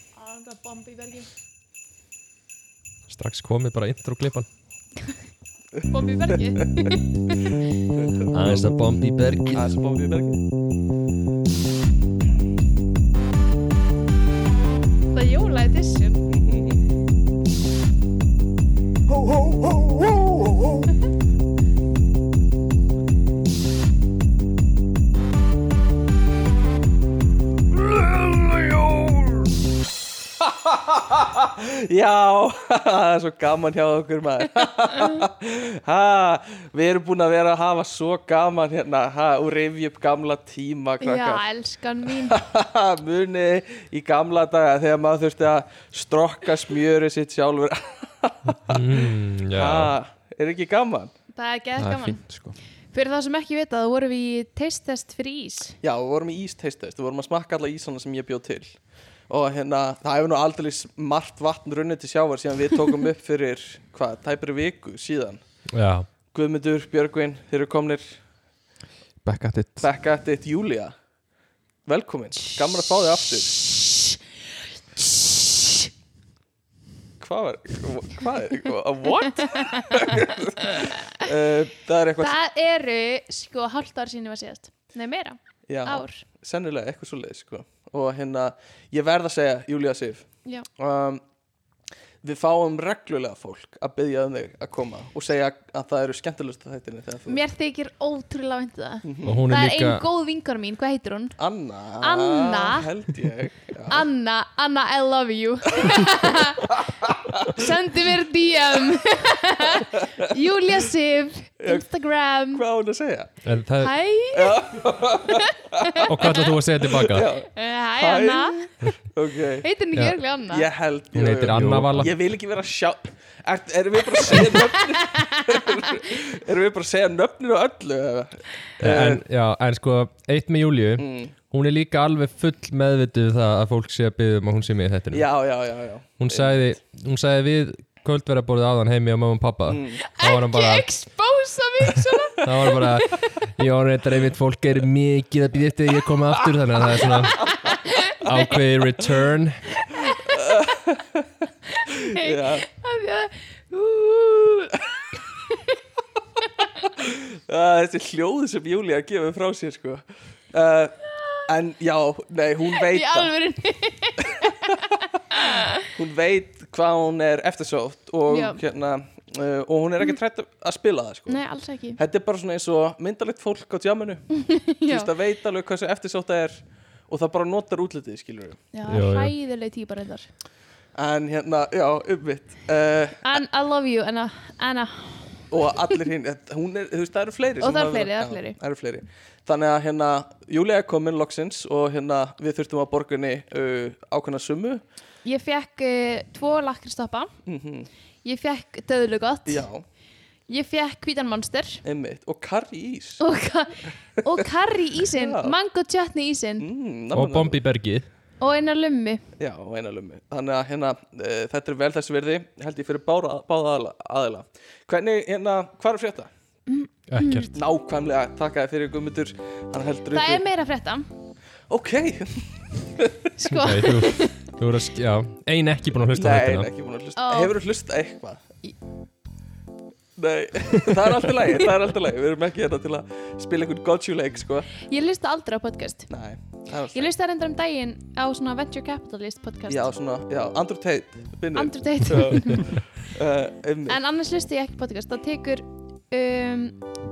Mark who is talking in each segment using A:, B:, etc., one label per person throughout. A: það er bombi í bergi
B: Strax komið bara intro-klippan
A: Bombi í bergi
B: Aðeins að bombi í bergið
C: Aðeins að bóða við bergið
A: Það er jóla edition
C: Hó, hó, hó, hó, hó, hó Já, það er svo gaman hjá okkur maður ha, Við erum búin að vera að hafa svo gaman hérna ha, og reyfi upp gamla tíma
A: Já,
C: krakkar.
A: elskan mín
C: Muni í gamla daga þegar maður þurfti að strokka smjöri sitt sjálfur
B: mm, Já,
C: ha, Er ekki gaman?
A: Það er gett
B: það er
A: gaman
B: fínt sko
A: Fyrir það sem ekki vita, þá vorum við í taste test fyrir ís
C: Já, við vorum í ísteistest, við vorum að smakka alla ísana sem ég bjóð til og hérna, það hefur nú aldrei margt vatn runnið til sjávar síðan við tókum upp fyrir, hvað, tæpri viku síðan
B: Já,
C: Guðmundur, Björgvin, þeir eru komnir
D: Back at it
C: back at it, Júlia Velkomin, gaman að fá þig aftur Hvað var, hvað er, what? Eh, það er eitthvað,
A: Það eru, sko, hálft ár síðan ég var síðast Nei, meira,
C: já,
A: ár
C: sennilega eitthvað svo leið, sko Og hérna, ég verð að segja, Júlia Sif
A: Já,
C: um, við fáum reglulega fólk að byggja um þig að koma og segja að það eru skemmtilegust að þættinni þegar þú
A: mér þykir ótrúlega vænt um það
B: og hún
A: Það
B: er
A: er
B: líka
A: ein góð vinkar mín, hvað heitir hún?
C: Anna,
A: Anna.
C: held ég já.
A: Anna, Anna, I love you Sendi mér DM Júlia Sif Instagram
C: hvað á hún að segja?
B: en það,
A: Hæ,
B: Og hvað ætlaðu þú að segja tilbaka?
A: Eh, hæ Anna
C: ok,
A: Heitir henni
B: Já.
A: ekki örglega Anna?
C: ég held
B: Hún
C: jú,
B: heitir
C: jú.
B: Anna Vala
C: ég vil ekki vera að sjá er, erum við bara að segja nöfnir erum við bara að segja nöfnir og öllu eða?
B: en, já, en sko, eitt með Júliu
C: Mm.
B: Hún er líka alveg full meðvituð það að fólk sé að byggja um að hún sé með í þetta
C: Eh, já, já, já, já
B: hún, sagði, hún sagði við kvöldverðarborðið áðan heimi á mamma og pappa
C: Mm.
B: þá var hann bara,
A: Ekki expósa mig svona
B: þá var hann bara já, reyndar einmitt fólk er mikið að býða eftir að ég komi aftur þannig að það er svona ákveði return
C: Já.
A: Af því að- Ú,
C: Uh, þessi hljóð sem Júlia gefur frá sér sko uh, En já, nei, hún veit
A: Í
C: það.
A: alvörinni
C: hún veit hvað hún er eftirsótt og,
A: Já.
C: hérna, uh, og hún er ekki trætt að spila það sko.
A: Nei, alls ekki
C: þetta er bara svona eins og myndalegt fólk á tjáminu þú
A: Já,
C: veist að veit alveg hvað sem eftirsótt það er og það bara notar útlitið skilur við
A: já
B: Já, já.
A: hæðileg típa reyndar
C: en hérna, já, umvitt uh,
A: An, I love you, Anna, Anna.
C: og allir hinn, þetta- hún er, þú veist, það eru fleiri
A: Og
C: sem
A: það eru
C: hafa verið-
A: fleiri, það eru
C: já,
A: fleiri.
C: það eru fleiri þannig að hérna, Júlia er komin loksins og hérna, við þurftum að borga henni uh, ákveðna sumu
A: Ég fekk uh, tvo lakkristoppa Ég fekk döðlugott
C: Mhm. já,
A: Ég fekk hvítan monster
C: einmitt, og karri ís
A: Og, ka og karri ísinn
C: Já.
A: Mango chutney ísinn
C: mm,
B: og
C: nammi, nammi.
B: bombi bergið
A: Og einar lummi
C: Já, og eina lummi. Þannig að hérna, e, þetta er vel þess virði, held ég fyrir bára, báða aðla, aðila. Hvernig, hérna, hvað er að frétta?
B: ekkert
C: Nákvæmlega, takk að þið fyrir gummitur, hann heldur
A: Það er meira að frétta
C: Ok,
A: Sko,
B: Nei, þú, þú voru að, sk- já, ein ekki búin að hlusta á
C: nei,
B: þetta
C: ekki búin að hlusta.
A: Ó.
C: Hefur þú hlusta eitthvað?
A: Í-
C: Nei, það er alltaf lægi, það er alltaf lægi. Við erum ekki hérna til að spila einhvern gotjuleik, sko.
A: ég lista aldrei á podcast
C: Nei, það er alltaf
A: Ég lista reyndar um daginn á svona Venture Capitalist podcast
C: Já, svona, já, Andrew Tate, vinnur.
A: Andrew Tate
C: Uh, einmitt.
A: En annars listi ég ekki podcast Það tekur um,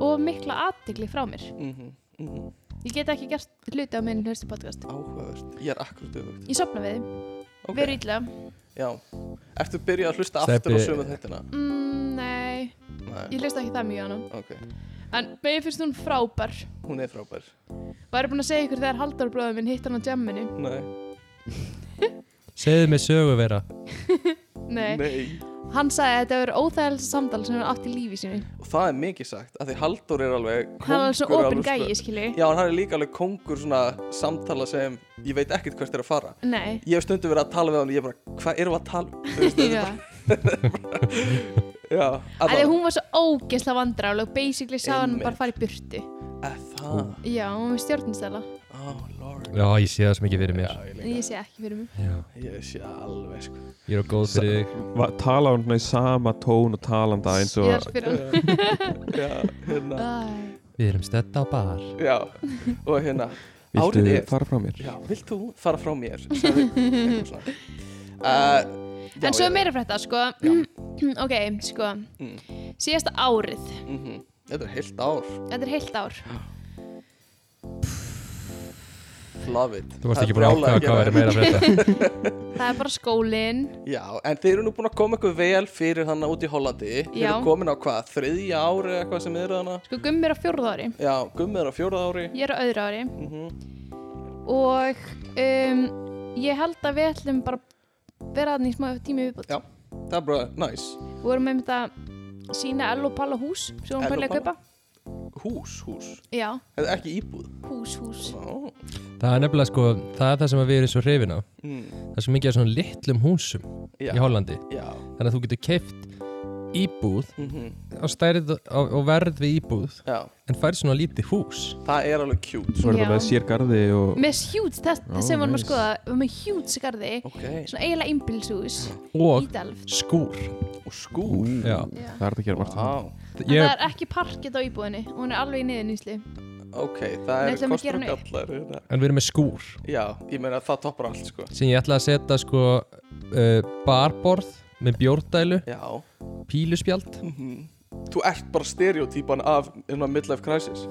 A: og mikla aðtikli frá mér
C: Mhm, mhm,
A: Ég get ekki gert hluti á minn hlusti podcast
C: Áhugavert, ég er akkurat öfugt.
A: Ég sopna við þið,
C: Ok,
A: veru illa
C: Já, ertu byrjað að hlusta aftur á
B: Stebbi-
C: sömu þettina?
A: mm, Nei,
C: Nei,
A: ég lista ekki það mjög á hann
C: ok,
A: En mér finnst hún frábær
C: hún er frábær
A: Var ég búin að segja ykkur þegar Halldór bróður minn hitt hann á jamminu
C: Nei,
B: Segðu mig sögu vera
A: Nei, hann sagði að þetta verið óþægilegsta samtal sem hann átt í lífi sínu
C: Og það er mikið sagt, af því Halldór er alveg
A: Hann er alveg svo
C: kóngur
A: opinn
C: alveg
A: gæi, skilji
C: Já, en hann er líka alveg kongur svona samtala sem ég veit ekkert hvert er að fara
A: Nei,
C: Ég hef stundum verið að tala við hann og ég er bara, hvað erum við að tala? um?" Þú veist, þetta er
A: já
C: bara- Já,
A: Af því
C: allavega.
A: hún var svo ógeðslega vandráleg Basically sá hann
C: Einmitt.
A: bara fara í burtu
C: Eh, Það,
A: Já, hún var stjórnstæla
C: oh lord
B: Já, ég sé það sem ekki fyrir mér.
A: ég sé ekki fyrir mig
B: Já.
C: Ég sé alveg sko
B: Ég er á góð fyrir þig.
D: Va, tala hún í sama tón og tala um það eins og
A: ég er fyrir hann
C: Já, hérna
A: Æ.
B: Við erum stedd á bar.
C: Já, og hérna
D: viltu
C: árið er-
D: fara frá mér
C: Já, vilt þú fara frá mér? Sagði, eitthvað svona. uh, já,
A: en svo
C: já.
A: er meira frétta sko ok, sko
C: Mm.
A: síðasta árið,
C: Mhm. Þetta er heilt ár,
A: þetta er heilt ár
C: love it
B: Þú varst
C: Það
B: ekki búin að
C: brjálað
B: ákvæða hvað
C: gera
B: er meira fyrir þetta.
A: það er bara skólin
C: Já, en þeir eru nú búin að koma eitthvað vel fyrir þannig út í Hollandi Þeir
A: Já.
C: eru komin á hvað, þriðja ári eða eitthvað sem þeir eru þannig
A: sko gummi er á fjórða ári
C: Já, gummið er á fjórða ári
A: ég er á öðru ári
C: mm
A: og um, ég held að við ætlum bara að vera þannig smá tími viðbútt
C: Já, það er bara næs
A: við vorum einmitt að sína Ello Palla hús sem við vorum
C: Ello
A: börnlega að
C: Palla?
A: kaupa
C: Hús, hús,
A: já,
C: eða ekki íbúð
A: hús, hús
C: Ó,
B: Það er nefnilega sko, það er það sem við erum svo hrifin á.
C: mm,
B: Það er svo mikið af svona litlum húsum
C: Já,
B: í Hollandi.
C: já
B: Þannig að þú getur keift íbúð
C: mm
B: á stærð og, og verð við íbúð
C: Já,
B: en færð svona lítið hús.
C: það er alveg cute
D: svo er
A: Já.
D: það með sérgarði og
A: með hjúts, það
D: Ó,
A: sem við vorum að
D: nice.
A: skoða við vorum með hjúts garði
C: Ok,
A: svona eiginlega einbilshús
B: Og
A: ídelf
B: skúr.
C: og skúr
B: Já.
A: Já.
D: það er það að gera margt
C: Vá,
A: en það er ekki parkett á íbúðinni hún er alveg í niðurnýslu
C: ok, það
A: Nei,
C: er
A: ætlum við að
C: kostur
A: gera
C: og
A: hana
C: gallar hérna.
B: En við erum með skúr
C: Já, ég meina það toppar allt sko
B: sem ég ætla að setja sko uh, barborð með bjórdælu,
C: Já Mhm.
B: píluspjald
C: Þú ert bara stereotypan af hérna, midlife crisis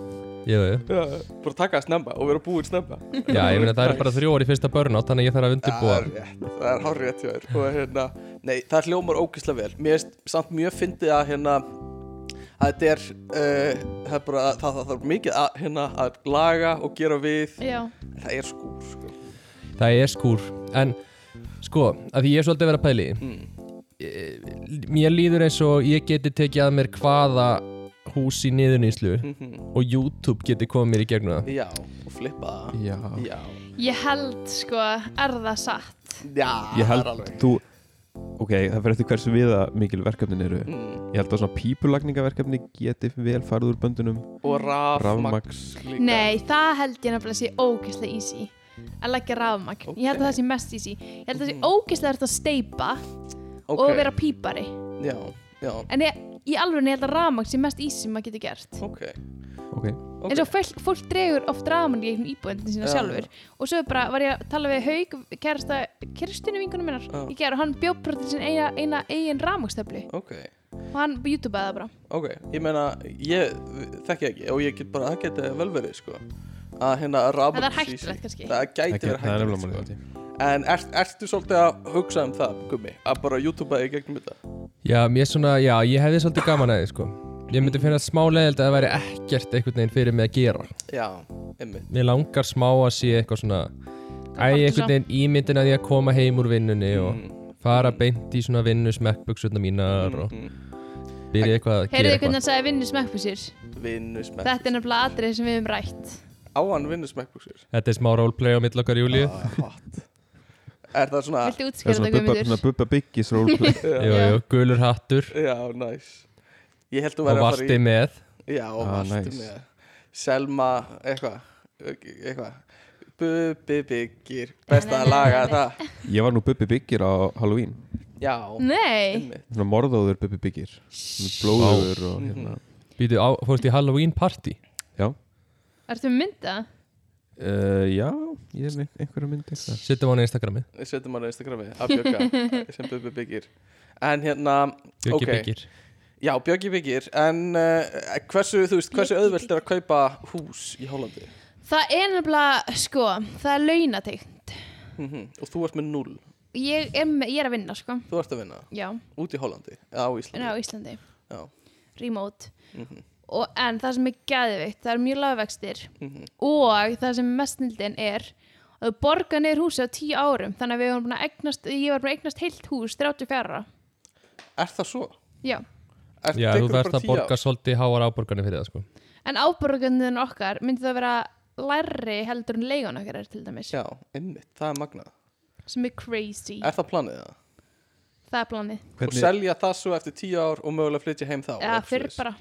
B: Jú, jú.
C: Já, bara taka það snemma og vera búinn snemma
B: Já, ég meina það er bara þrjú orði fyrsta börnátt þannig að ég þarf að
C: Það
B: undirbúa
C: er rétt, það er hár rétt hjá þér og hérna, nei, það hljómar ógeðslega vel Mér erst samt mjög fyndið að hérna að þetta er, uh, það er bara, það, það þarf mikið að, hérna, að laga og gera við
A: já,
C: Það er skúr, sko
B: Það er skúr En sko, að því ég er svolítið að vera að pæli
C: Mm.
B: mm. Mér líður eins og ég geti tekið að mér hvaða hús í niðurnýslu
C: Mhm.
B: og YouTube geti komið mér í gegnum það
C: Já, og flippa það
D: já.
C: Já,
A: ég held sko er það satt
C: já, það
D: ég
C: er
D: held
C: alveg
D: þú ok, það fyrir eftir hversu viða mikil verkefnin eru
C: mm.
D: ég held að svona pípulagningaverkefni geti vel farið úr böndunum
C: Og rafmaks
D: Rafmagns.
C: líka
A: nei, það held ég nefnilega að sé ógeðslega easy að leggja rafmagn, ég held að það sé mest easy ég held að það sé ógeðslega ertu að steipa
C: Ok,
A: og vera pípari
C: Já, já,
A: en ég, í alveg ég held að rafmagn sé mest easy sem maður getur gert
C: ok
D: ok,
C: Ok.
A: eins og fólk, fólk dregur oft rafmagn í einhvern íbúendin sína
C: Já.
A: sjálfur og svo bara var ég að tala við Haug kærasta, kærastinu vingunum minnar
C: Já.
A: í gerð og hann bjóð bara til sín eina, eina eigin rafmagstöflu
C: Ok,
A: og hann youtubeaði það bara
C: ok, ég meina, ég þekki ekki og ég get bara, það geti vel verið, sko að hérna
A: en það er
C: rafmaks
A: hægtilegt kannski
C: Það
D: það
C: gæti verið
D: er nefnilega
C: hægt
D: málið
C: sko.
D: held ég.
C: En ert, ertu svolítið að hugsa um það, gummi Að bara youtubea í gegnum þetta
B: Já, mér svona, já, ég hefði svolítið gaman að því, sko Ég myndi finna smá leðild að það væri ekkert einhvern veginn fyrir mig að gera
C: Já, einmitt
B: Mér langar smá að sé eitthvað svona Æ,
A: fattu
B: einhvern veginn ímyndin að ég að koma heim úr vinnunni
C: Mhm,
B: og fara beint í svona vinnu smekkbuksutna mínar
C: mhm. Mm.
B: og byrja eitthvað að gera
A: heyrðu hvernig
B: eitthvað
A: hann sagði vinnu smekkbúsir
C: Vinnusmekk
A: þetta er nefnilega atrið sem við hefum rætt
C: Á hann vinnusmekkbuksur
B: Þetta er smá roleplay á mill okkar Júlíu
C: Ah, Hot Er það svona
A: viltu
D: það er
A: útskýra
D: svona
A: þetta
D: bubba, svona
A: guðmundur?
D: bubba byggis rólplay
C: Ah,
B: Jú, jú, gulur hattur
C: Já, næs Ég held þú
B: og
C: verið að fara
B: varti með
C: í Já, og
D: Ah,
C: varstu
D: nice.
C: með Selma, eitthvað Eitthvað Bubbi byggir
A: Nei,
C: Besta að
A: nei, nei,
C: laga
A: nei.
C: það
D: ég var nú bubbi byggir á Halloween
C: Já,
A: nei,
C: einmitt
D: svona morðóður bubbi byggir Svona blóður og hérna
B: Býtu, á, fórst í Halloween party
D: já,
A: ertu með mynda?
D: uh, já, ég er með einhverja myndir það
B: Sittum á hann Instagrami,
C: Við setjum hann á Instagrami að bjöka sem Bubbi byggir en hérna,
B: Jökki
C: ok.
B: byggir
C: já Bjöggi byggir en uh, hversu, þú veist, hversu
A: Bjöggi
C: auðvelt er að kaupa hús í Hollandi
A: það er nefnilega, sko það er launatengt
C: Mhm. og þú ert með null,
A: ég er, með, ég er að vinna, sko
C: þú ert að vinna
A: já,
C: út í Hollandi, eða á
A: en á
C: Íslandi
A: Íslandi
C: já,
A: remote
C: Mhm.
A: og, en það sem er gæðvikt, það er mjög lagvextir
C: Mhm.
A: og það sem er mest nildin er að þú borga niður húsi á tíu árum þannig að við varum búin að eignast ég var búin að eignast heilt hús 34 ára.
C: er það svo?
A: já,
C: Er,
B: Já, þú
C: tekur
B: verðst
C: bara
B: að
C: 10 ár?
B: borga svolítið háar áborgarnir fyrir það, sko
A: en áborgunum okkar myndi það vera lærri heldur en leigun okkar er til dæmis
C: já, einmitt, það er magnað
A: sem er crazy,
C: er það planið það?
A: það er planið
C: og selja það svo eftir tíu ár og mögulega flytja heim
A: eða
C: þá eitthvað
A: fyrir
C: svoleiðis.
A: bara,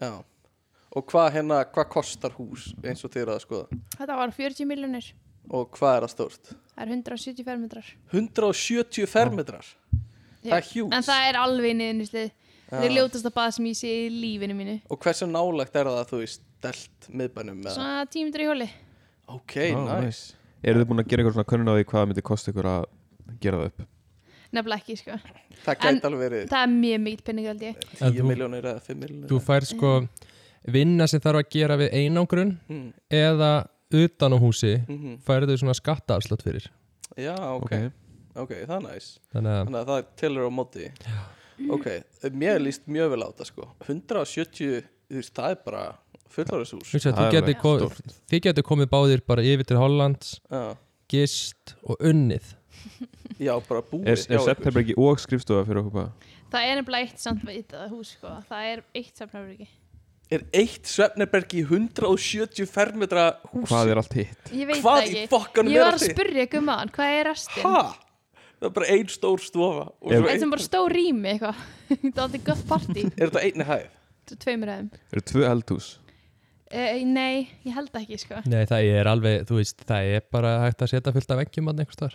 C: já. og hvað hérna, hvað kostar hús eins og þeir eru að skoða
A: þetta var 40 miljonir
C: og hvað er það stórt?
A: það er 170 fermetrar
C: 170 fermetrar Það er huge.
A: en það er alveg niðurnislið það er ljótasta bað sem ég sé í lífinu mínu
C: og hversu nálægt er það að þú veist delt miðbænum með
A: svona tímundur í hóli
C: ok,
D: Ó,
C: nice.
D: nice. Eru þið búin að gera eitthvað svona könnun á því hvað það myndi kosti ykkur að gera það upp?
A: nefnilega ekki sko
C: það
A: En-
C: gæti alveg verið
A: það er mjög mikill penning held ég
C: 10
B: þú-
C: miljónir eða 5
B: Þú
C: miljónir
B: fær sko vinna sem þarf að gera við einangrun
C: Mm.
B: eða utan á húsi
C: Mhm.
B: færðu svona skattaafslátt fyrir
C: já, ok, ok, það er næs
B: þannig að
C: þannig að það er tilur á móti ok, mér líst mjög vel á þetta sko 170, þú veist, það er bara fullarhúshús
B: hugsa, þú
D: Það er
B: geti
D: alveg
B: ko
D: stórt.
B: þið getur komið báðir bara yfir til Hollands
C: já,
B: gist og unnið
C: já, bara búið
D: Er,
C: hjá
D: er
C: ykkur.
D: september ekki og skrifstofa fyrir okkur bara?
A: það er nefnilega eitt samt veit að hús sko það er eitt safnafriki
C: er eitt svefnerberg í 170 fermetra húsi
D: Hvað er allt hitt?
A: ég veit það
C: Hvað í
A: ekki
C: fokkanum
A: ég
C: er
A: var að
C: allt hitt?
A: spurja ekki um aðan hvað er restin
C: ha? það er bara ein stór stofa og
D: Er-
C: svo
A: eitt sem
C: ein-
A: bara stór rými eitthvað það er aldrei gott partí
C: er þetta einni hæð?
A: tveimur aðeim
D: Eru tvö eldhús?
A: uh, nei ég held ekki sko
B: Nei, það er alveg, þú veist, það er bara hægt að setja fullt af veggjum að einhvers þar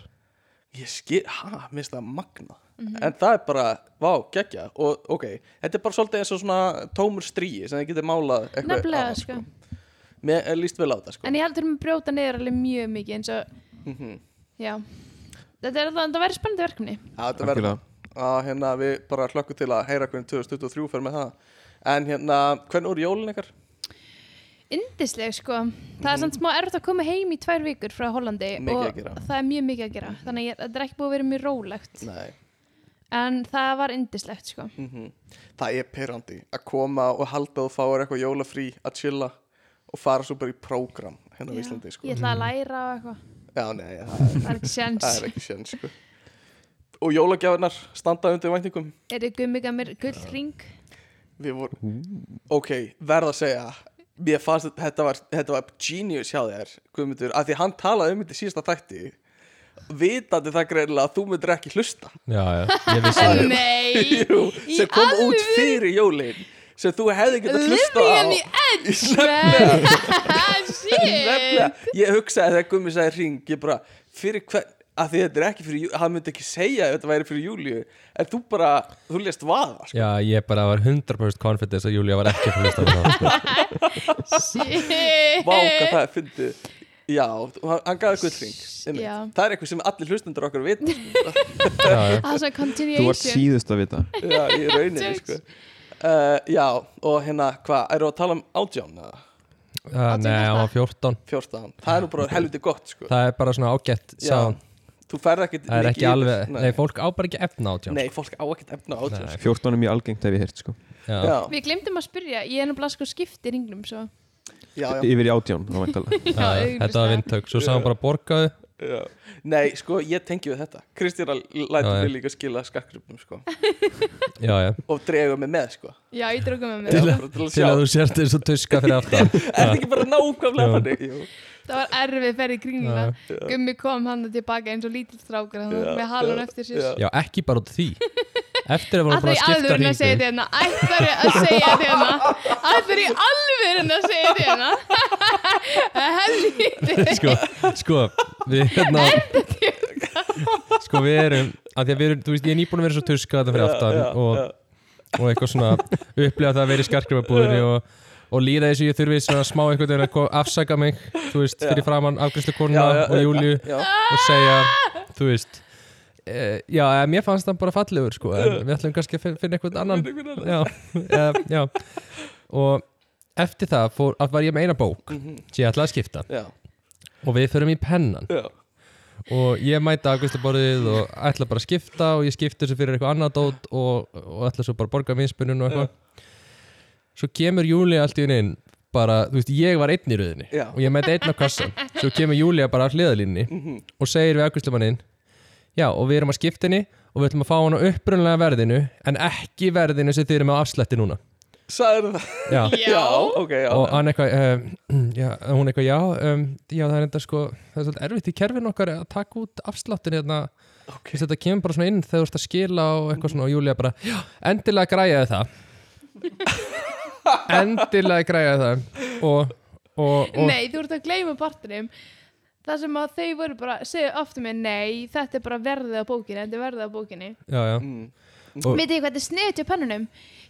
C: Ég skil, ha, minnst það magna
A: Mhm.
C: En það er bara, vá, geggja Og ok, þetta er bara svolítið eins og svona Tómur stríi sem þið getur málað eitthvað
A: nefnilega
C: annað,
A: sko
C: Mér er líst vel á það sko
A: en ég heldur um að brjóta niður alveg mjög mikið eins og
C: Mhm.
A: já þetta er það, það verður spennandi verkefni
C: Já, Þetta verður
D: Algjörlega.
C: að hérna við bara hlökkum til að heyra hvernig 2023 fer með það En hérna, hvernig voru jólin ykkar?
A: Indisleg sko, það er samt smá erft að koma heim í tvær vikur frá Hollandi
C: Mhm.
A: og
C: Mikið að gera.
A: það er mjög mikið að gera þannig að ég- þetta er ekki búið að vera mjög rólegt
C: Nei
A: en það var indislegt sko
C: Það er perandi að koma og halda og fá er eitthvað jólafrí að chilla og fara svo bara í prógram hérna á Íslandi sko
A: Ég ætla að læra og eitthvað,
C: Já, nei, það
A: það er ekki sjans
C: það er ekki sén sko Og jólagjafinar standa undir væntingum
A: Er þið gummið að mér gull ring?
C: Við vorum, ok, verð að segja Mér fannst að þetta var, þetta var genius hjá þér, Guðmundur af því hann talaði um þetta í síðasta þætti vitandi það greinilega að þú myndir ekki hlusta
B: Já, já, ég vissi það
A: Nei,
C: Jú,
A: Í
C: sem kom út
A: alvöru?
C: fyrir jólin sem þú hefði getað hlusta á
A: Living on the edge man.
C: Nefnilega,
A: Shit
C: ég hugsaði þegar Gummi sagði ring ég bara, fyrir hvern að því þetta er ekki fyrir júli, hann myndi ekki segja ef þetta væri fyrir júli, en þú bara þú lést vaða, sko.
B: Já, ég bara var 100% confidence að Júlia var ekki að hlusta á það sko.
A: Shit
C: vá hvað það er fyndið já, og hann hann gaf eitthvað ring
A: Já.
C: einmitt. það er eitthvað sem allir hlustundur okkar veit
B: já, já.
A: Það er svona
D: Þú ert
A: continuation
D: síðust að vita
C: já, í rauninni,
A: Jokes.
C: sko uh, já, og hérna, hvað, eru að tala um átján, eða?
B: Ah, Nei, hann var 14
C: 14, það er nú bara helviti gott, sko
B: Það er bara svona ágætt
C: já,
B: sound.
C: þú ferð ekkit
B: Það er
C: mikið
B: ekki
C: yfir-
B: alveg, nei, sko.
C: nei,
B: fólk á bara ekki efna átján
C: nei, fólk á ekkit efna átján, sko
D: 14 er mjög algengt ef ég heyrt sko
B: já.
C: já,
A: Við glemdum að spyrja, ég er náttúrulega sko skipti ringnum svo
C: já, já,
D: Yfir í átján, þá væntalega
B: Já, þetta var vindtök, svo sagði hann bara borgaðu
C: já nei, sko, ég tengi við þetta Kristjana
B: Já,
C: lætur
B: já.
C: mig líka skila skakkrupnum, sko
B: Já, já,
C: og dregur mig með, sko
A: Já, ég drókum með
C: Já,
A: mér
C: bara til
B: til
C: að sjá.
B: að þú sért eins og tuska fyrir aftan
C: er þetta ekki bara nákvæmlega þannig Jú.
A: Það var erfið ferð í kringluna Gummi kom hann tilbaka eins og lítill strákur hann,
C: Já,
A: með halun
C: já,
A: eftir sér
B: Já, ekki bara út af því Eftir að voru
A: Ætlar í
B: bara að skipta
A: alvörin að segja
B: ringu
A: þér hérna Ætlar að segja þér hérna Ætlar í alvörin að segja þér hérna Helvítið
B: Sko, sko, við hérna Sko, við erum að Því að við erum, þú veist, ég er nýbúin að vera svo tuska þetta fyrir aftan og, og eitthvað svona upplifa það að vera í skarkrifabúðinni og, og líða þessu ég þurfi svona smá einhvern veginn að ko- afsaka mig þú veist, fyrir framann afgriðslu konuna
C: Já, já,
B: og Júliu
C: já.
B: og segja, þú veist e, já, eh, mér fannst það bara fallegur sko, en við ætlum kannski að fin- finna einhvern annan já, e, já og eftir það fór, að var ég með eina bók sem ég ætlaði að skipta
C: já,
B: og við förum í pennan
C: já,
B: og ég mæta afgriðsluborðið og ætla bara að skipta og ég skipta þessu fyrir eitthvað annað dót og, og ætla svo bara að borga vinspunum og eitthvað svo kemur Júlia allt í einu inn bara, þú veist, ég var einn í röðinni
C: Já.
B: og ég mæta einn á kassan svo kemur Júlia bara að hliðalínni og segir við afgriðslumanninn já, og við erum að skipta henni og við ætlum að fá hann á upprunlega verðinu en ekki verðinu sem þið erum með á afslætti núna
C: sagður það
B: já.
C: já, ok, já
B: og hann eitthvað um, já, hún eitthvað já, um, já það er enda sko það er svolítið erfitt í kerfin okkar að taka út afsláttin hérna,
C: Ok.
B: okay. þetta kemur bara svona inn þegar þú ert að skila og eitthvað svona og Júlia bara, já, endilega græjaði það endilega græjaði það og, og, og
A: Nei, þú ert að gleyma partinum það sem að þau voru bara segja ofta mér, nei, þetta er bara verðið á bókinni, þetta er verðið á bókinni
B: já, já.
C: mm.
B: Og-
A: Vitið þið hvað þetta er sniðt hjá pennunum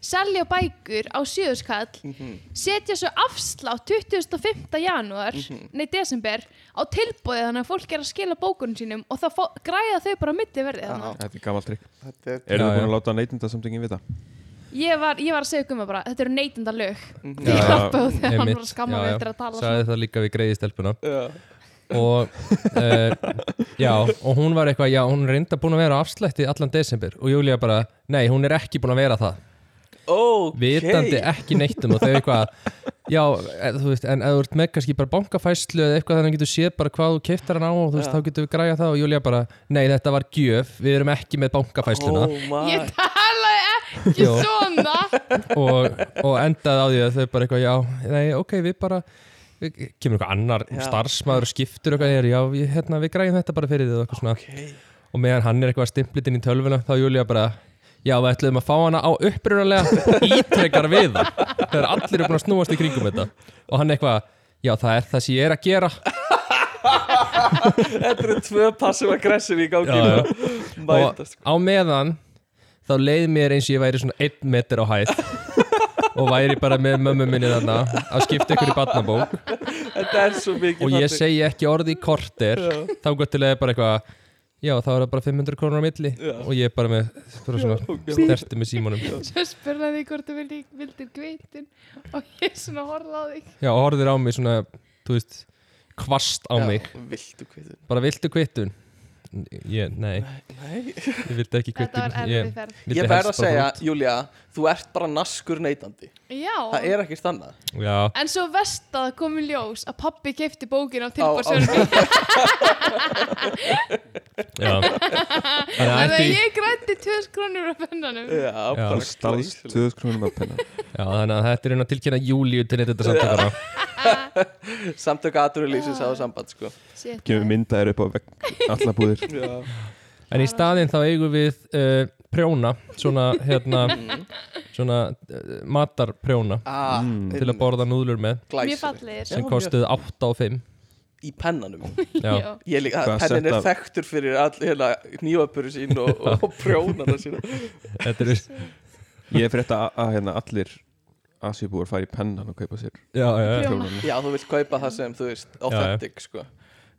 A: Selja bækur á sjöðuskall
C: mhm.
A: Setja svo afslátt 25. janúar Nei, desember Á tilbúið þannig að fólk er að skila bókunum sínum Og þá fó- græða þau bara mitti verðið
C: Já.
A: þannig
D: Þetta er gammal trikk.
C: Þetta er
D: Eru
B: Já,
D: þið
B: já.
D: búin að láta neytinda samtöngin vita?
A: ég var, ég var að segja gumma bara, þetta eru neytenda lög
C: Mhm.
A: Því
D: Já,
A: hoppaðu þegar hann
B: Einmitt,
A: var að skamma
B: já,
A: mig
B: já.
A: eftir að tala svona.
B: sagði það líka við greiði stelpuna
C: Já.
B: og uh, já, og hún var eitthvað, já, hún er reynda búin að vera á afslætti allan desember og Júlía bara, nei, hún er ekki búin að vera það
C: Ok
B: vitandi ekki neitt um og þau eitthvað já, e, þú veist, en ef þú ert með kannski bara bankafæslu eða eitthvað þannig að getur séð bara hvað þú keiftar hann á og þú veist,
C: Já.
B: þá getur við græja það og Júlía bara, nei, þetta var gjöf við erum ekki með bankafæsluna
C: Oh my
A: Ég talaði ekki
B: Jó.
A: svona
B: og, og endaði á því að þau bara eitthvað, já, nei, ok, við bara kemur eitthvað annar
C: Já.
B: starfsmaður og skiptur eitthvað, er, já, við, hérna, við græjum þetta bara fyrir þið og eitthvað svona
C: okay.
B: og meðan hann er eitthvað stimplit inn í tölvuna þá Júlia bara já við ætluðum að fá hana á upprunalega ítrekkar við það þegar allir eru búin að snúast í kringum þetta og hann eitthvað já það er það sem ég er að gera
C: Þetta eru tvö passive aggressive í gangi
B: Já, já.
C: já. Mætast
B: og á meðan þá leið mér eins og ég væri svona einn metr á hæð og væri bara með mömmu minni þarna að skipta ykkur í barnabók
C: Þetta er svo mikið
B: og ég
C: þannig.
B: segi ekki orði í korter þá gott til að ég bara eitthvað já þá er það bara 500 krónur á milli
C: Já.
B: og ég er bara með bara svona sterti með símanum
A: Svo spurði því hvort þú vildi, vildir gvitin Og ég svona horfði á þig
B: Já, og horfir á mig svona, þú veist, kvast á mig.
C: já, Viltu kviðun
B: Bara viltu kvittun? Ég, nei,
C: Nei
B: ég vildi ekki kvittun.
A: Þetta var erfið
B: ég,
A: ferð
B: vildi
C: Ég
B: helst
C: verð að
B: bara
C: segja,
B: fara
C: Júlia, þú ert bara naskur neytandi Það
A: Já,
C: er ekkert annað
B: út. Já,
A: en svo vestað kom í ljós að pabbi keipti bókin á tilbúrsjörnum
B: já. Þannig að
A: Þannig að
B: ætti,
A: ég grætti 2000 krónur á pennanum
C: Já, bara
D: Stálst
C: glæsilegt.
D: 2000 krónum af penna.
B: já, þannig að þetta er einn að tilkynna júlíu til þetta samtökana.
C: Samtök aðurlýsins á samband sko.
A: Shit,
D: Kemur mynda þér upp á vegg, alla búðir.
C: Já,
B: En í staðinn þá eigum við uh, prjóna, svona, hérna,
A: Mm.
B: svona uh, matarprjóna
C: ah,
B: til að borða núðlur með
A: Mjög
C: glæsilegt.
A: fallegir
B: sem
C: Já,
B: kostuð 8 og 5.
C: Í pennanum
B: Já.
A: Já.
C: Ég líka,
D: Hvað að
C: pennin er
D: setja-
C: þekktur fyrir all, hérna, nývapuru sín og, og prjónana sína
B: Þetta er,
D: Ég frétta að- að hérna allir asjubúar fari í pennan og kaupa sér
B: já, já, já.
A: Prjóna.
D: prjónan.
C: Já, þú vilt kaupa það sem, þú veist, authentic, sko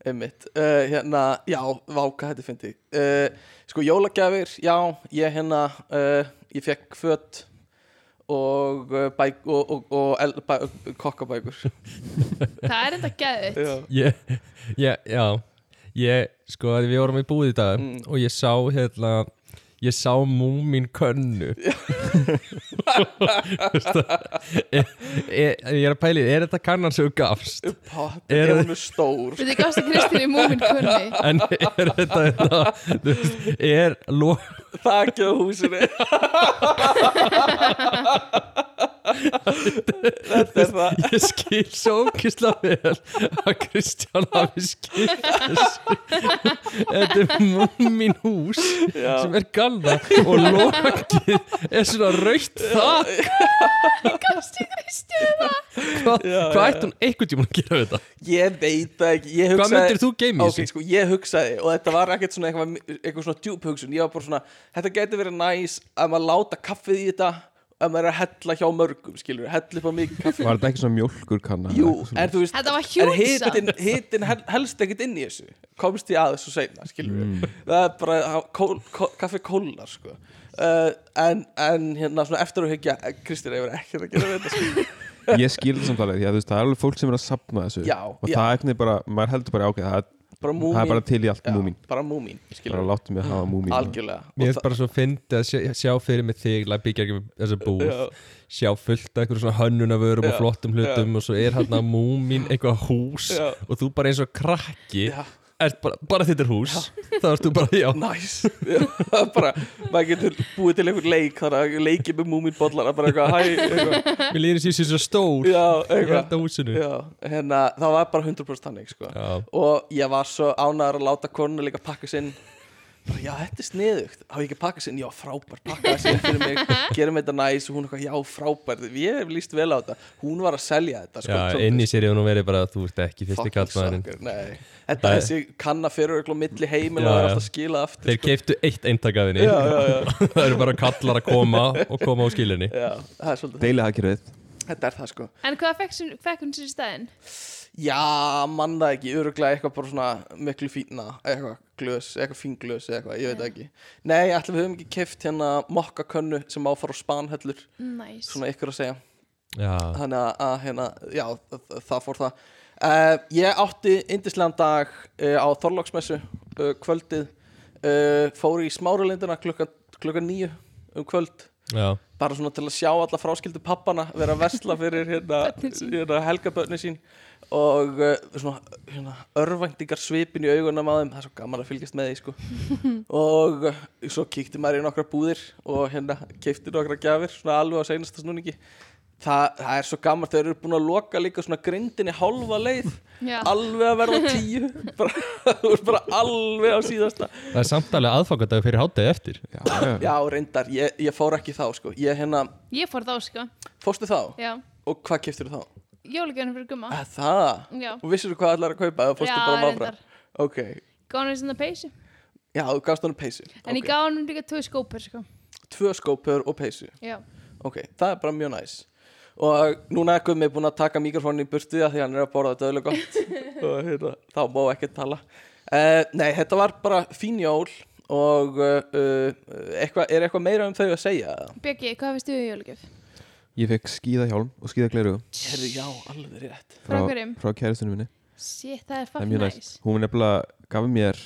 C: Einmitt, uh, hérna, já, váka þetta fyndi uh, Sko, jólagjafir, já, ég hérna, uh, ég fekk föt og, uh, bæk, og, og, og el, bæ, kokkabækur
A: Það er enda geðið
C: Já,
B: ég, ég, já ég, sko, að við vorum í búið í dag
C: Mm.
B: og ég sá, hérna ég sá múmin könnu Veistu það? ég, ég, ég er að pæli er þetta kannan sem þú gafst
C: pott,
B: Er-
C: er hún er stór
A: Við þið gafst að Kristín í múmin kunni
B: en er þetta, þetta þú veist, er lo,
C: þakið á húsinu Þetta er það
B: ég skil svo ókisla vel að Kristján hafi skil þessu þetta er múmin hús
C: Já,
B: sem er galna og lokið er svona raukt það
A: Gafst í Kristín
B: Hva,
C: Já,
B: Sko, hvað
C: já,
B: ætti hún einhvern tímann að gera við þetta?
C: ég veit það ekki ég
B: Hvað
C: hugsaði-
B: myndir þú geymi
C: Ok,
B: þessu?
C: sko, ég hugsaði og þetta var ekkert svona eitthvað, eitthvað svona djúb hugsun ég var bara svona, þetta getur verið næs að maður láta kaffið í þetta að maður er að hella hjá mörgum, skilur hella upp á mikið kaffi
D: Var þetta ekki svona mjólkur kanna?
C: Jú, en þú veist,
A: Þetta var
C: en
A: hjúsa
C: hitin, hitin hel, helst ekkert inn í þessu komst ég að þessu seinna, skilur
D: Mm.
C: það er bara, ha- kól, kól, kaffi kólnar sko. uh, en, en hérna svona eftir að hugja, Kristín hefur ekkert að gera við þetta sko.
D: Ég skil það samtalið, því að þú veist, það er alveg fólk sem er að sapna þessu
C: Já,
D: og
C: já.
D: það er ekki bara, maður heldur bara ákveð, það er,
C: bara
D: það er
C: múmin,
D: bara til í allt múmin
C: bara múmin
D: bara
C: skilur,
D: láttu mig að hafa múmin
C: algjörlega
B: Mér
C: Og
B: er bara svo fyndið að sjá, sjá fyrir mig þig að byggja ekki þessa búð
C: Já.
B: sjá fullt af einhverjum svona hönnunavörum og
C: Já,
B: flottum hlutum og svo er hann að múmin eitthvað hús
C: Já.
B: og þú bara eins og krakki
C: Já.
B: ert bara, bara þetta er hús þá erst þú bara, já,
C: Næs Það er bara, maður getur búið til einhver leik þannig að leikið með múminbollara bara eitthvað, hæ, eitthvað,
B: mér líður þessi svo stór
C: já,
B: ég held
C: eitthvað
B: að húsinu
C: já, hérna, það var bara 100% þannig sko.
B: Já.
C: og ég var svo ánæður að láta konuna líka pakka sinn bara, já, þetta er sniðugt á ég ekki að pakka sér, já, frábær, pakka sér fyrir mig gerum þetta næs og hún eitthvað, já, frábær ég hef líst vel á þetta, hún var að selja þetta sko,
B: Já,
C: svolítið.
B: inn í sér hefur nú verið bara að þú ert ekki fyrsti
C: Fucking
B: kallmaðurinn
C: sucker, nei. þetta
B: Nei.
C: er þessi kanna fyrir öll og milli heimil
B: Já,
C: og það er
B: já.
C: alltaf skilað aftur
B: Þeir keiftu eitt eintakaðinni
C: Já, já, já.
B: Það eru bara kallar að koma og koma á skilinni
C: já, það er svolítið,
D: Deila hagkerfið
C: þetta er það sko
A: En hvað fekk, sin- fekk hún sér í staðinn?
C: Já, mann það ekki, öruglega eitthvað bara svona miklu fína, eitthvað glös, eitthvað fínglös eða eitthvað, ég veit það ekki Nei, ætlum við höfum ekki keft hérna mokkakönnu sem áfara á spanhellur,
A: Næs
C: svona ykkur að segja
B: Já,
C: Þannig að, að hérna, já, það, það fór það uh, Ég átti indislegan dag uh, á Þorlóksmessu uh, kvöldið uh, Fór í smáralindina klukkan, klukkan níu um kvöld
B: já,
C: bara svona til að sjá alla fráskildu pappana vera að versla fyrir hérna,
A: Börnin sín.
C: hérna helgabönni sín og uh, svona hérna, örvæntingar svipin í augunum á þeim það er svo gaman að fylgjast með því sko og uh, svo kíkti maður í nokkra búðir og hérna keipti nokkra gjafir svona alveg á seinasta snúningi Þa, það er svo gaman, þeir eru búin að loka líka svona grindinni hálfa leið
A: Já.
C: alveg að verða tíu bara, þú ert bara alveg á síðasta
B: það er samtalið aðfangandag fyrir hátegi eftir
D: Já, já,
C: Já, reyndar, ég, ég fór ekki þá sko ég hérna,
A: Ég fór þá sko
C: fórstu þá?
A: Já
C: Og hvað keftur þá?
A: Jólugjöfnum fyrir gumma
C: Að það?
A: Ah. Já
C: Og vissir þú hvað allar að kaupa eða Ah, fórstu
A: Já,
C: bara máfra?
A: reyndar.
C: Ok,
A: Gáðan við sinna peysu
C: já, þú gafst hann peysu.
A: En ég
C: Ok.
A: gáði hann líka tvö skópur sko
C: Tvö skópur og peysu.
A: Já
C: Ok, það er bara mjög næs. Og núna er Gummi búinn að taka mikrofónin í burtu af því að hann er að borða þetta öðlega gott. og hérna, þá má ekki tala. Uh, nei, þetta var bara fín jól og uh, uh, eitthva, er eitthvað meira um þau að segja? eða?
A: Björki, hvað finnst þú í jólugjöf?
D: Ég fekk skíðahjálm og skíðagleru
C: Herri, já, alveg rétt.
A: Frá hverjum?
D: Frá kæristunum minni
A: Shit, það er
D: Það er
A: fucking
D: mjög
A: næs
D: næst Hún nefnilega gaf mér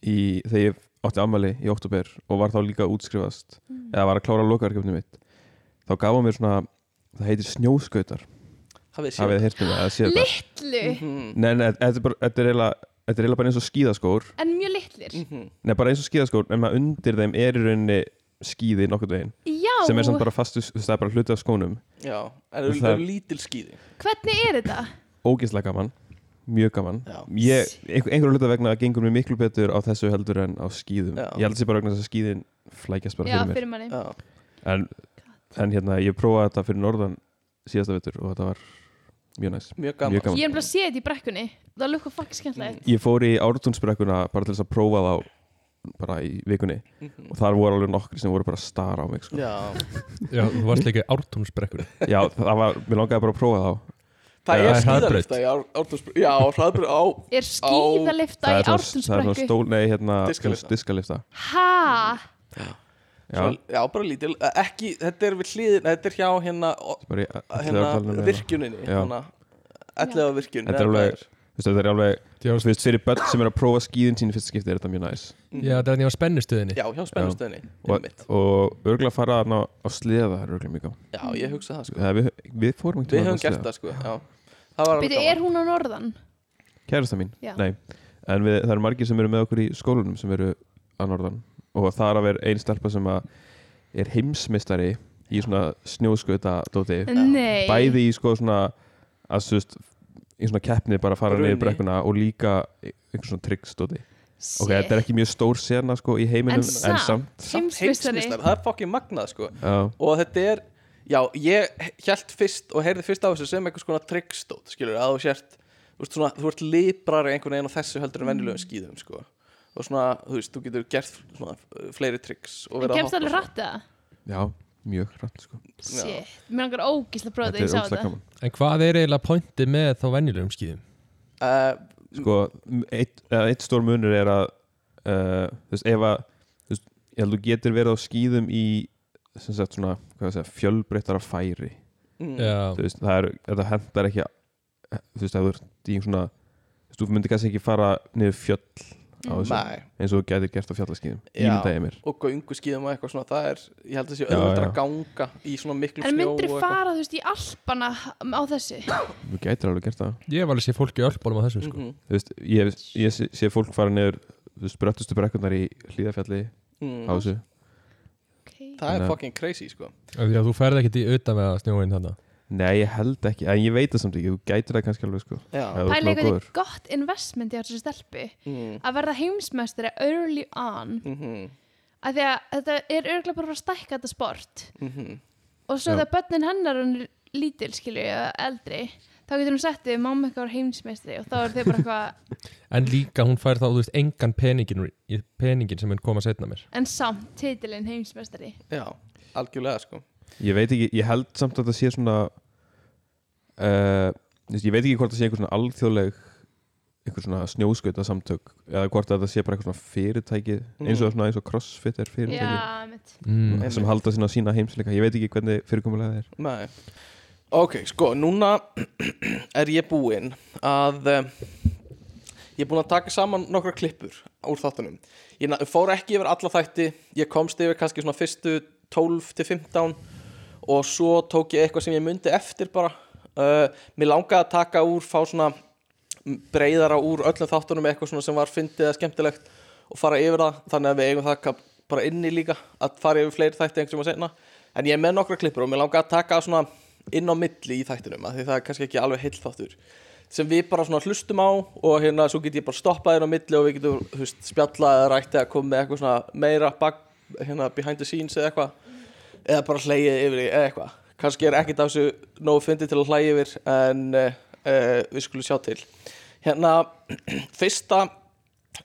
D: í, þegar ég átti ammali í oktober og var þá líka að útskrifast
A: Mm.
D: eða var að klára lokaverkefni mitt þá gaf hún mér svona, það heitir snjóskautar
C: Hafið þið
D: hafið
C: séð?
D: þið heyrt um það, eða séð það
A: Littlu,
C: Mhm,
D: Nei, nei, þetta er bara, þetta er eiginlega þetta er eiginlega bara eins og skíðaskór
A: en mjög littlir
C: mhm.
D: Nei, bara eins og skíðaskór, en maður undir þeim er í rauninni skíði nokkurn veginn
A: Já,
D: sem er samt bara fastu, þú veist, það er bara hluti af skónum
C: Já, en það
D: Það-
C: eru lítil skýði.
A: hvernig er þetta?
D: ógeðslega gaman mjög gaman
C: Já.
D: ég, einhver, einhverju hluta vegna gengur mér miklu betur á þessu heldur en á skýðum
C: Já.
D: ég held sér bara vegna þess að skýðin flækjast bara
A: Já,
D: fyrir mér
A: fyrir manni
C: Já.
D: en, en hérna, ég prófaði þetta fyrir norðan síðasta vetur og þetta var mjög næs
C: Mjög gaman.
D: Mjög gaman.
A: Ég er bara að sé þetta í brekkunni Það lukka fucking skemmtilegt
D: ég fór í ártúnsbrekkuna bara til þess að prófa þá bara í vikunni og þar voru alveg nokkri sem voru bara að stara á mig sko.
C: Já.
B: Já, þú varst líka ártúnsbrekkur
D: já, það var, mér langaði bara að prófa þá
C: Það
B: Eða
C: er
B: hraðbraut.
C: skíðalifta í Ártúnsbrekku Já, hraðbraut á
A: Er skíðalifta í
D: það er svona
A: ártunsbrekku?
D: stól, nei, hérna
C: Diskalifta.
D: diskalifta
A: Ha?
D: já,
C: Já. já, bara lítil Ekki, þetta er við hlýðin Þetta er hjá hérna,
D: bara í, um
C: hérna virkjuninni
D: Já.
C: Hérna, ætlaða virkjun
D: Þetta er alveg- Þú veist, þetta er alveg Þú veist, fyrir börn sem er að prófa skíðin sín í fyrsta skipti er þetta mjög næs
B: Já, þetta er hann ég á spennustuðinni
C: Mm. Já, hjá spennustöðinni
D: og,
C: einmitt.
D: og örgulega fara þarna á sleða er örgulega mjög gaman
C: Já, ég hugsa það sko
D: Eða við, við fórum ekki
C: Við höfum gert það sko Já, það var alveg
A: Býtu,
C: gaman.
A: er hún á norðan?
D: Kærasta mín,
A: Já.
D: nei En við, það eru margir sem eru með okkur í skólanum sem eru að norðan og það er að vera ein stelpa sem að er heimsmeistari í svona snjóskauta dóti
A: Nei
D: bæði í sko svona að þú veist í svona keppni bara að fara
C: Runni.
D: niður brekkuna og líka í- einhver svona tryggs dóti
A: Shit.
D: ok, þetta er ekki mjög stór sena sko í heiminum
A: En
D: en samt
C: Samt
A: Heimsmeistari
C: heimsmeistari, Það er fokkin magnað sko
D: Já.
C: og þetta er já, ég hjælt fyrst og heyrði fyrst á þessu sem einhvers konar tryggstótt skilur, að þú sért þú, veist, svona, þú ert librari einhvern veginn á þessu heldur en
A: Mm.
C: venjulegum skýðum sko. og svona, þú veist, þú getur gert svona, uh, fleiri tryggs og
A: En
C: verið að
A: kemst
C: hoppa
A: alveg
C: og
A: rætt það?
D: Já, mjög hrætt sko
A: Shit, mér langar ógísla bróða þegar ég sá
D: ógeðslega
A: þetta
D: gaman
B: En hvað er eiginlega pointi með þá venjulegum skýðum?
C: svona. uh,
D: Sko, m- eitt, eða eitt stór munur er að uh, þú veist, ef að þú veist, ég held þú getur verið á skýðum í sem sagt svona, hvað það segja, fjölbreyttara færi
C: mm,
B: Já,
D: þú veist, það er, þetta hendar ekki e, þú veist, ef þú ert í einhver svona þú veist, þú myndir kannski ekki fara niður fjöll á þessu,
C: Nei.
D: eins og þú getur gert á fjallaskýðum
C: Já.
D: ímyndaði mér
C: og göngu skýðum og eitthvað svona það er, ég held að sé
D: Já,
C: auðvitað
D: já.
C: að ganga í svona miklu
A: En
C: snjó
A: myndir
C: og eitthvað.
A: fara, þú veist, í alpana um, á þessu?
D: þú getur alveg gert það
B: ég var alveg sé fólki öllbólum á þessu sko
C: Mhm,
D: þú veist, ég, ég sé, sé fólk fara niður þú veist, bröttustu brekkunar í hlýðafjalli
C: mm,
D: á þessu
A: Ok.
C: það
D: Þannig
C: er
D: að-
C: fucking crazy sko
B: Af Því að þú ferð ekkert í utan með snjóin þarna
D: Nei, ég held ekki, en ég veit það samt ekki Þú gætir það kannski alveg sko
C: Já,
D: Já. þú ert
A: Pælega
D: nógu
A: eitthvað er gott investment í þessu stelpu
C: mm,
A: að verða heimsmeistari early on
C: mm -hmm,
A: af því að þetta er örgulega bara að fara að stækka þetta sport
C: mm -hmm.
A: og svo
B: Já.
A: þegar börnin hennar hún er lítil skilur eða eldri þá getur hún sett við mamma eitthvað heimsmeistari og þá er þau bara eitthvað
B: En líka hún fær þá, þú veist, engan peningin, í- peningin sem hún koma setna mér
A: en samt titilinn heimsmeistari
C: Já, algjörlega sko
D: Ég veit ekki, ég held samt að það sé svona uh, veist, Ég veit ekki hvort það sé einhver svona alþjóðleg einhver svona snjóskauta samtök eða hvort að það sé bara eitthvað svona fyrirtæki eins
C: Mm.
D: og svona eins og crossfit er fyrirtæki
A: já, mitt
B: mm.
D: sem halda sína sína heimsleika Ég veit ekki hvernig fyrirkomulega það er
C: Nei Ok, sko, núna er ég búinn að eh, ég er búinn að taka saman nokkra klippur úr þáttunum Ég na- fór ekki yfir alla þætti ég komst yfir kannski svona fyrstu 12 til 15 og svo tók ég eitthvað sem ég myndi eftir bara uh, Mér langaði að taka úr fá svona breyðara úr öllum þáttunum eitthvað svona sem var fyndið eða skemmtilegt og fara yfir það þannig að við eigum það kap- bara inni líka að fara yfir fleiri þætti einhversum að segna en ég er með nokkra klippur og mér langar að taka svona inn á milli í þættinum af því það er kannski ekki alveg heill þáttur sem við bara svona hlustum á og hérna svo get ég bara stoppað inn á milli og við getum þú veist, spjallað eða rætt eða komið með eitthvað svona meira bak, hérna, behind the scenes eða eitthvað eða bara hlægið yfir því eða eitthvað kannski er ekkert af þessu nógu fyndið til að hlægi yfir en uh, uh, við skulum sjá til hérna fyrsta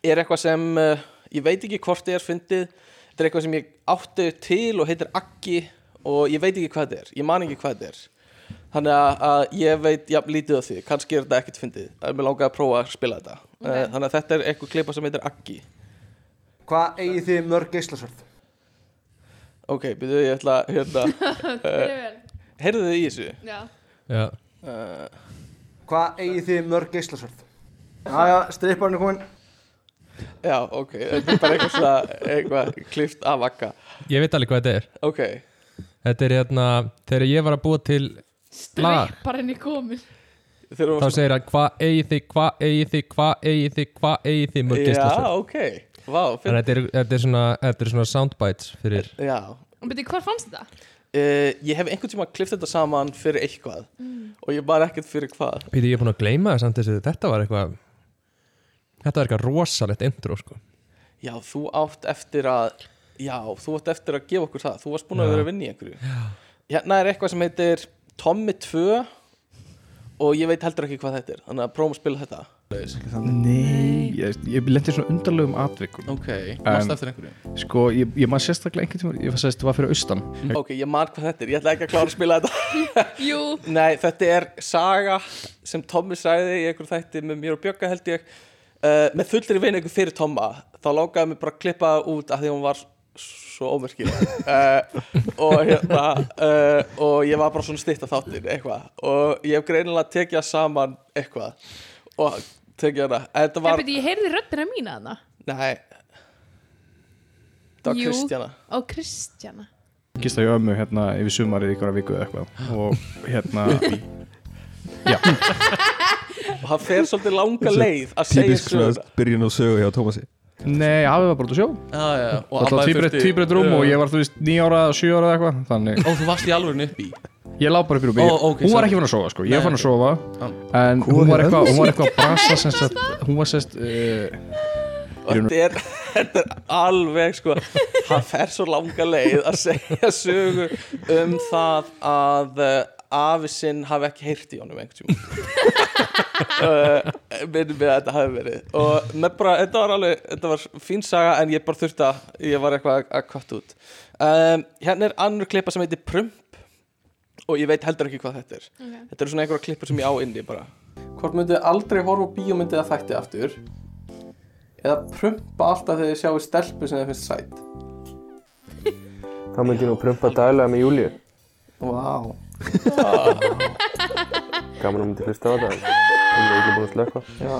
C: er eitthvað sem uh, ég veit ekki hvort þið er fyndið þetta er eitthvað sem ég átti til og heitir Aggi og ég veit ekki hvað þetta er ég man ekki hvað þetta er þannig að, að ég veit jafn lítið af því kannski er þetta ekkert fyndið það er mér langað að prófa að spila þetta okay.
A: Ok.
C: þannig að þetta er eitthvað klipa sem heitir Aggi
E: Hvað eigið þið mörg geislasvörð?
C: ok, byrjuðu ég ætla að, hérna, heyrðu þið í þessu
A: já,
B: Já,
E: Hvað eigið þið mörg geislasvörð? Já, já, stripparinn er komin.
C: já, ok, þetta er bara eitthvað svona eitthvað klift af Agga
B: ég veit alveg hvað þetta er
C: ok,
B: Þetta er hérna, þegar ég var að búa til Lag.
A: stripparinn er komin
C: þeir eru
B: þá segir hann hvað eigið þið, hvað eigið þið, hvað eigið þið, hvað eigið þið mörg
C: já,
B: geislasvörð
C: ok, vá,
B: Þannig að
C: fyndið
B: þetta er, þetta er svona, þetta er svona soundbites fyrir
C: já,
A: og beti, hvað fannst þetta?
C: Uh, ég hef einhvern tíma klift þetta saman fyrir eitthvað og ég bara ekkert fyrir hvað
B: Píti, ég er búin að gleyma það samt þessu, þetta var eitthvað Þetta var eitthvað rosalegt intro sko
C: Já, þú átt eftir að Já, þú átt eftir að gefa okkur það Þú varst búin að
B: Já.
C: vera að vinna í einhverju já. Hérna er eitthvað sem heitir Tommy 2 og ég veit heldur ekki hvað þetta er þannig að prófum að spila þetta
F: Nei, ég, ég lendi svona undarlegum atvikum
C: Ok,
F: manstu
C: eftir einhverju
F: Sko, ég, ég man sérstaklega einhvern tíma Ég var sérst, það var fyrir austan
C: Ok, ég man hvað þetta er, ég ætla ekki að klára að spila þetta
A: jú,
C: Nei, þetta er saga sem Tommi sagði í einhverju þætti með mér og Bjögga held ég uh, með fullri vin einhver fyrir Tomma þá langaði mig bara að klippa það út af því hún var svo ómerkileg uh, og hérna uh, og ég var bara svona stýtt af þáttin eitthvað og ég hef greinilega tekið það saman eitthvað og tekið hana En þetta
A: var...
C: var,
A: beti, ég heyrði röddina mína þarna
C: nei þetta var
A: Jú.
C: Kristjana
A: á Kristjana
F: Gist að ég ömmu hérna yfir sumarið í hverja viku eða eitthvað Og hérna
C: og hann fer svolítið langa
D: Þessi
C: leið að segja
D: Típisk
C: söguna
D: svona byrjun og sögu hjá Tómasi
F: Nei, afi var bara út að sjó
C: já, já, og
F: Það
C: amma er
F: var
C: 40.
F: týbreytt rúm og ég var, þú veist, níu ára, sjö ára eða eitthvað Þannig,
C: Ó, þú varst í alvöru upp í
F: ég lá bara upp í rúmi
C: Ó, ok,
F: Hún var
C: sorry.
F: ekki fann að sofa, sko, ég
C: Nei,
F: var fann
C: ok.
F: að sofa En hún var eitthvað, hún var eitthvað að brasa sem sagt, Hún var sérst, uh,
C: og þetta er, þetta er alveg sko, hann fer svo langa leið að segja sögu um það að uh, afi sinn hafi ekki heyrt í honum einhvern tíma uh, minnum við að þetta hafi verið og með bara, þetta var alveg þetta var fín saga en ég bara þurfti að ég var eitthvað að- að kvarta út um, hérna er annur klippa sem heitir Prump og ég veit heldur ekki hvað þetta er þetta eru svona einhverja klippur sem ég á inni bara hvort myndið þið aldrei horfa á bíómyndið að þætti aftur eða prumpa alltaf þegar þið sjáu stelpu sem þið finnst sætt
E: Þá myndi ég nú prumpa daglega með Júlíu.
C: Vá wow.
E: Gaman að myndi hlusta á þetta. Hún er ekki búin að slökka.
C: Já,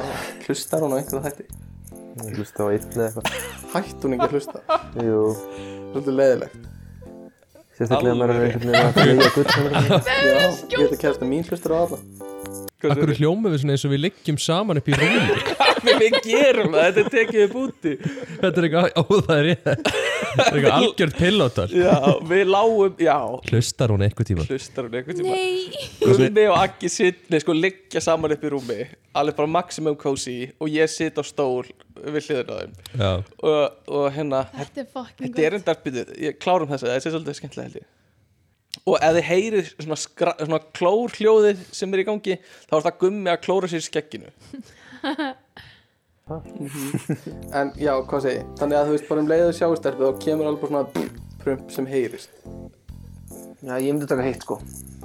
C: hlustar hún á einhverja þætti?
E: Hún er hlusta á einn eða eitthvað.
C: Hætt hún ekki að hlusta?
E: Jú,
C: Þetta er leiðilegt
E: sérstaklega maður er einhvern veginn að flýja gutt.
C: Já, ég ætla að kæsta mín hlustur á alla
B: Akkur hljómið við svona eins og við liggjum saman upp í rúmi
C: hvernig við gerum það, þetta er tekið upp úti
B: Þetta er eitthvað óðæri Þetta er eitthvað algjörð pillótar
C: Já, við lágum, já
B: Hlustar hún eitthvað tíma
C: Hlustar hún einhvern tíma
A: Nei,
C: Gummi og Aggi sitt, nei sko, liggja saman upp í rúmi Alveg bara maximum cozy Og ég sitt á stól við hliðina á þeim
B: Já,
C: Og, og hérna,
A: þetta er fucking
C: Þetta er endar byrjuð, ég klárum þess að þetta er svolítið skemmtilega held ég Og ef þið heyrið svona, skra, svona klór hljóðið sem er í gangi Þá er það gummi að klóra sér í skegginu Mhm. En já, hvað segi ég? Þannig að þú veist bara um leiðu sjáustelpu Þá kemur alveg bara svona prump sem heyrist
E: Já, ég myndi taka hitt sko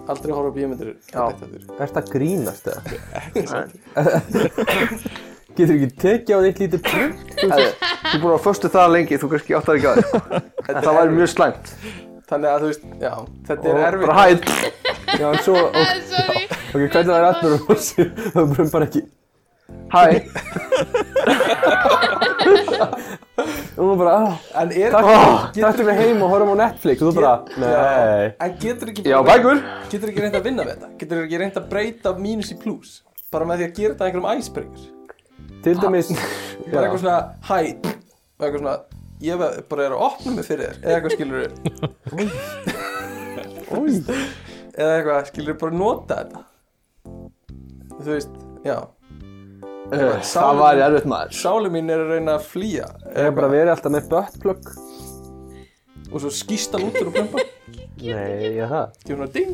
C: Aldrei horfa bíumindir
E: Já. Er þetta grínast eða? Getur ekki tekið á því eitt lítið prump? Þú er búin að föstu það lengi, þú kannski áttar ekki að því. En það væri mjög slæmt.
C: Þannig að þú veist, já, þetta er
E: Og
C: erfitt
E: Bara hætt. Já, en svo, ok,
A: er Sorry,
E: ok, hvernig það er allir um þessu? Það brumpar ekki. Hæ. Og þú bara, ah,
C: En er
E: takk, takk við heim og horfum á Netflix og þú bara, nei.
C: En getur ekki
E: Já, bækur.
C: Getur ekki reynd að vinna með þetta Getur ekki reynd að breyta mínus í plus Bara með því að gera þetta að einhverjum æsbrengur
E: Til dæmis,
C: bara
E: já.
C: eitthvað svona hæ og eitthvað svona ég ve- bara er að opna mig fyrir þér eða eitthvað skilur eða eitthvað skilur bara nota þetta þú veist, já
E: Eh, það væri erfitt maður.
C: sálu mín er að reyna að flýja
E: Ég hef bara verið alltaf með buttplug.
C: og svo skýst hann út úr og prumpa
E: Nei, já það.
C: til svona ding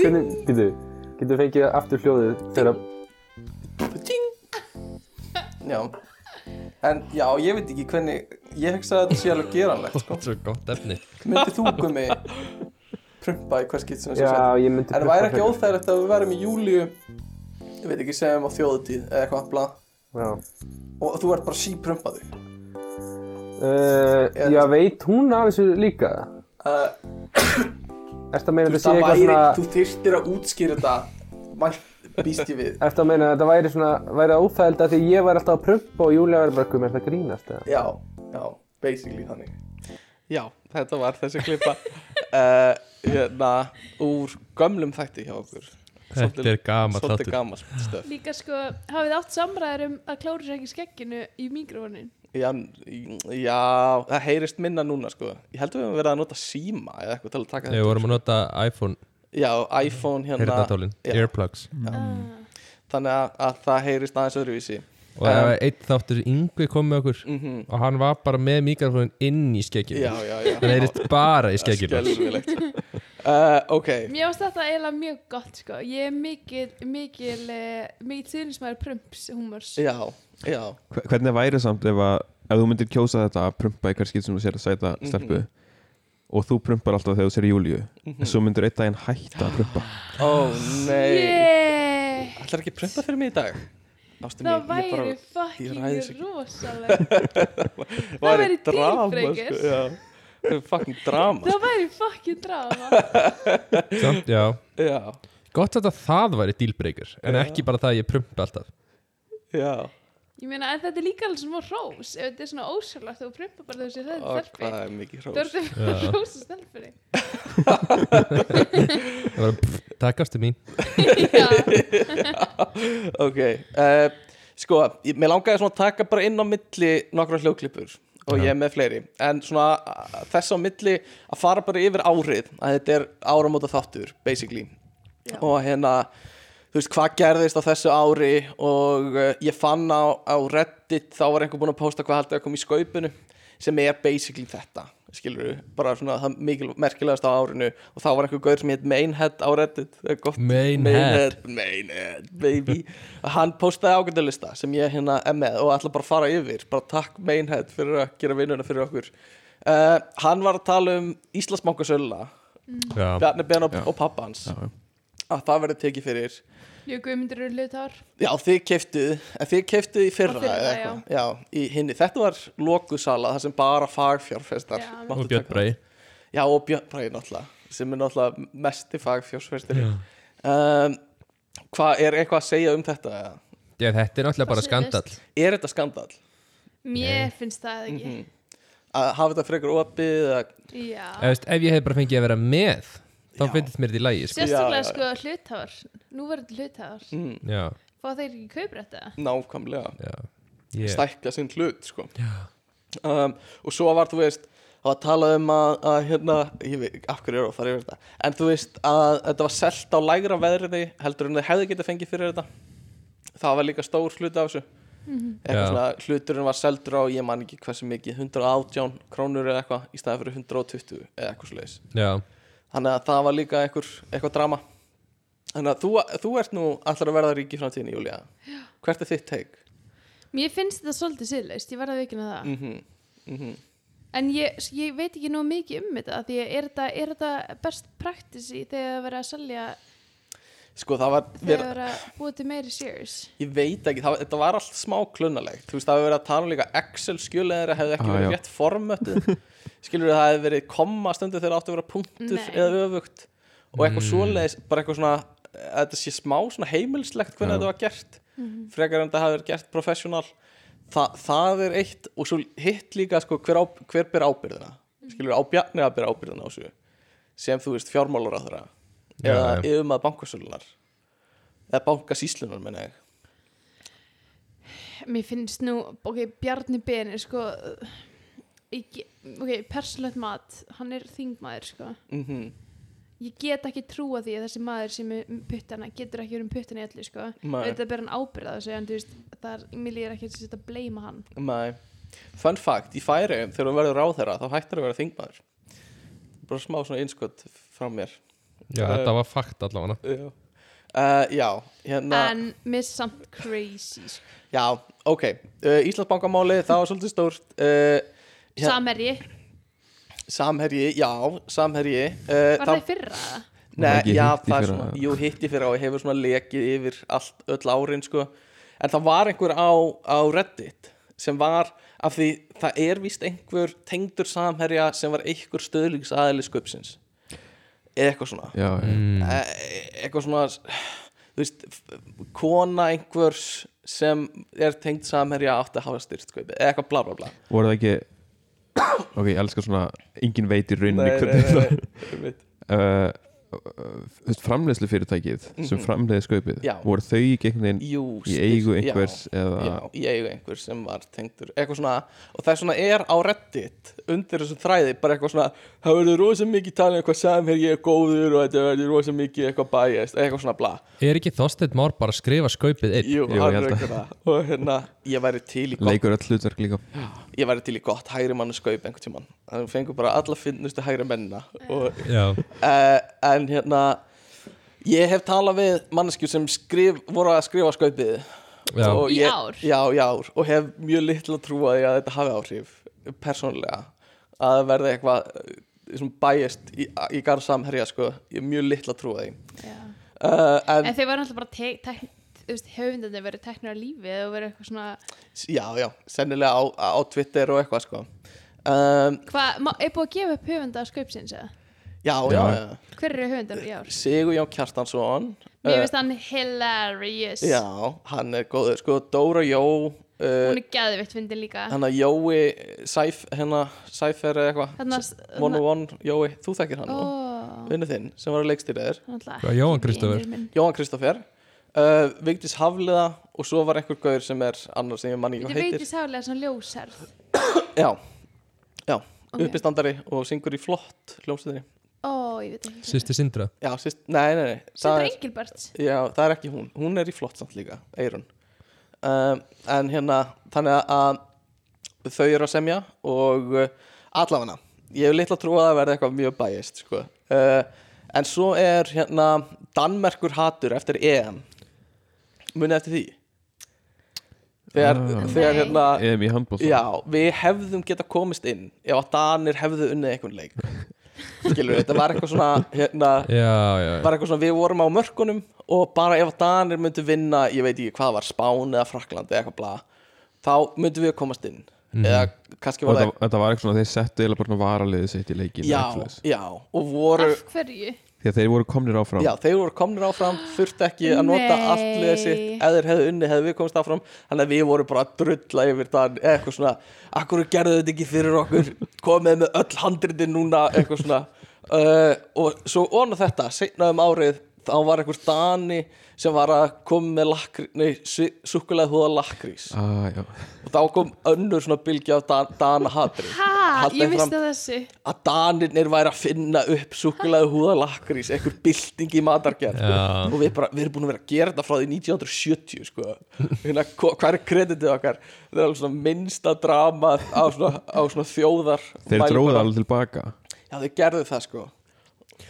E: Hvernig, býtu, getur fengið aftur hljóðið þegar
C: ding já en já, ég veit ekki hvernig ég hugsa að þetta sé alveg geranlegt sko.
B: þetta er svo gott efni
C: myndi þú gummi prumpa í hvers skitt sem þessu
E: Já, ég myndi
C: En það væri ekki óþægilegt að við værum í júliu Ég veit ekki, segjum á þjóðutíð eða eitthvað bla
E: Já,
C: Og þú ert bara síprumpaði
E: uh, já veit hún af þessu líka?
C: uh,
E: Ertu að meina að þetta
C: Þú veist,
E: sé
C: það
E: eitthvað
C: væri,
E: svona
C: þú þyrstir að útskýra þetta Mætt býst ég við
E: Ertu að meina að þetta væri svona, væri óþægild að því ég væri alltaf að prumpa og Júlia væri bara Guð, mér það grínast eða?
C: Já, já, basically þannig Já, þetta var þessi klippa uh, Hérna, úr gömlum þætti hjá okkur
B: Þetta er gama
C: Svolítið
B: þáttur
C: gammal stöf
A: líka sko, hafið átt samræður um að klóra sér ekki skegginu í mikrofonin
C: já, já, það heyrist minna núna sko Ég held að við höfum verið að nota síma eða eitthvað til að taka
B: Við vorum að nota iPhone,
C: Já, iPhone hérna
B: hirnatólin,
C: Já.
B: earplugs
A: Mm.
C: þannig að, að það heyrist aðeins öðruvísi
B: Og
C: Um,
B: það var einn þáttur yngvi kom með okkur
C: mm -hmm.
B: Og hann var bara með mikrofónin inn í skegginu
C: já, já, já
B: Hann heyrist bara í skegginu
C: Skelfilegt uh, ok,
A: Mér finnst þetta eiginlega mjög gott sko Ég er mikil, mikil, eh, mikil þýðnismæður prumps humors
C: já, já
D: Hve- Hvernig væri samt ef að ef þú myndir kjósa þetta að prumpa í hver skýt sem þú sér að sæta
C: Mhm.
D: stelpu og þú prumpar alltaf þegar þú sér í júliu
C: Mhm.
D: en svo myndir einn daginn hætta að prumpa
C: ó nei yeah.
A: Yeah.
C: ætlar ekki að prumpa fyrir mig í dag Ástu
A: Það væri
C: ég ræð þessu
A: fucking
C: ekki.
A: rosalegt það væri
C: drama,
A: dealbreaker.
C: sko, já. það er fucking drama
A: Það væri fucking drama
B: Samt, já
C: já,
B: Gott að það væri dealbreaker En ekki bara það að ég prumpa alltaf
C: já
A: Ég meina, en þetta er líka alveg smá rós Ef þetta er svona ósjálflegt og prumpa bara þessi
C: Ó,
A: röðu
C: hvað
A: þörfi
C: er mikið hrós
A: Þörfi fyrir rósa stelpunni
B: Það var bara, pff, Takkastu mín
A: Já,
C: ok, uh, sko ég, mér langaði svona að taka bara inn á milli nokkra hljóklippur og ég er með fleiri en svona uh, þess á milli að fara bara yfir árið að þetta er áramóta þáttur, basically
A: Já.
C: og hérna þú veist hvað gerðist á þessu ári og uh, ég fann á, á Reddit þá var einhver búinn að posta hvað haldið að koma í skaupinu sem er basically þetta skilur bara svona það mikil merkilegast á árinu og þá var einhver gaur sem hétt Mainhead á Reddit það er gott
B: Mainhead.
C: Mainhead, baby hann postaði ágættalista sem ég hérna er með og ætla bara að fara yfir bara takk Mainhead fyrir að gera vinnuna fyrir okkur uh, hann var að tala um Íslandsmákasölla
B: Já,
C: Bjarni Ben og, og pappa hans
D: já.
C: að það verði tekið fyrir
A: ég guðmyndur eru hlutar
C: Já, þið keftuð, en þið keftuð í fyrra,
A: Á fyrra,
C: eða eitthvað. Já, í hinni, þetta var lokusala, það sem bara fagfjárfestar
A: Já,
C: máttu
B: og
C: taka
B: Björn
C: þátt.
B: Brei
C: Já, og Björn Bræði náttúrulega, sem er náttúrulega mesti fagfjárfestir um, Hvað, er eitthvað að segja um þetta? eða?
B: Já, þetta er náttúrulega
A: Hvað
B: bara
A: segir
B: skandall
C: Er þetta skandal?
A: Mér finnst það ekki
C: Að hafa þetta frekar opið, eða,
A: Já,
B: Ef veist, ef ég hef bara fengið að vera með Þá
C: Já.
B: finnst mér þetta í lagi sko.
A: sérstaklega
C: já,
A: sko hlutar Nú verður hlutar
B: Já,
A: fá þeir ekki kauprætt eða?
C: Mhm. nákvæmlega
B: Já. Ég,
C: stækka sinn hlut sko. um, og svo var þú veist það var talað um að, að hérna, ég veit, af hverju er það, ég veit það en þú veist að þetta var selt á lægra veðriði heldur en þau hefði getið fengið fyrir þetta það var líka stór hluti af þessu eitthvað
B: Já.
C: svona, hluturinn var seldur á ég man ekki hversu mikið, 118 krónur eða eitthvað, í staðan fyrir 120 eða eitthvað svoleiðis,
B: já,
C: þannig að það var líka eitthvað, eitthvað drama þannig að þú, þú ert nú allar að verða ríki framtíðin, Júlia, hvert er þitt teik?
A: Mér finnst þetta svolítið siðlaust, ég verða vikin að það.
C: Mm -hmm.
A: En ég, ég veit ekki nóg mikið um þetta, af því að er þetta, er þetta best practice í þegar það verið að selja,
C: Sko það var,
A: þegar
C: ver,
A: það verið að búa til meiri shares?
C: ég veit ekki, það, var- þetta var allt smá klunnalegt Þú veist, það hefur verið að tala um líka Excel skjöleðir Það hefði ekki
D: Ah,
C: verið
D: já.
C: rétt formöttuð Skilur það hefði verið komma stundu þegar áttu að vera punktur
A: Nei.
C: eða öfugt Og
D: Mm.
C: eitthvað svoleiðis, bara eitthvað svona eh, Þetta sé smá svona heimilslegt hvernig
D: Já.
C: þetta var gert Frekar en þetta hefði verið gert professional Þa, Það er eitt og svo hitt líka sko, hver, á, hver ber ábyrðina Skilur á Bjarni að bera ábyrðina á þessu sem þú veist fjármálar á þeirra eða
B: Já, já.
C: yfir maður bankasölunar eða bankasýslunar menna ég
A: Mér finnst nú, ok, Bjarni Ben er sko, ég, ge- ok, persónlegt mat, hann er þingmaður sko.
C: mm
A: Ég get ekki trúa því að þessi maður sem er um puttana getur ekki verið um puttana í öllu sko.
C: Nei.
A: Þetta ber hann ábyrða þessu, en þú veist, það er, mér líður ekki að setja að bleima hann.
C: Nei. Fun fact, í Færeyjum þegar þú verður ráðherra þá hættir að vera þingmaður bara smá svona innskott frá mér
B: já, þetta var fakt allavega
C: Já, uh, já hérna
A: En mér er samt crazy sko.
C: Já, ok, uh, Íslandsbankamáli það var svolítið stórt uh, Já.
A: Samherji,
C: Samherji, já, samherji uh,
A: var það í fyrra eða?
C: Nei,
D: ekki
C: já,
D: hitt í
C: það er
D: fyrra?
C: svona, jú, hitti fyrir á og hefur svona lekið yfir allt, öll árin, sko en það var einhver á, á Reddit sem var, af því það er víst einhver tengdur samherja sem var einhver stöðlingsaðili sköpsins eða eitthvað svona
D: já, mm.
C: e eitthvað svona þú veist, f- kona einhvers sem er tengd samherja átti að hafa styrt sköpi, eða eitthvað bla bla bla
D: voru það ekki ok, ég elskar svona engin veit í rauninni hvernig það
C: nei, nei. Mhm.
D: uh, uh, framleiðslu fyrirtækið sem framleiði skaupið
C: Já.
D: voru þau ekki einhvern veginn
C: Jú,
D: í
C: styrt-
D: eigu
C: já.
D: einhvers eða
C: Já, ég eiga einhver sem var tengdur eitthvað svona, og það er svona er á reddit undir þessum þræði, bara eitthvað svona það verður rosa mikið talað um hvað samherji er góður og þetta verður rosa mikið eitthvað bæjast, eitthvað svona bla
B: Er ekki Þorsteinn Már bara að skrifa skaupið einn?
C: Jú,
D: Jú,
C: hann er
D: ég held að-
C: eitthvað það. og hérna, ég væri til í gott
D: leikur öll hlutverk líka
C: ég væri til í gott hægri mann skaup einhvern tímann, þannig að fengur bara alla finnustu hægri mennina og
B: Já,
C: uh, en hérna ég hef talað við manneskjur sem skrif, voru að skrifa skaupið
B: Já.
C: Og
A: Í
C: ég,
A: ár?
C: já, í ár og hef mjög litla trúa því að þetta hafi áhrif persónlega að það verði eitthvað sem bæjast í, í garð samherja sko, ég hef mjög litla trúa því
A: Já.
C: uh, en,
A: En þeir var alltaf bara te- tek- þú veist, höfundandi verið teknir að lífi eða verið eitthvað svona
C: já, já, sennilega á, á Twitter og eitthvað sko um,
A: Hvað, ma- er búið að gefa upp höfunda skaupsins eða?
C: já, já,
D: Já.
C: já,
A: Hver eru höfundar í ár?
C: Sigur Jón Kjartansson
A: Mér
C: eh,
A: finnst hann hilarious
C: já, hann er góður sko, Dóra Jó uh,
A: Hún er geðvitt fyndin líka
C: hann að Jói Sæf, hérna, Sæfer eða eitthvað
A: Þarna-
C: One on One, Jói, þú þekkir hann
A: Hérna, Ó,
C: nú vinnu þinn sem var að leikstýraðir
A: hann alltaf
B: Hvað, Jóhann
A: ekki
B: Kristófer?
A: vinur minn.
C: Jóhann Kristoffer uh, Vigdís Hafliða og svo var einhver gaur sem er annar sem ég manni
A: Þetta
C: hvað
A: veit
C: heitir
A: ég sálega svona ljósarð
C: já, já,
A: Ok.
C: uppistandari og syngur í flott hljómsveitinni
A: Ó, ég veit ekki
B: sýsti Sindra
C: já, sýst, nei, nei, nei það
A: Sindra
C: er,
A: Engilbert
C: já, það er ekki hún, hún er í flott samt líka, Eirun um, en hérna, þannig að þau eru að semja og uh, allavega ég hef litla trú að það verði eitthvað mjög bæjist sko. uh, en svo er hérna Danmerkur hatur eftir EM munið eftir því þegar,
D: Ah.
C: þegar
A: Nei.
C: hérna
D: EM í handbóð
C: já, við hefðum geta komist inn ef að Danir hefðu unnið einhvern leik skilur þetta var eitthvað svona hérna,
B: Já, já, já.
C: var eitthvað svona, við vorum á mörkunum og bara ef Danir myndu vinna ég veit ekki hvað var, Spán eða Frakland eða eitthvað bla, þá myndu við komast inn eða kannski var
D: þetta,
C: það
D: þetta Mhm. var eitthvað svona þeir settu eða bara svona varaliðið sitt í leikin
C: já, já, og voru
A: Af hverju?
D: því að þeir voru komnir áfram
C: já, þeir voru komnir áfram, þurfti ekki að nota
A: Nei.
C: allt liðið sitt, ef þeir hefðu unni hefðu við komist áfram, þannig að við voru bara að drulla yfir það, eitthvað svona akkur gerðu þetta ekki fyrir okkur komið Eh, með öll handritin núna, eitthvað svona uh, og svo onu þetta, seinna um árið þá var einhver Dani sem var að koma með lakri, nei, sukkulega húða lakrís
D: ah, já.
C: og þá kom önnur svona bylgja af Dan, Dana hatri
A: Ha,
C: Haldið
A: ég
C: fram-
A: misti þessu
C: að Danirnir væri að finna upp súkulega húða lakrís, einhver bylting í matargerð sko.
B: Já.
C: og við, bara, við erum búin að vera að gera þetta frá því 1970 sko. hérna, hva- hvað er kreditið okkar þetta er alveg svona minnsta drama á svona, á svona þjóðar
D: Þeir dróðu alveg tilbaka
C: já þeir gerðu það sko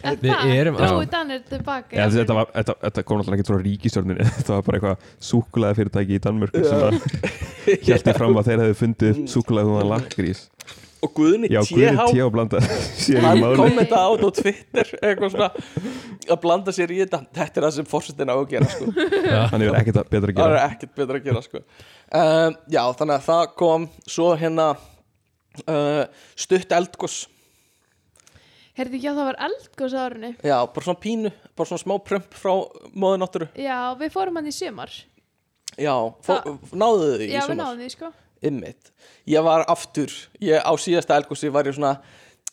A: En
B: Við
A: það,
B: erum-
A: Drói
B: Já.
A: Danir tilbaka
D: Já, þetta, var, þetta, þetta kom náttúrulega ekki frá ríkistjórninni Þetta var bara eitthvað súkulega fyrirtæki í Danmörku sem að hjælti fram að þeir hefðu fundið
C: Mm.
D: upp súkulega þúna lakrís
C: og Guðni
D: Já, Guðni
C: TH
D: T.H. blanda sér í
C: hann
D: máli
C: kom þetta át á Twitter eitthvað svona að blanda sér í þetta þetta er það sem forsetin á að gera sko.
D: Hann hefur ekkert að- betra að
C: það
D: gera
C: er ekkert betra að gera sko. um, já þannig að það kom svo hérna uh, stutt eldgos
A: Herði ekki að það var eldgóðs árunni
C: já bara svona pínu, bara svona smá prömp frá móðunátturu,
A: Já, við fórum hann í sumar
C: já fó,
A: Það-
C: náðu þið
A: Já,
C: í
A: við
C: svona
A: náðum því sko
C: ymmit, ég var aftur ég, á síðasta eldgósi var ég svona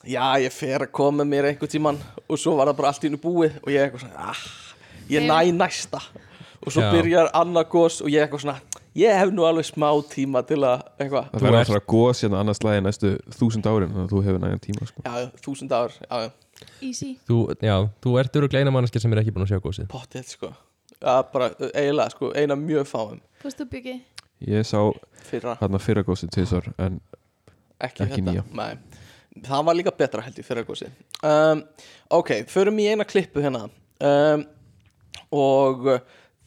C: já ég fer að koma mér einhvern tíman og svo var það bara allt í innu búið og ég eitthvað svona, ah, ég næ næsta og svo
B: Já.
C: byrjar annar gós og ég eitthvað svona, ég hef nú alveg smá tíma til að, eitthvað,
D: Það verður
B: ert-
D: alltaf góðs hérna annars lagi næstu þúsund árin þannig að þú hefur nægan tíma sko.
C: já, þúsund ár já, já,
A: Easy
B: Þú, já, þú ert eru gleina manneskja sem er ekki búin að sjá gósið
C: pottið, sko já, bara, eiginlega, sko, eina mjög fáum
A: Fórstu byggi
D: Ég sá
C: fyrra,
D: hérna fyrra góðsinn tvisar en
C: ekki,
D: ekki nýja.
C: þetta Nei. það var líka betra held ég fyrra gósi um, ok, förum í eina klippu hérna um, og uh,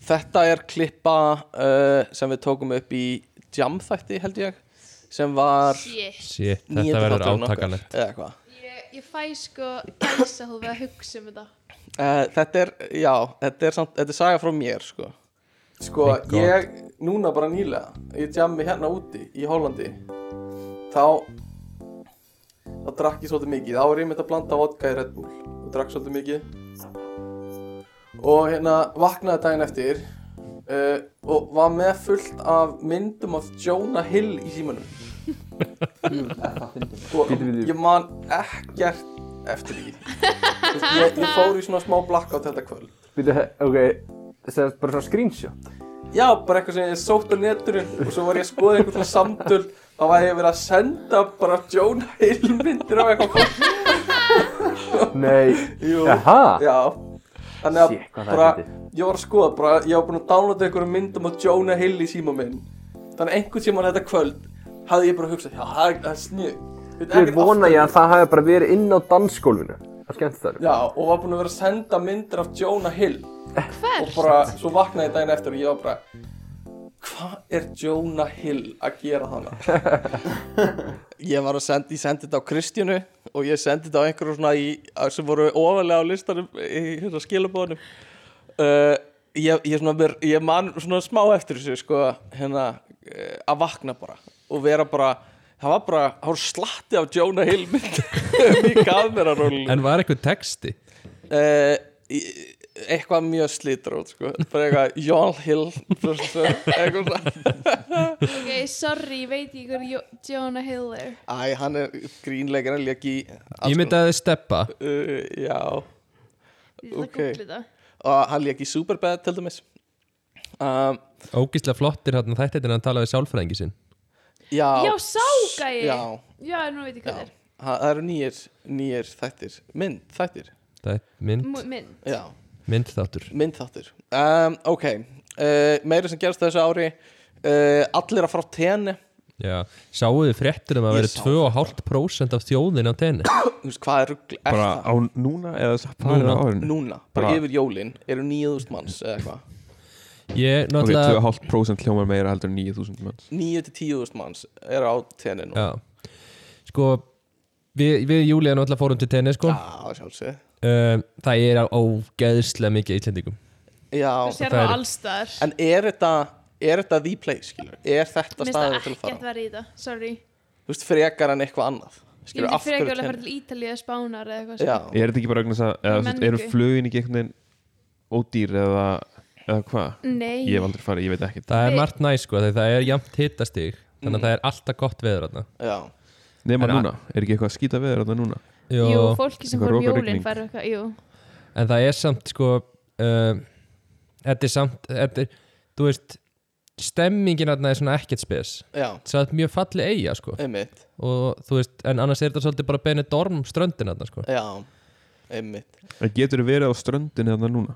C: þetta er klippa uh, sem við tókum upp í jamþætti held ég sem var
A: Shit
B: Shit,
C: níundi
B: þetta verður
C: þátturinn okkar,
B: átakanlegt
C: eða eitthvað
A: Ég, ég fæ sko gæsa hófið að hugsa um þetta
C: Uh, þetta er, já, þetta er, samt, þetta er saga frá mér, sko Sko,
B: Thank God.
C: ég, núna bara nýlega Ég jammi hérna úti í Hollandi Þá Þá drakk ég svolítið mikið Þá er ég mitt að blanda vodka í Red Bull Og drakk svolítið mikið Og hérna vaknaði daginn eftir uh, Og var með fullt af myndum af Jonah Hill í símanum Og ég man ekkert eftir því Þú veist, ég, ég fór í svona smá blackout þetta kvöld
E: Býtu, ok, þess að bara svona screenshot
C: Já, bara eitthvað sem ég sótt á netinu og svo var ég að skoða einhvern svona samtöl þá var ég verið að senda bara Jonah Hill myndir á eitthvað fólk.
E: Nei,
C: Jú,
E: aha
C: já Þannig að
E: Shit, hvað það er
C: bara,
E: fyndið.
C: ég var að skoða bara, ég var búin að downloada einhverjum myndum á Jonah Hill í síma minn Þannig að einhvern tímann þetta kvöld hafði ég bara hugsað, já, það er- það er snið
E: Ég vona ég að það hafi bara verið inn á dansgólfinu Það skemmt það
C: Já, og var búin að vera að senda myndir af Jonah Hill og
A: Hver?
C: bara, svo vaknaði ég daginn eftir og ég var bara hvað er Jonah Hill að gera þannig ég var að senda, ég sendi þetta á Kristjánu og ég sendi þetta á einhverju svona í, sem voru ofalega á listanum í hérna skilabóðunum uh, ég, ég, svona, mér, ég man svona smá eftir þessu sko, hérna, eh, að vakna bara og vera bara það var bara, það var slatti af Jonah Hill mynd í kamerarólinu
B: En var eitthvað texti?
C: Eh, í- eitthvað mjög slítrót sko. bara eitthvað Jón Hill eitthvað svona.
A: Ok, sorry, ég veit ekki hver Jo- Jonah Hill er
C: Æ, hann er grínleikir að lék í
B: Ég myndi
C: um-
B: að þið steppa
C: uh, Já,
A: Ég ætla að
C: Ok.
A: googla þetta
C: og hann lék í Superbad til dæmis um,
B: Ógíslega flottir hérna þættir en að tala við sálfræðingi sinn
C: Já,
A: Já, ságæi
C: Já,
A: Já, nú veit ég
C: já.
A: hvað það er
C: Ha- það eru nýjir, nýjir þættir mynd þættir
B: Það er mynd,
A: Mú- Minn
C: já,
B: mynd þáttur
C: mynd þáttir um, Ok, uh, meira sem gerst þessu ári uh, allir að frá tenni
B: Já, sáu þið fréttur um að
C: Ég
B: vera 2,5%
C: sá
B: af þjóðin á tenni
C: Þú veist, hvað er rugl er
D: bara
C: það?
D: á núna eða satt parið á
B: Núna.
D: árinu
C: Núna, bara,
D: Bara-
C: yfir jólin eru 9000 manns eða eitthvað
B: Ég
D: Ok,
B: náttúrulega
D: 2,5% hljómar meira heldur en 9000 manns
C: 9 til 10.000 manns eru á tenni nú
B: Já, sko Við, við Júlíðan náttúrulega fórum til tenni sko
C: Já, sjálfsög
B: Um, Það er á ógeðslega mikið íslendingum
C: Já,
A: Þú sér
B: það
A: það
B: er-
A: allstaðar
C: en er þetta er þetta the place, skilur? Er þetta
A: Mér finnst
C: staðið til
A: það
C: að
A: ekkert
C: fara? á?
A: vera í þetta, sorry
C: Þú veist, frekar en eitthvað annað
A: Ég
C: Skilur,
A: myndi
C: af
A: frekar
C: hverju
A: alveg að fara
C: tenni?
A: til Ítalíu eða Spánar eða eitthvað
C: hérna? Já,
D: Er þetta ekki bara vegna þess að eða,
A: Menningu.
D: þú veist, eru flugin ekki einhvern veginn ódýr eða, eða hvað?
A: Nei,
D: Ég hef aldrei farið, ég veit ekkert
B: Það er
A: Nei.
B: margt næ sko, þegar það er jafnt hittastig Þannig að það er alltaf gott veður þarna
C: já
D: Nefna
B: En að-
D: núna, er ekki eitthvað að skýta veður þarna núna?
A: jú, fólki sem
D: Eitthvað
A: fór um
D: rok og
A: jólin
D: rigning.
A: fær eitthvað, jú
B: En það er samt sko uh, þetta er samt þetta er, þú veist stemmingin þarna er svona ekkert spes
C: já,
B: það er mjög falli eiga sko
C: einmitt
B: og þú veist, en annars er þetta svolítið bara benið dorm ströndin þarna sko
C: já, einmitt
D: En getur þið verið á ströndinni þarna núna?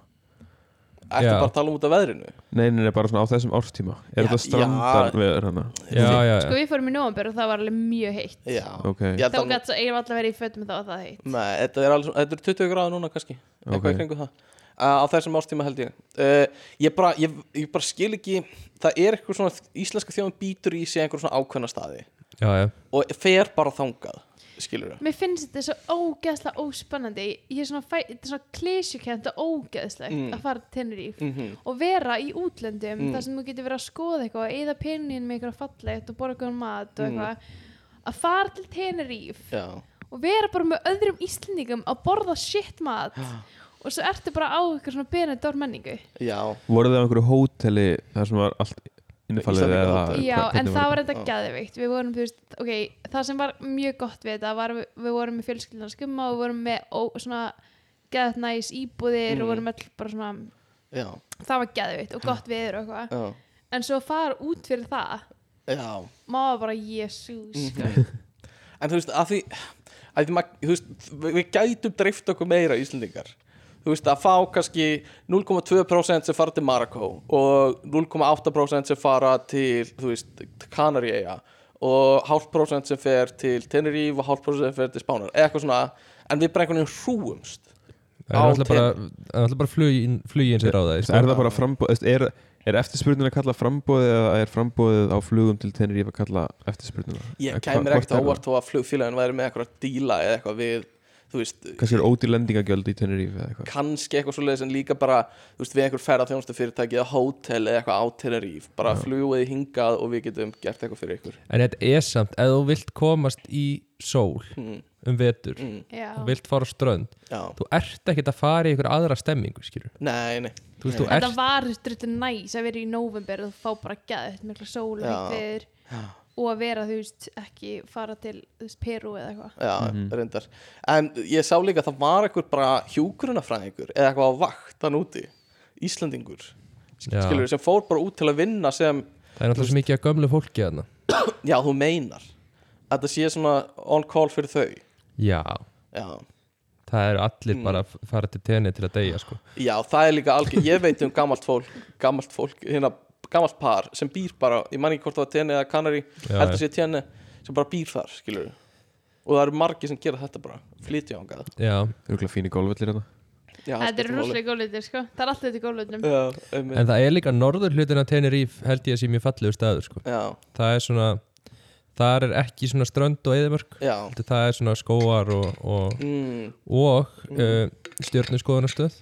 C: Ertu
B: Já.
C: bara að tala um út af veðrinu?
D: Nei, nei, nei, bara svona á þessum árstíma
C: Já,
D: Er þetta strandar veður hana?
B: já, já,
A: Sko við fórum í november og það var alveg mjög heitt
C: Já,
D: Ok.
C: Ég held
A: Þá
C: að nú-
A: gætt svo, ég var alltaf verið í fötum og þá var það heitt
C: Nei, þetta er, alveg, svona- þetta er 20 gráður núna kannski Eitthvað
D: Ok.
C: í kringu það Uh, á þessum ástíma held ég uh, ég, bara, ég, ég bara skil ekki það er eitthvað svona, íslenska þjóðum býtur í sig einhver svona ákveðna staði
B: já, já.
C: og fer bara þangað skilur
A: Mér finnst þetta svo ógeðslega óspennandi Ég- Ég er svona, fæ, þetta er svona klísjukent og ógeðslegt
C: Mm.
A: að fara til Tenerife
C: mm -hmm.
A: og vera í útlöndum
C: Mm.
A: þar sem þú getur verið að skoða eitthvað og eyða peningin með eitthvað fallegt og borga eitthvað mat og
C: Mm.
A: eitthvað að fara til Tenerife
C: já,
A: og vera bara með öðrum Íslendingum að borða shit mat og svo ertu bara á eitthvað svona benedór menningu
C: já,
D: Voruð þið á einhverju hóteli þar sem var allt innifallið
C: Íslendinga
D: eða
C: hótel.
D: hva-
A: Já, en það
D: hvernig var
A: var þetta
C: Já.
A: gæðveikt Við vorum, þú veist, ok, það sem var mjög gott við þetta var, við, við vorum með fjölskyldan skumma og við vorum með ó, svona gæðt næs íbúðir
C: Mm.
A: og vorum all bara svona,
C: já,
A: það var gæðveikt og gott viður og eitthvað,
C: já,
A: en svo að fara út fyrir það,
C: já.
A: maður bara jesús,
C: Mhm. en þú veist að því, að því mað, þú veist, við, við gætum dreift okkur meira Íslendingar þú veist að fá kannski 0,2% sem fara til Marokko og 0,8% sem fara til þú veist Kanaríeja og hálf prósent sem fer til Tenerife og hálf prósent sem fer til Spánar eða eitthvað svona, en við bara einhvern veginn hrúumst
B: Það er alltaf
C: Á
B: bara, það er alltaf bara flugin, flugin sem ráða
D: Er það bara frambóð þú veist, Er, er eftirspurnin að kalla frambóðið eða er frambóðið á flugum til Tenerife að kalla eftirspurnina?
C: ég
D: Eða
C: kæmir
D: hva-
C: ekkert
D: hvort er
C: ávart þó að flugfélagin væri með eitthvað díla eða eitthvað við, þú veist,
D: það? Kannski er ódýr lendingagjöld í Tenerife eða eitthvað
C: kannski eitthvað svo leiðis en líka bara þú veist, við einhver ferða þjónustu fyrirtæki eða hótel eða eitthvað á Tenerife bara fljúið hingað og við getum gert eitthvað fyrir ykkur
B: En þetta er samt, ef þú vilt komast í sól
C: mm,
B: um vetur
C: mm,
A: já,
B: þú vilt fara á strönd,
C: já,
B: þú ert ekkert að fara í einhver aðra stemmingu, skilur
C: nei, nei
B: Þú veist, þú
A: þetta
B: ert,
A: var drullu næs að vera í november og fá bara gæðveikt, mikla sól og
C: Já.
A: heitt viður
C: Já.
A: og að vera, þú veist, ekki fara til, þú veist, Peru eða eitthvað.
C: já, reyndar en ég sá líka að það var einhver bara hjúkrunafræðingur eða eitthvað á vakt hann úti Íslandingur,
B: Já.
C: skilur sem fór bara út til að vinna sem,
B: það er alltaf svo mikið að gömlu fólki þarna
C: já þú meinar að þetta sé svona on call fyrir þau
B: Já,
C: já
B: það eru
C: Mm.
B: allir bara að fara til tenni til að deyja, sko
C: Já, það er líka algjör, ég veit um gamalt fólk gamalt fólk, hérna gamalt par sem býr bara, ég man ekki hvort það var tenni eða kanari,
B: Já,
C: heldur
B: já.
C: sér tenni sem bara býr þar, skilur og það eru margir sem gera þetta bara, flytja ángað
B: Já,
D: Það eru fíni gólfellir þetta
A: Þetta er rosalega góðlutir, sko. Það er alltaf þetta góðlutum.
C: rosalega
B: en það er líka norður hlutin að Tenerife held ég að sé mjög fallegur staður, sko
C: Já,
B: Það er svona, þar er ekki svona strönd og eðimörk
C: já
B: Það er svona skóar og, og
C: mm,
B: og uh, stjörnuskoðunarstöð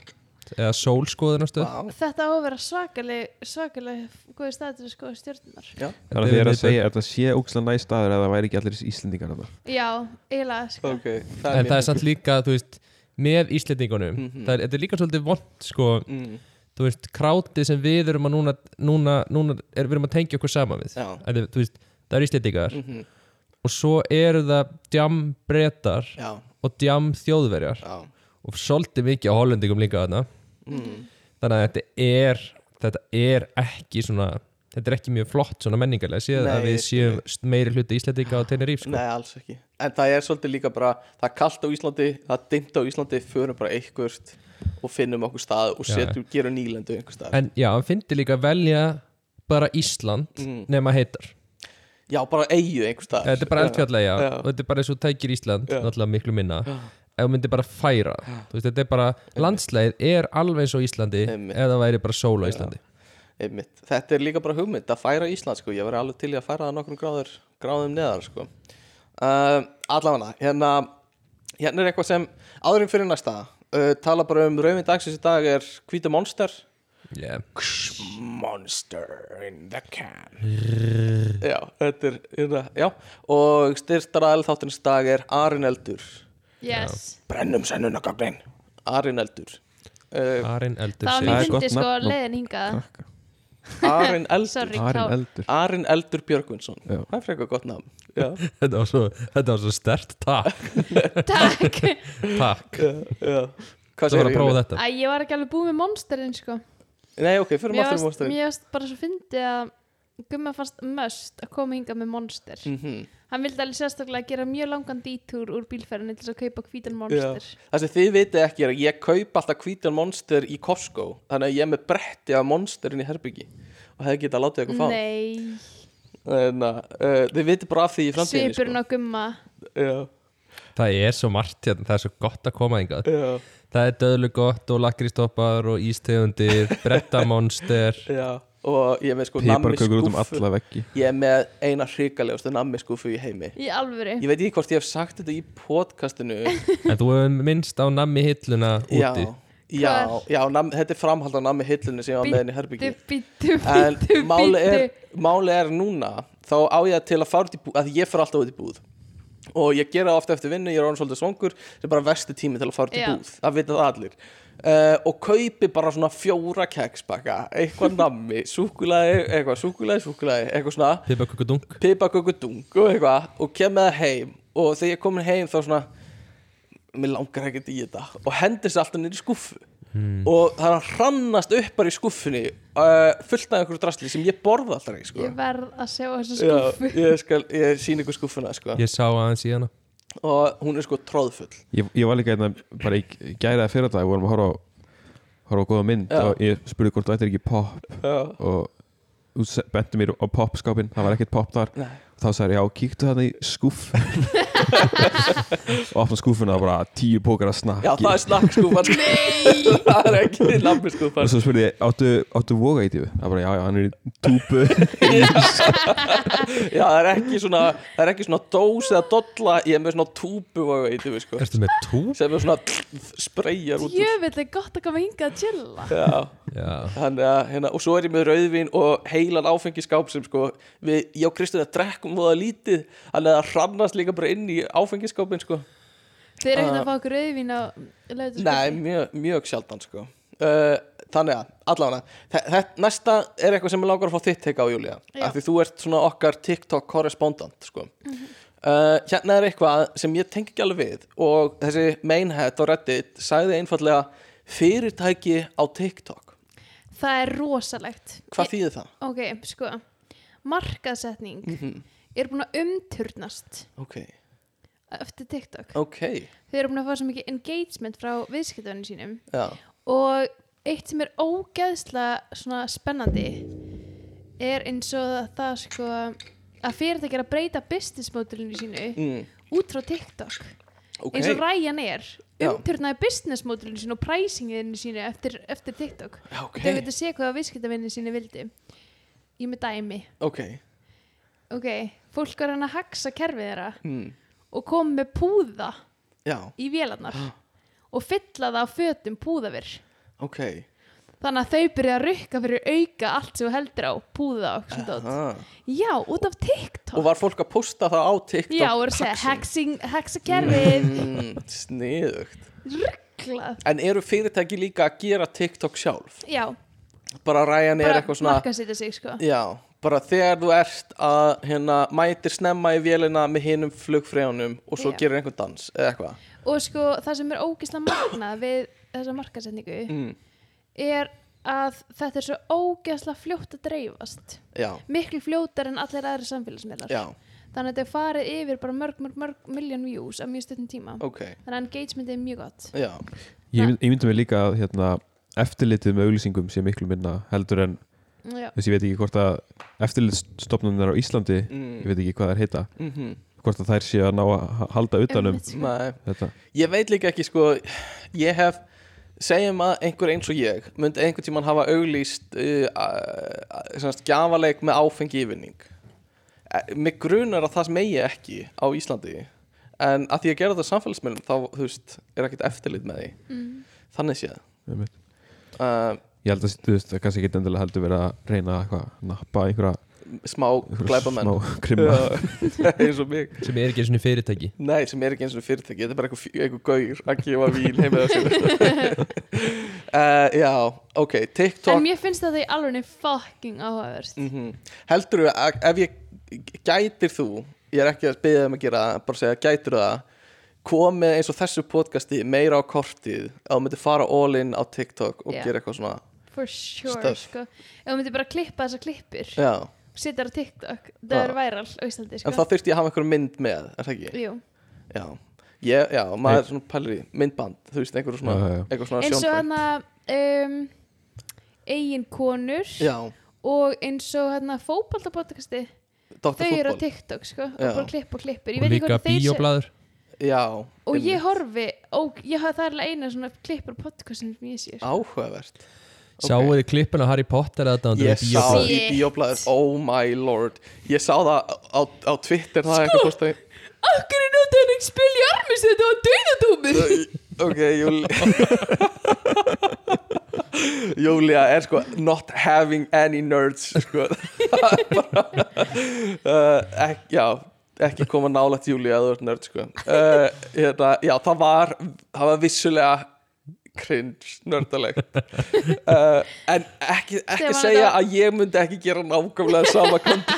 B: eða sólskoðunarstöð
C: vá.
A: Þetta á að vera svakaleg, svakaleg góði stað til að skoða stjörnunar.
D: Þannig að þið er að segja að það sé ógstlega næ staður eða það væri ekki allir Íslendingar þarna
A: Já, eiginlega, sko.
C: Ok, það Mhm.
B: en það
C: mér-
B: er samt líka, þú veist með Íslendingunum, það er, þetta er líka svolítið vond sko,
C: mm,
B: þú veist, krátið sem við erum að núna, núna, núna er, við erum að tengja okkur saman við
C: Já.
B: en, þú veist, það eru Íslendingar
C: mhm,
B: og svo eru það djam breytar
C: Já,
B: og djam þjóðverjar
C: já
B: og svolítið mikið á hollendingum líka þarna
C: mm,
B: þannig að þetta er þetta er ekki svona þetta er ekki mjög flott svona menningarlega séð
C: Nei,
B: að við
C: ég
B: séum st- meiri hluti Íslandinga á Tenerife sko.
C: Nei, alls ekki En það er svolítið líka bara, það er kalt á Íslandi það er dimmt á Íslandi, förum bara eitthvert og finnum okkur stað og
B: Já.
C: setjum, gerum nýlendu einhver stað
B: en já, hann fyndi líka að velja bara Ísland
C: Mm.
B: nema heitar
C: Já, bara eigu einhver staðar
B: þetta er bara eldfjallega,
C: Já.
B: já, og þetta er bara eins og þú tækir Ísland,
C: Já.
B: náttúrulega miklu minna ef þú myndir bara færa þú veist, þetta er bara, landslægið er alveg eins og Íslandi
C: Einmitt.
B: ef það væri bara sól á Íslandi
C: Einmitt. Þetta er líka bara hugmynd að færa Ísland sko. Ég verði alveg til í að færa það nokkrum gráður, gráðum neðar sko. uh, Allavega, hérna Hérna er eitthvað sem áðurinn fyrir næsta uh, Tala bara um rauðin dagsins í dag er hvíta monster
B: yeah.
C: Monster in the can
B: Mm.
C: Já, þetta er hérna, Já, og styrstaraðal þátturins í dag er Arin Eldur
A: Yes.
C: Brennum sennunagagnin Arin Eldur uh,
B: Arin Eldur
A: Það var
B: segir-
D: Það er
A: mjög
D: gott
A: fyndið, sko,
D: nafn á-
A: leiðin hingað.
D: Krakka.
B: Ah.
C: Arin Eldur
A: Sorry,
D: Arinn
A: Kár.
D: eldur
C: Arin Eldur Björgvinsson
D: Já.
C: Það er frekar gott nafn Já
B: þetta var svo, þetta var svo stert takk,
A: Takk.
B: takk
C: já, já. Hvað
B: Það var
C: segirðu,
B: að prófa
C: Júlía?
B: þetta
A: Æ, ég var ekki alveg búið með monsterin sko
C: Nei, ok, fyrir
A: Mér
C: maður
A: varst,
C: monsterin
A: mér varst bara svo fyndið að Gumma fannst möst að koma hingað með monster
C: Mhm.
A: Hann vildi alveg sérstaklega gera mjög langan dítúr úr bílferðinni til þess að kaupa hvítan monster
C: Það sem þið vitið ekki er að ég kaup alltaf hvítan monster í Costco Þannig að ég er með bretti af monsterin í herbyggi Og hefði getað látið eitthvað fá
A: Nei,
C: Þannig að uh, þið vitið bara af því í framtíðinni
A: svipurinn á Gumma
C: sko. Já,
B: Það er svo margt hérna, það er svo gott að koma hingað
C: já,
B: Það er döðlu gott og lakristoppar og ístegundir, brettamonster
C: já Og ég er með sko
D: Piparkökur út um
C: nammiskúffu.
D: alla veggi
C: Ég er með eina hrikalegustu nammiskúfu í heimi
A: Í alvöru
C: Ég veit ekki hvort ég hef sagt þetta í podcastinu
B: En þú hefur minnst á nammi hilluna
C: Já,
B: úti
C: já,
A: Hvar?
C: já nam, þetta er framhald á nammi hillinu sem ég var með henni í herbyggi
A: Bítu, bítu,
C: en
A: bítu,
C: máli er,
A: bítu
C: máli er núna þá á ég til að fara út í búð að ég fer alltaf út í búð og ég gera það ofta eftir vinnu, ég er orðin svolítið svangur sem bara versti tími til að fara út í
A: Já.
C: búð það vita það allir uh, og kaupi bara svona fjóra keksbakka eitthvað nammi, súkulaði eitthvað súkulaði, súkulaði, eitthvað svona
B: Pipakökudunk
C: pipakökudung og eitthvað og kem með það heim og þegar ég er komin heim þá svona mér langar ekkert í þetta og hendir sér alltaf niður í skuffu og það er að hrannast upp bara í skuffunni uh, fullt af einhverju drasli sem ég borða alltaf ekki sko.
A: Ég verð að sjá þessa
C: Já,
A: skúfu
C: ég, skal, ég sín ykkur skuffuna sko.
B: Ég sá aðeins í hana
C: og hún er sko tróðfull
D: ég, ég var líka hérna bara í gæraða fyrir dag vorum að horfa á, horfa á góða mynd
C: Já.
D: og ég spurði hvort þú ættir ekki pop
C: Já.
D: og þú se- bentu mér á popskápin það var ekkert pop þar
C: Nei.
D: þá sagði ég já, kíktu þarna í skúf og opna skúfuna og bara tíu pókar að snakki
C: Já, það er snakkskúfan Það er ekki sko, lambiskúfan
D: og svo spurði ég, áttu, áttu voga í tíu það bara, já, já, hann er í túpu
C: Já, það er ekki svona, það er ekki svona dós eða dolla Ég er með svona túbu og eitthvað sko,
B: Ertu með tú?
C: sem er svona spreyjar út úr.
A: Jöfell er gott að koma hingað að chilla
C: Já
B: Já
C: Þannig að, hérna, og svo er ég með rauðvin og heilan áfengiskáp sem sko við, ég og Kristján að drekkum og það lítið þannig að það hrannast líka bara inn í áfengiskápin sko.
A: Þeir eru ekkert að fá
C: Ah.
A: okkur auðvín á lautu
C: Nei, mjög, mjög sjaldan sko. uh, Þannig að, allavega þe- þe- Næsta er eitthvað sem ég langar að fá þitt teka á Júlía,
A: Já.
C: af því þú ert svona okkar TikTok korrespondent sko. uh, Hérna er eitthvað sem ég tengi ekki alveg við og þessi mainhead á Reddit sagði einfallega fyrirtæki á TikTok
A: Það er rosalegt
C: Hvað þýðir Mm. það? Mhm,
A: Ok, sko Markaðsetning er búin að umturnast
C: Ok,
A: eftir TikTok
C: ok,
A: Þau eru búin að fá svo mikið engagement frá viðskiptunum sínum
C: já
A: og eitt sem er ógeðslega svona spennandi er eins og það, það sko að fyrirtæki er að breyta business modelinu sínu
C: Mm,
A: út frá TikTok
C: ok,
A: eins og Ryan er
C: Já.
A: umturnaði business modelinu sínu og pricinginu sínu eftir, eftir TikTok
C: Já, ok,
A: þau getur sé hvað viðskiptavinni sínu vildi ég er með dæmi
C: ok
A: ok, fólk var hann að haxa kerfið þeirra
C: mm.
A: og kom með púða
C: Já,
A: í vélarnar
C: Ah.
A: og fylla það á fötum púðavir
C: ok
A: Þannig að þau byrja að rukka fyrir auka allt sem þú heldur á, púða og svona dót.
C: ha.
A: Já, út af TikTok.
C: Og var fólk að posta það á TikTok
A: Já, og er að segja hexing, hexakerfið,
C: mm, Sniðugt
A: rugglað.
C: En eru fyrirtæki líka að gera TikTok sjálf?
A: Já,
C: Bara Ryan er
A: bara
C: eitthvað svona
A: markaðsýta sig, sko.
C: Já, bara þegar þú ert að hérna, mætir snemma í vélina með hinum flugfrjónum og svo
A: Já.
C: gerir einhvern dans eða eitthvað
A: Og sko, það sem er ógislega magnað við þessa markaðsendingu
C: mm,
A: er að þetta er svo ógislega fljótt að dreifast.
C: Já,
A: Miklu fljótar en allir aðri samfélagsmiðlar.
C: já,
A: Þannig að þetta er farið yfir bara mörg, mörg, mörg miljón views á mjög stuttum tíma.
C: ok
A: Þannig að engagement er mjög gott.
C: Já,
D: ég, mynd- ég myndi mér líka að hérna, eftirlitið með auglýsingum sé miklu minna heldur en
A: Já,
D: þess ég veit ekki hvort að eftirlitsstofnunir á Íslandi
C: Mm.
D: ég veit ekki hvað þær heita
C: mhm
D: hvort að þær séu að ná að ha- halda utanum
A: Einmitt, sko.
C: Nei,
D: þetta
C: Ég veit líka ekki sko Ég hef Segjum að einhver eins og ég Myndi einhvern tímann hafa auglýst uh, uh, uh, Gjafaleik með áfengi yfirning Eh, Mig grunar að það megi ekki Á Íslandi En að því að gera þetta samfélagsmiðlum Þá, þú veist, er ekkert eftirlit með því Þannig séð
D: Einmitt.
C: uh,
D: ég held að þú veist það kannski ekki endilega heldur verið að reyna eitthvað að nappa einhverja,
C: Smá
D: einhverja
C: glæpamenn
D: smá krimma
C: Já, Eins og mig
B: sem er ekki einu sinni fyrirtæki
C: Nei, sem er ekki eins og fyrirtæki Þetta er bara eitthvað, eitthvað gaur að gefa víl heim eða sér uh, Já, ok TikTok
A: En mér finnst þetta í alveg fucking áhugaverst.
C: mm -hmm. heldur þú um að ef ég gætir þú ég er ekki að byggja þeim að gera það bara að segja gætir það komið eins og þessu podcasti meira á kortið að þú myndir fara all in á TikTok og
A: Já.
C: gera eitthvað svona
A: for sure
C: Stuff.
A: sko. ef þú myndir bara klippa þessar klippur
C: já.
A: og setja þær á TikTok, það er væral á Íslandi sko.
C: en það þurfti ég að hafa einhver mynd með er það ekki?
A: Jú.
C: Já, ég, já maður er svona pælir í myndband þú veist einhver svona,
D: Já, já, já.
C: Einhver svona
A: eins og
C: sjónræn.
A: hann um, eigin konur
C: já,
A: og eins og hérna hann að fótballtapodcasti
C: Dr.
A: þau eru á
C: Fútbol
A: TikTok sko, og
C: Já.
A: bara klipp og klippur Ég
B: og
A: veit ekki
B: líka
A: hvort þeir sé-
B: bíoblaður
C: já,
A: og ég
C: einmitt.
A: horfi og ég hafa það er alveg eina svona klippur podcastin sem ég sé sko.
C: áhugavert
B: sjáu þið klippin á Harry Potter aðdáendur
C: ég
B: í
C: sá
B: bíóblaði?
C: í
A: Shit.
C: bíoblæður oh my lord ég sá það á, á Twitter það er
A: Sko,
C: eitthvað postaði
A: Akkur er nótt hann ekki spil í armis þetta var döðadómur
C: ok, Júlia Júlia er sko not having any nerds sko uh, ek, já, ekki koma nálægt Júlia að þú ert nerd sko uh, hérna, já, það var það var vissulega cringe nördalegt uh, en ekki, ekki
A: Stefán,
C: segja
A: þetta-
C: að ég myndi ekki gera nákvæmlega sama kont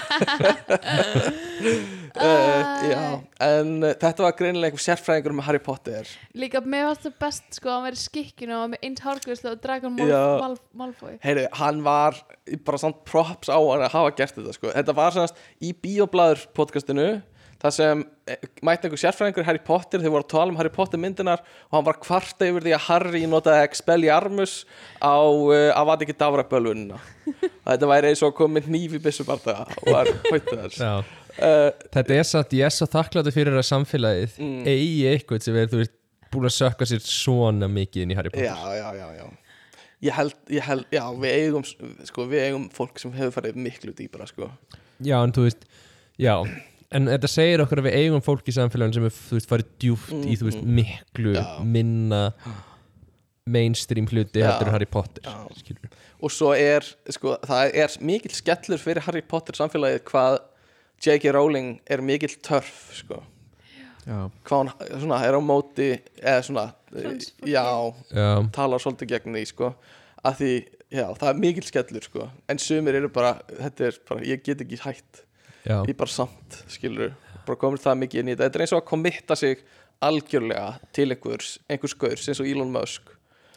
A: Ah.
C: uh, já, en uh, þetta var greinilega einhver sérfræðingur með Harry Potter
A: líka með alltaf best sko að hann verið skikkinu og hann með eins hárgjörslu og Dragon Mal
C: Já.
A: Mal Malfoy
C: Heyru, hann var bara samt props á hann að hafa gert þetta sko. Þetta var sannast í Bíoblaður podcastinu þar sem eh, mætti einhver sérfræðingur Harry Potter, þau voru að tala um Harry Potter myndinar og hann var kvarta yfir því að Harry notaði Expelliarmus á uh, að vata ekki davra bölvunina Þetta væri eins og komið nýfi byssubarta og var hóttu þess
B: Já.
C: uh,
B: Þetta er satt, ég er svo þakkláttu fyrir að samfélagið
C: Mm.
B: eigi eitthvað sem er, þú veist, búin að sökka sér svona mikið inn í Harry Potter.
C: Já, já, já, já Ég held, ég held, já, við eigum sko, við eigum fólk sem hefur farið miklu dýbra sko.
B: Já, en þú veist, já, en þetta segir okkur að við eigum fólk í samfélaginu sem er, þú veist, farið djúft í, þú veist, miklu
C: Mm, Já.
B: minna mainstream hluti
C: Já.
B: heldur en Harry Potter.
C: Já.
B: skilurðu.
C: og svo er sko, það er mikill skellur fyrir Harry Potter samfélagið hvað J.K. Rowling er mikill törf sko.
D: Já.
C: hvað hún svona, er á móti eða svona
A: Transfóbía.
C: já,
B: Já.
C: talar svolítið gegn því sko, að því, já, það er mikill skellur sko. en sumir eru bara, þetta er bara ég get ekki hætt,
B: Já.
C: ég er bara samt skilur, bara komur það mikið inn í þetta þetta er eins og að kommitta sig algjörlega til einhvers, einhvers gaurs eins og Elon Musk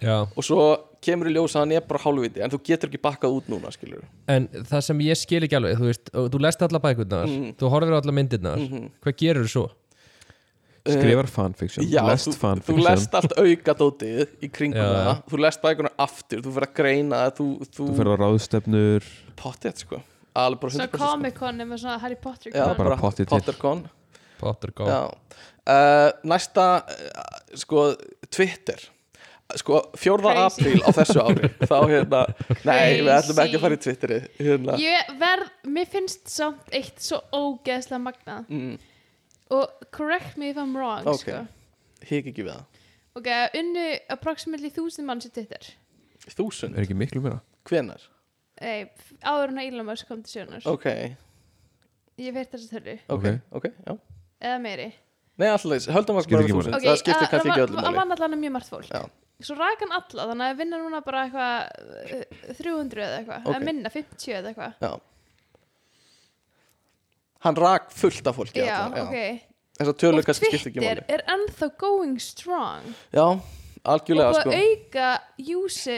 B: Já.
C: og svo kemur í ljós að hann er bara hálfviti en þú getur ekki bakkað út núna skilur
B: En það sem ég skil ekki alveg, þú veist, og þú lest alla bækurnar,
C: Mm.
B: þú horfir á alla myndirnar,
C: Mhm.
B: hvað gerur þú svo?
D: Skrifar fanfiction,
C: Já,
D: lest
C: þú, þú
D: fanfiction
C: lest allt aukadótið í kringum
B: Já.
C: það, þú lest bækunar aftur þú fyrir að greina það, þú, þú,
D: Þú ferð á ráðstefnur
C: pottið sko alveg bara
A: svona
C: 100% sko.
A: Comic Con með svona Harry Potter
C: Já,
A: Con.
D: bara pottið til.
C: Pottercon
B: Potter gá.
C: Já. Uh, næsta uh, sko Twitter sko 4.
A: Crazy.
C: apríl á þessu ári þá hérna, nei við ætlum
A: Crazy.
C: ekki að fara í Twitterið hérna,
A: ég verð, mér finnst samt eitt svo ógeðslega magnað
C: Mm.
A: og correct me if I'm wrong
C: Ok.
A: sko.
C: hik ekki við það
A: ok, unnu approximately 1000 manns í Twitter
C: þúsund,
D: Er ekki miklu meira?
C: hvenar?
A: Nei, áður en að Elon Musk kom til sjónar
C: ok,
A: ég veit þess að þörlu,
C: ok, ok, já
A: eða meiri
C: nei alltaf, höldum að
D: Skiptir
C: bara
D: ekki
C: þúsund
D: máli.
A: Ok, uh,
C: það skiptir
A: að-
C: kannski ekki
A: að-
C: öllum
A: að- að
C: máli
A: vann allan mjög margt fólk
C: Já.
A: svo rak hann alla, þannig að vinna núna bara eitthvað uh, 300 eða eitthvað
C: Ok.
A: eða minna, 50 eða eitthvað
C: já hann rak fullt af fólki
A: já,
C: allavega,
A: ok
C: þessar tölur
A: og
C: kannski skiptir ekki
A: Twitter
C: máli
A: er ennþá going strong
C: já,
A: og
C: algjörlega
A: sko.
C: sko
A: auka júsi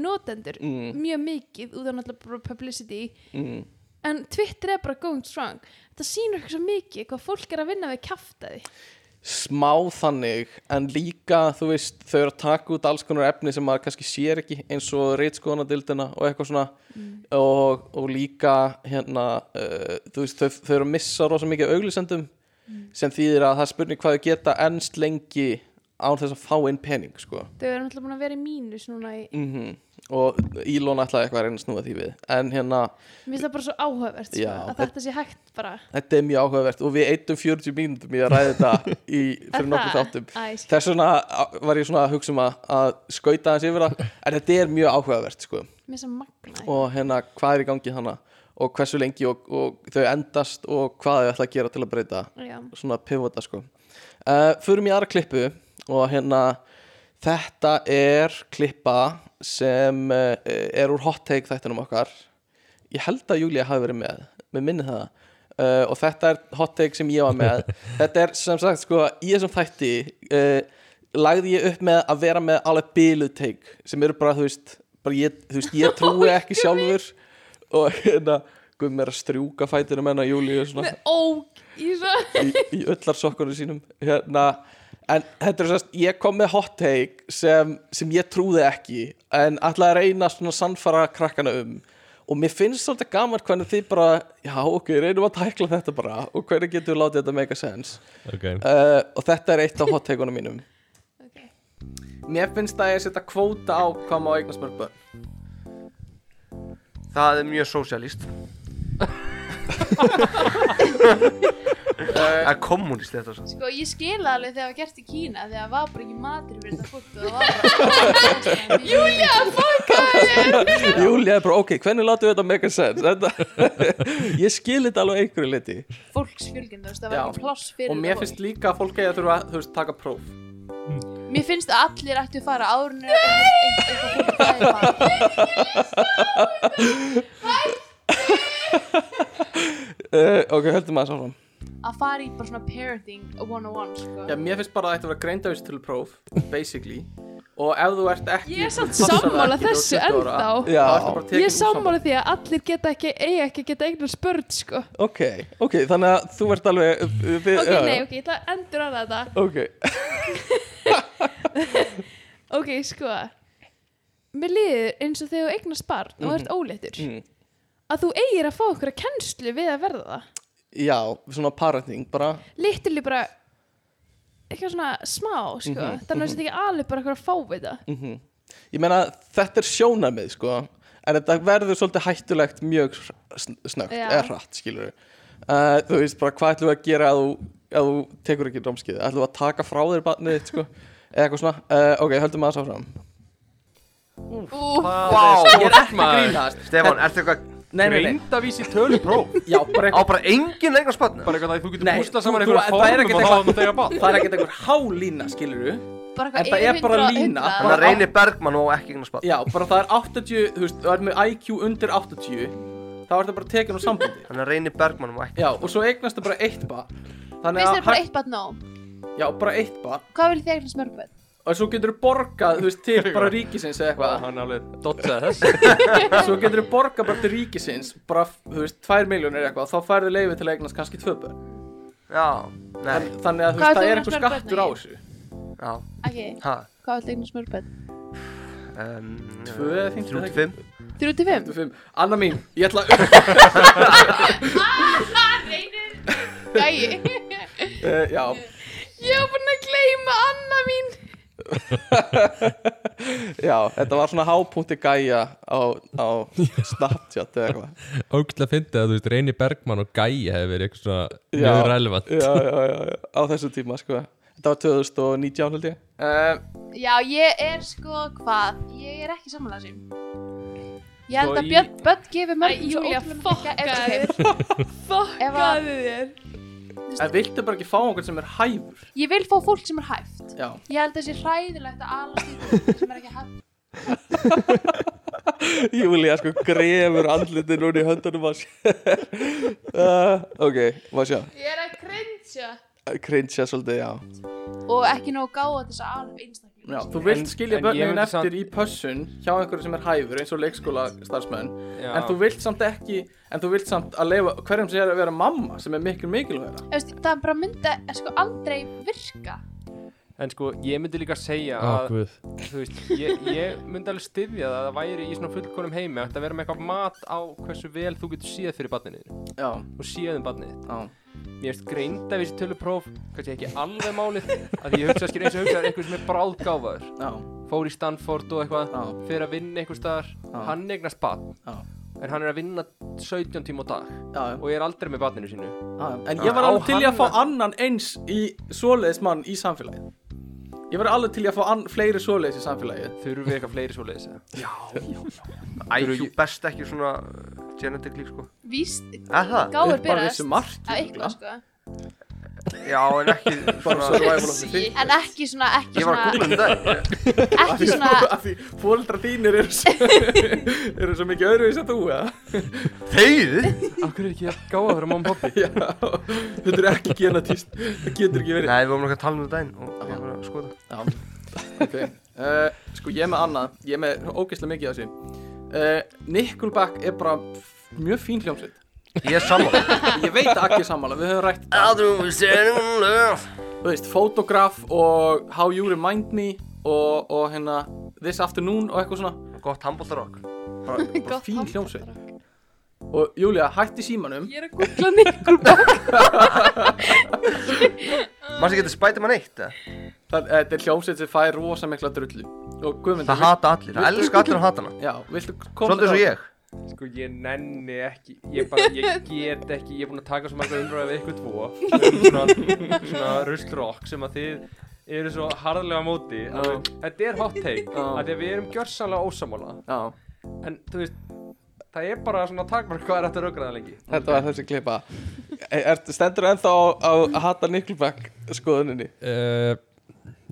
A: notendur
C: Mm.
A: mjög mikið út af náttúrulega bara publicity
C: mm,
A: en Twitter er bara going strong þetta sýnur ekki svo mikið hvað fólk er að vinna við kjaftaði
C: smá þannig en líka þú veist þau eru að taka út alls konar efni sem maður kannski sér ekki eins og reitskoðanadildina og eitthvað svona
A: Mm.
C: og, og líka hérna uh, þú veist þau, þau eru að missa rosa mikið af auglýsendum
A: Mm.
C: sem þýðir að það er spurning hvað þau geta ennst lengi án þess að fá inn pening sko
A: þau eru náttúrulega búin að vera í mínus núna í,
C: mm og Elon ætlaði eitthvað að reyna að snúa því við en hérna
A: mér finnst það bara svo áhugavert sko,
C: Já,
A: að
C: þetta-
A: þetta sé hægt bara
C: Þetta er mjög áhugavert og við eittum 40 mínútum í að ræða þetta í, fyrir nokkuð þáttum.
A: þáttum
C: Þess vegna var ég svona að hugsa um að, að skauta hans yfir það, en þetta er mjög áhugavert sko.
A: mér sem magna
C: Og hérna, hvað er í gangi hana og hversu lengi og, og þau endast og hvað þau ætla að gera til að breyta
A: Já.
C: svona pivota sko. Uh, förum í aðra klippu og hérna þetta er klippa sem uh, er úr hot take þættinum okkar ég held að Júlia hafi verið með með minni það uh, og þetta er hot take sem ég var með þetta er sem sagt sko í þessum þætti uh, lagði ég upp með að vera með alveg biluð take sem eru bara þú veist, bara ég, þú veist ég trúi ekki sjálfur og hérna guð mér að strjúka fætinu menna júli og svona
A: Með óg í svo
C: í, í öllar sokkunum sínum hérna, en þetta er sérst ég kom með hot take sem, sem ég trúði ekki en ætla að reyna svona að sannfara krakkana um og mér finnst svolítið gaman hvernig þið bara já ok, reynum að tækla þetta bara og hvernig getur við látið þetta make a sense
B: okay.
C: uh, og þetta er eitt af hot take-unum mínum
A: okay.
C: mér finnst að ég setja kvóta á hvað má eignast mörg börn
E: Það er mjög sósialíst Það er kommunist þetta svo
A: Sko ég skila alveg þegar það var gert í Kína þegar það var bara ekki matur fyrir þetta fólk og það var bara Júlia, fuck
C: Júlia er bara ok, hvernig látum við þetta make a sense þetta, ég skil þetta alveg einhverju liti
A: Fólksfjölgin, þú veist, það var
C: Já.
A: ekki pláss fyrir
C: og mér
A: þetta
C: finnst líka að fólk eigi að þurfa að þú veist, taka próf
A: fólk. Mér finnst að allir ættu að fara árun Nei!
E: Eh,
C: uh, ok, höldum að það sáfram
A: Að fara í bara svona parenting 101 sko.
C: já, mér finnst bara að þetta vera greindavis til próf basically, og ef þú ert ekki
A: Ég er samt
C: passar það
A: sammála
C: ekki til
A: þessu
C: 20 ára,
A: ennþá.
C: já,
E: Þá ertu bara
A: Ég er sammála því að allir geta ekki, eiga ekki að geta eignar spörd sko.
C: ok, ok, þannig að þú ert alveg uh, við,
A: Ok, nei, ok, ég ætla að endur að þetta
C: ok,
A: Ok, sko Mér líður eins og þegar þú eignast barn og ert óléttur
C: Mm.
A: að þú eigir að fá okkur að kennslu við að verða það
C: já, svona parenting bara,
A: Litturli bara eitthvað svona smá, sko
C: Mhm,
A: þannig að þetta ekki alveg bara eitthvað að fá við það
C: ég meina þetta er sjónamið, sko en þetta verður svolítið hættulegt mjög sn- snöggt,
A: Já.
C: eða hratt, skilur uh, þú veist bara, hvað ætlum við að gera ef þú, ef þú tekur ekki námskeiðið ætlum við að taka frá þér barnið þitt, sko eða eitthvað svona, uh, ok, höldum að það sáfram
A: Ú,
E: Vá,
G: Ég er ekki að grínast
E: Stefan, ertu eitthvað
C: nei,
G: Greindavísi tölupróf
C: já, bara
E: Á bara engin eignar spötna
G: Bara eitthvað að þú getur
C: Nei,
G: púslað
C: þú- þú-
G: saman einhverjum
C: það er
G: formum
C: ekkert
G: og
C: eitthvað-
G: ráðum þetta eiga barn
C: það er ekkert einhver hálína skilur
A: bara
C: En það
A: eitthvað
C: er
A: yfir
C: bara
A: 100,
C: lína.
A: 100.
E: Þannig að reyni Bergmann og ekki eignar spötna
C: já, bara það er 80, þú veist, það er með IQ undir 80 þá er það bara tekin á sambandi
E: Þannig að reyni Bergmann og ekki
C: já, og svo eignast það bara eitt barn þannig
A: Finnst
C: að,
A: þér bara eitt barn nóg?
C: hæ- já, bara eitt barn
A: Hvað vil þið eignast mörg börn?
C: og svo getur þú borgað, þú veist, til bara ríkisins eða eitthvað,
G: Hann alveg dotsaði þess
C: svo getur þú borgað bara til ríkisins, bara, þú veist, 2 miljónir eitthvað, þá færðu leiði til að eignast kannski 2 börn,
E: Já, nei,
C: Þann- þannig að, þú
A: Hvað
C: veist, það
A: ætlum
C: er
A: við
C: einhver
A: að spara
C: skattur á
A: börnin í?
C: þessu
E: já,
A: Ok,
E: ha
A: hvað vil þið eignast mörg börn?
E: um,
C: Tvö eða fimmtíu,
E: 35
A: 35?
C: 25. Anna mín, ég ætla að
A: Gæi
C: uh, já,
A: Ég var búin að gleyma Anna mín
C: já, þetta var svona hápunkti gæja á, á Snapchat eða eitthvað
B: Ógætla fyndið að þú veist Reyni Bergmann og Gæja hefur verið eitthvað svona
C: Já.
B: mjög relevant
C: já, já, já, já, á þessu tíma sko Þetta var 2019 held ég uh,
A: Já, ég er sko hvað Ég er ekki samanlega sím Ég held
G: Sko,
A: að
G: í-
A: Björn Bött gefur mörg
H: Æ, Júlía,
A: þér Fokkaði þér
C: En viltu bara ekki fá einhvern sem er hæfur
A: Ég vil fá fólk sem er hæft
C: Já,
A: Ég held að það sé hræðilegt að alast í fólk sem er ekki hæft
C: Júlia sko grefur andlitið núna í höndunum að sér uh, Ok, maður sjá
A: Ég er að cringe
C: Cringe svolítið, já
A: Og ekki nóg gáða þess að alveg einstakling
C: Já, þú vilt skilja
G: en ég
C: börnin
G: myndi
C: eftir
G: samt-
C: í pössun hjá einhverju sem er hæfur eins og leikskóla starfsmenn en þú vilt samt ekki en þú vilt samt að leifa hverjum sem er að vera mamma sem er mikil mikilvægara
A: Veist, Það bara myndi eh, sko aldrei virka
G: En sko, ég myndi líka segja
B: Á,
G: að
B: guð.
G: Þú veist, ég, ég myndi alveg styðja það að það væri í svona fullkonum heimi ætti að vera með eitthvað mat á hversu vel þú getur séð fyrir barninu þínu
C: Já,
G: og séð um barnið þitt.
C: já,
G: Mér finnst greinda við þessi tölupróf, kannski ekki alveg málið að ég hugsa að skilja eins og hugsa er eitthvað sem er bráðgáfaður
C: já,
G: fór í Stanford og eitthvað
C: Já.
G: fyrir að vinna einhver staðar hann eignast barn
C: Já.
G: en hann er að vinna 17 tíma á dag
C: já, já.
G: og er aldrei með barninu sínu
C: En ég var
G: Á
C: alveg til í að
G: hann
C: fá
G: að-
C: annan eins í svoleiðis mann í samfélagið Ég var alveg til í að fá ann, fleiri svoleiðis í samfélagið
G: þurfum við eitthvað fleiri svoleiðis eða?
E: IQ best ekki svona uh, genetically sko
A: Víst,
E: Er það?
A: gáður
C: Upp að
A: byrjast
C: vissu marki,
A: að eitthvað sko
E: Já, en ekki
C: Bara
E: svona
C: survival of the fittest.
A: En ekki svona, ekki
E: Ég var að
A: svona,
E: googla um þetta
A: ekki svona,
C: Af því fóldra þínir eru svo, eru svo mikið öðruvis að þú, eða?
E: Þeyðu
G: Af hverju er ekki að gáða fyrir mamma og pappi?
C: Já, þetta er ekki genatist, það getur ekki verið.
E: Nei, við vorum ekki að tala um þetta einn og ég var að skoða
C: Já, ok. Uh, sko, ég er með annað, ég er með ógeðslega mikið af þessu. Uh, Nickelback er bara mjög fín hljómsveit.
E: Ég er sammála
C: Ég veit að ekki sammála, við höfum rætt þetta.
E: Aldrei við séum um löf
C: Þú veist, Photograph og How You Remind Me og, og hérna This Afternoon og eitthvað svona.
E: Gott handbóltarokk
C: Bara, bara
A: Gott
C: fín
A: handboltarokk.
C: hljómsveit. Og Júlia, hætti símanum.
A: ég er að googla Nickelback.
E: Mannstu getur spætið mann eitt eða?
C: Það, eh, þetta er hljómsveit sem fær rosa mikla drullu. Og Guðmundur,
E: Það hata allir, það elska allir að hata hana
C: vil- já, viltu koma
E: Svolítið eins og ég
G: Sko ég nenni ekki, ég bara, ég get ekki, ég er búin að taka svo marga umræði við ykkur tvo um svona, svona ruslrokk sem að þið eru svo harðlega á móti
C: Já.
G: að við- þetta er hot take,
C: Já.
G: að því að við erum gjörsanlega ósamála
C: Já,
G: en þú veist, það er bara svona takmark hvað er þetta raugraða lengi
C: þetta var þessi klipa. Er, stendur ennþá á, á að hata Nickelback skoðuninni?
B: uh,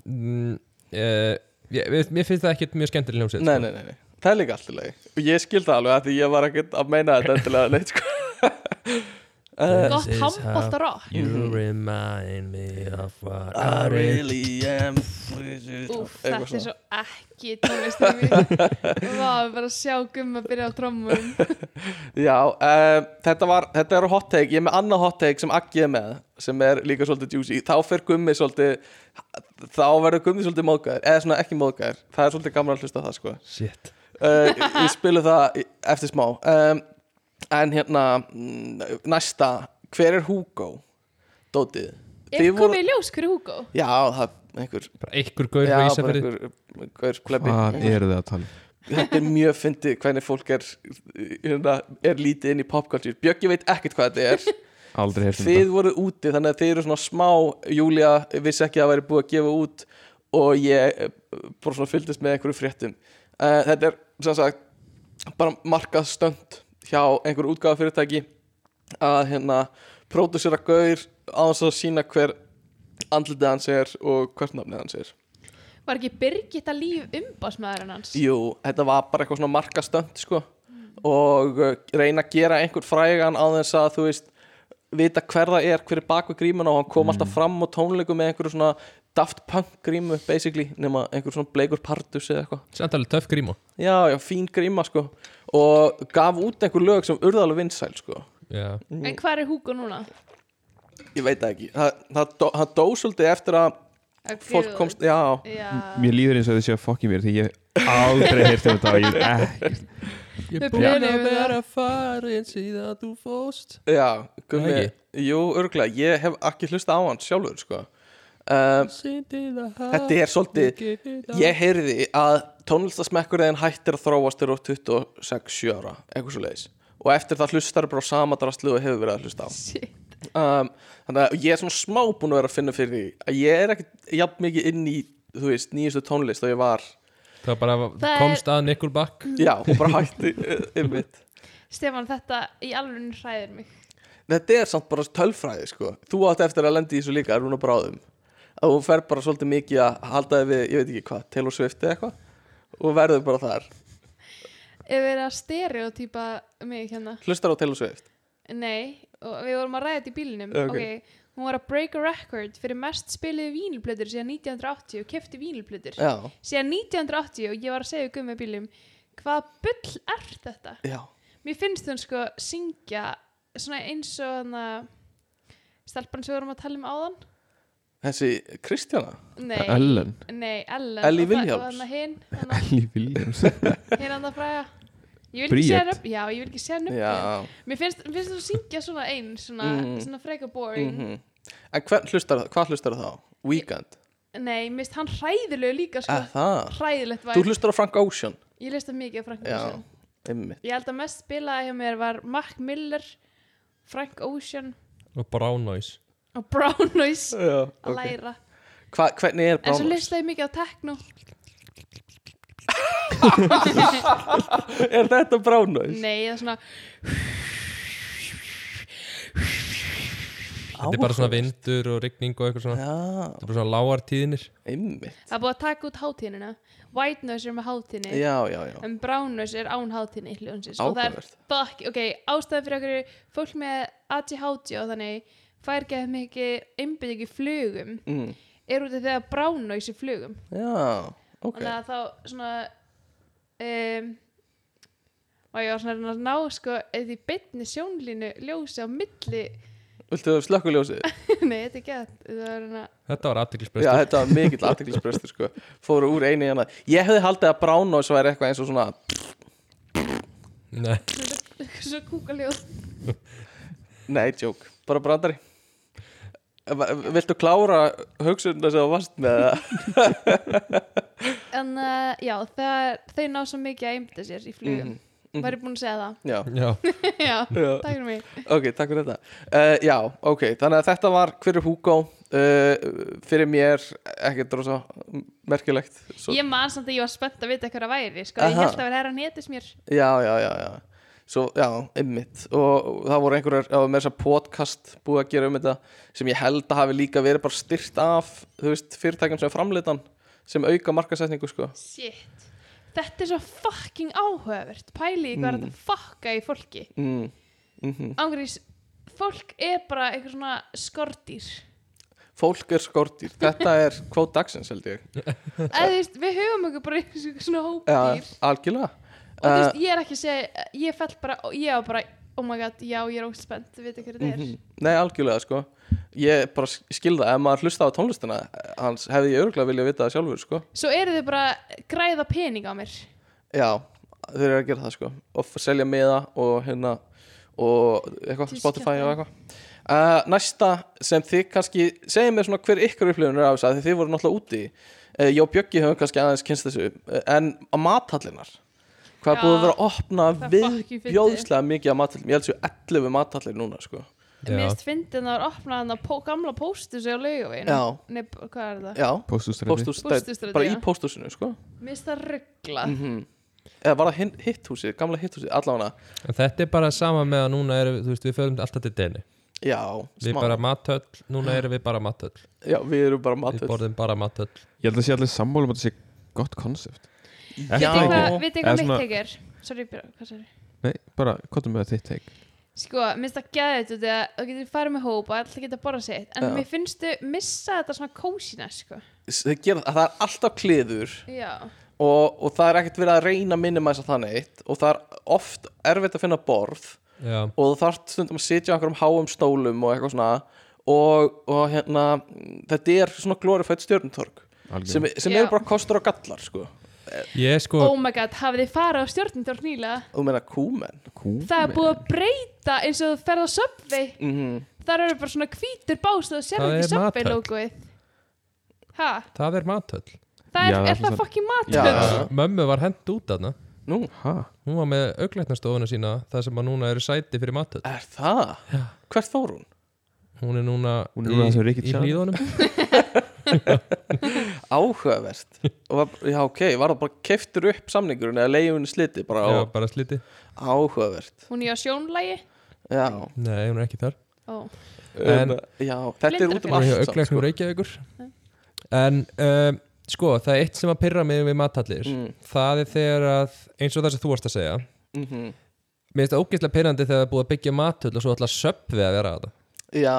B: mm, uh, ég, við- Mér finnst það ekkert mjög skemmtileg hljómsveit sko.
C: Nei, nei, nei, nei. Það er líka allt í lagi. Og ég skil það alveg að því ég var ekkert að meina þetta endilega neitt, sko.
A: Gott handbólta rock.
B: You remind me of what
C: I Mhm. Ah, really am Úf,
A: Úf, þetta er svo ekki tónlistum mín. Vá, við bara að sjá gumma byrja á trommum.
C: Já, uh, þetta, var, þetta er hot take Ég er með annað hot take sem Aggi er með sem er líka svolítið juicy Þá fer gummi svolítið þá verður gummi svolítið móðgæður eða svona ekki móðgæður Það er svolítið gaman að hlusta á það sko
B: Shit
C: uh, Ég spilu það í- eftir smá um, En hérna mm, næsta Hver er Hugo? Dótið
A: Er
C: Þið voru-
A: komið í ljós hverju Hugo?
C: Já, það er einhver
B: Bara einhver gaur frá
C: Já,
B: Ah.
C: bara
B: Ísafjörði
C: einhver, einhver plebbi
D: Hvað eru þið að tala? um?
C: þetta er mjög fyndið hvernig fólk er, hérna, er lítið inn í popkultúr Bjöggi veit ekkert hvað þetta er
D: Aldrei heyrt um
C: þið voru úti þannig að þið eru svona smá Júlia vissi ekki að það væri búið að gefa út og ég eh, bara svona fylgdist með einhverju fréttum uh, þetta er sem sagt bara markað stönd hjá einhverju útgáðafyrirtæki að hérna pródusera gaur á þess að sína hver andlitið hans er og hvert nafnið hans er
A: Var ekki Birgitta líf umbásmaðurinn hans?
C: Jú, þetta var bara eitthvað svona markastönd sko og uh, reyna að gera einhvern frægan á þess að þú veist vita hver það er, hver er bak við grímuna og hann kom alltaf fram á tónleikum með einhverju svona Daft Punk grímu basically nema einhver svona bleikur partus eða eitthvað
B: Samt alveg töff gríma
C: Já, já, fín gríma sko og gaf út einhver lög sem urðalega vinsæl sko
B: Já
A: En hvað er Hugo núna?
C: Ég veit það ekki, það, það, dó- það dó svolítið eftir að fólk komst, já
A: Já,
D: Mér líður eins og þið séu að fokki mér því ég hef aldrei heyrt um þetta og ég er ekkert
B: Ég
A: Við búin að vera
B: farin síðan þú fóst
C: Já, gummi,
B: ekki?
C: jú, örgulega ég hef ekki hlusta á hann sjálfur sko um, Þetta er svolítið Ég heyrði að tónlistasmekkurðin hættir að þróast þegar þú ert 26 ára eitthvað svo leiðis og eftir það hlustar bara á sama drastlu og hefur verið að hlusta á
A: shit.
C: um, Þannig að ég er svona smá búin að vera að finna fyrir því að ég er ekkert jafn mikið inn í þú veist, nýjastu tónlist og ég var
B: Það bara
A: Það er-
B: komst að Nickelback
C: Já, og bara hætti uh, ymmit
A: Stefán, þetta í alveg hræðir mig.
C: Þetta er samt bara tölfræði sko Þú átt eftir að lendi í þessu líka, er hún að bráðum að hún fer bara svolítið mikið að halda þig við, ég veit ekki hvað, Taylor Swift eða eitthvað og verður bara þar,
A: Ef við erum að stereotýpa mig hérna.
C: hlustar á Taylor Swift
A: Nei, og við vorum að ræða þetta í bílinum.
C: Ok.
A: Ok. Hún var að break a record fyrir mest spiliði vínilblöður síðan 1980 og kefti vínilblöður.
C: Já,
A: Síðan 1980 og ég var að segja gummi bílum, hvað bull er þetta?
C: já
A: Mér finnst hún sko syngja svona eins og hana stelpan sem við vorum að tala um áðan.
C: Þessi Kristjana?
A: Nei,
D: Ellen
A: nei, Ellen.
C: Ellie
A: og það-
C: Williams.
A: Og hana hinn, hana
D: Ellie Williams
A: hinn hana fræða. Ég vil ekki segja
D: Bríet.
A: nöfn, já, ég vil ekki segja nöfn.
C: Já
A: Mér finnst, mér finnst þú syngja svona eins, svona,
C: Mm.
A: svona freka boring.
C: mm En hvern hlustar, hvað hlustar það á? Weekend?
A: Nei, mér finnst hann hræðilegu líka, sko.
C: Eh, Mm-hmm. það
A: Hræðilegt væri.
C: Þú hlustar á Frank Ocean?
A: Ég leist það mikið af Frank
C: Já.
A: Ocean.
C: Einmitt
A: Ég held að mest spilaði hjá mér var Mac Miller, Frank Ocean
B: og Brown Noise
A: og Brown Noise
C: Já,
A: að læra.
C: Hva, Hvernig er
A: En svo
C: Brown Eyes?
A: leist það mikið á techno.
C: Er þetta Brown Eyes?
A: Nei, það er svona
B: Þetta er bara svona vindur og rigning og eitthvað svona
C: Já,
B: Þetta er bara svona lágar tíðinir
C: einmitt
A: Það er búið að taka út hátíðinina White noise er með hátíðinni
C: Já, já, já
A: en brown noise er án hátíðinni hljónsins og það er
C: Áhugavert.
A: fuck, ok, ástæðan fyrir okkur fólk með ADHD og þannig fær ekki að mikið einbyrð ekki flugum
C: mm.
A: er út af því að brown noise er flugum
C: Já, ok
A: þannig að þá svona um, og ég var svona að reyna að ná sko eða í beinni sjónlínu ljósi á milli
C: Viltu þau slökkuljósið?
A: nei, þetta er gett það var reyna
B: Þetta var aðteglisbreyst
C: Já, þetta var mikill aðteglisbrestur sko Fóru úr einu í hana Ég hefði haldið að brown noise væri eitthvað eins og svona
B: Nei,
A: svo kúkaljóð
C: Nei, joke, bara brandari Va- Viltu klára hugsunna sem þú varst með það?
A: en uh, já, það, þau ná svo mikið að einbyrða sér í flugum mm.
C: mhm.
A: Var ég búin að segja það?
C: Já,
B: já,
A: já,
C: já,
A: takk fyrir mig
C: ok, takk fyrir þetta uh, Já, ok, þannig að þetta var fyrir Hugo uh, Fyrir mér, ekkert rosa merkilegt Svo,
A: Ég man samt að ég var spennt að vita hvað það væri sko. Ég
C: Aha.
A: held að vera herra netis mér
C: Já, já, já, já Svo, já, einmitt Og og það voru einhverjar, það var með þess að podcast búið að gera um þetta Sem ég held að hafi líka verið bara styrt af Þú veist, fyrirtækjum sem framleitan Sem auka markasetningu, sko
A: Shit Þetta er svo fucking áhugavert Pæli í hvað er þetta fucka í fólki
C: mm. Mm
A: Ángrís, fólk er bara eitthvað svona skordýr
C: Fólk er skortýr, þetta er kvót dagsins held ég
A: Eða þú veist, við höfum okkur bara eins og svona
C: Já,
A: hópdýr
C: algjörlega
A: Og þú
C: uh,
A: veist, ég er ekki að segja Ég fell bara, ég var bara Oh my god, já, ég er óspennt spennt, þú veit ekki hvað þetta er
C: mhm. Nei, algjörlega sko Ég bara skilða, ef maður hlusta á tónlistina hans hefði ég örgulega viljað vita það sjálfur sko
A: Svo eru þau bara að græða pening á mér
C: Já, þeir eru að gera það sko og f- selja miða og hérna og eitthvað,
A: Tískjafta.
C: Spotify og eitthvað uh, Næsta sem þið kannski segið mér svona hver ykkar upplifunir af þess að þið voru náttúrulega úti uh, Jó Bjöggi höfum kannski aðeins kynst þessu uh, en á mathallinar hvað
A: Já,
C: er búið að vera að
A: það
C: opna
A: er fucking fyndið.
C: viðbjóðslega mikið af mathallinum ég held sér 11 mathallir núna sko
B: já.
A: Mér finnst fyndin að það var opnað hann að pó, gamla póstus á laugaveginu
C: Já.
A: Nei, b- hvað er það?
C: Já,
D: Póstústræti
C: pósthús,
A: Pósthússtræti,
C: bara
A: já.
C: í pósthúsinu sko
A: Mér finnst það ruggla
C: Mhm. eða var það hin- hitt húsið, gamla hitt húsið allavega,
B: En þetta er bara sama með að núna erum við, þú veist, við förum alltaf til deni
C: já,
B: Við bara matöll, núna erum við bara matöll
C: já, við erum bara
B: Við
C: mathallir
B: borðum bara matöll
D: Ég held að sé allir sammálum að þetta sé gott konsept
A: Vitið
C: Já.
A: þið hvað-
D: ekki?
A: vitið
D: Eða
A: hvað mitt
D: svona-
A: tekið er? Sorry, byrja, hvað sorry?
D: Nei, bara, hvað er með þitt teik?
A: Sko, minnst það gæðið út að þú getur farið með hóp og allir geta borðað sitt en
C: Já.
A: mér finnst þau missa þetta svona kósina, sko.
C: Þau gera það, það er alltaf kliður
A: Já.
C: og, og það er ekkert verið að reyna að minnum að það neitt og það er oft erfitt að finna borð
B: Já,
C: og það þarf stundum að sitja á einhverjum háum stólum og eitthvað svona og, og hérna, mm, þetta er svona glorifætt stjörntorg sem, sem
A: Já.
C: eru bara kostur og gallar sko.
B: ég sko
A: Oh my god, hafið þið farið á stjórnindor nýlega?
C: og þú meina kúmen
A: Það er búið að breyta eins og þú ferð á Subway.
C: mm
A: Þar eru bara svona hvítur bás og þú sér
B: Það
A: ekki
B: er
A: Subway
B: mathöll.
A: logoið. Ha?
B: Það er matöll
A: Það er,
D: Já, það
A: er
D: er
A: það
D: svona-
A: fokkin
C: Já,
A: matur?
C: já.
B: Mömmu var hend út aðna
C: Nú,
D: Ha?
B: Hún var með auglæknastofuna sína Það sem að núna eru sæti fyrir matöll
C: er það? Hvert fór hún?
B: Hún er núna
D: Hún er núna þar sem
B: í,
D: Ricky
B: í
D: Chan.
B: hlýðunum
C: Áhugavert og var, já, ok, var það bara keftur upp samningurinn eða leiðunni sliti bara
B: Já,
C: á,
B: bara sliti
C: áhugavert
A: Hún er á sjónlægi?
C: já,
B: Nei, hún er ekki þar
A: Ó,
B: En-
C: já, þetta er út
B: Hún
C: um
B: er hjá
C: allt samt,
D: sko.
B: auglæknum Reykjavíkur En um, sko, það er eitt sem að pyrra mig við matallir
C: Mm.
B: Það er þegar að, eins og það sem þú varst að segja
C: Mhm.
B: Mér finnst það ógeðslega pyrrandi þegar það er búið að byggja matöll og svo alltaf söpfið að vera á þetta
C: Já,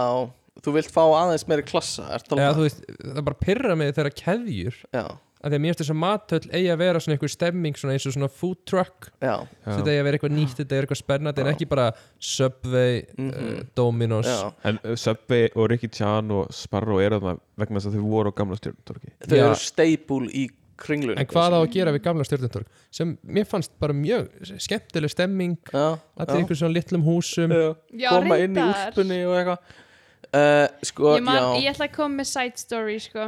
C: þú vilt fá aðeins meiri klassa Ertu
B: Eða
C: alveg
B: þú veist, það bara pyrra mig þegar keðjur
C: Já,
B: að því að mér finnst þess að matöll eigi að vera svona einhver stemming svona eins og svona food truck
C: já,
D: Já.
B: þetta eigi að vera eitthvað nýtt, þetta er eitthvað spennandi en ekki bara Subway, uh, Dominos
C: Mhm. já
D: En uh, Subway og Ricky Chan og Sparrow eru þarna vegna þess að þau voru á gamla stjórntorki
C: Þau
B: Já.
C: eru staple í kringlun
B: En hvað á að gera við gamla stjórnumtorg sem mér fannst bara mjög skemmtileg stemming
C: sko. Já,
B: allir
C: já,
B: einhver svona litlum húsum
C: já.
A: Já,
C: Koma inn í
A: reyndar.
C: úlpunni og eitthvað uh, Sko,
A: Ég, man,
C: já Mm. Mhm,
A: ég ætla að koma með side story sko.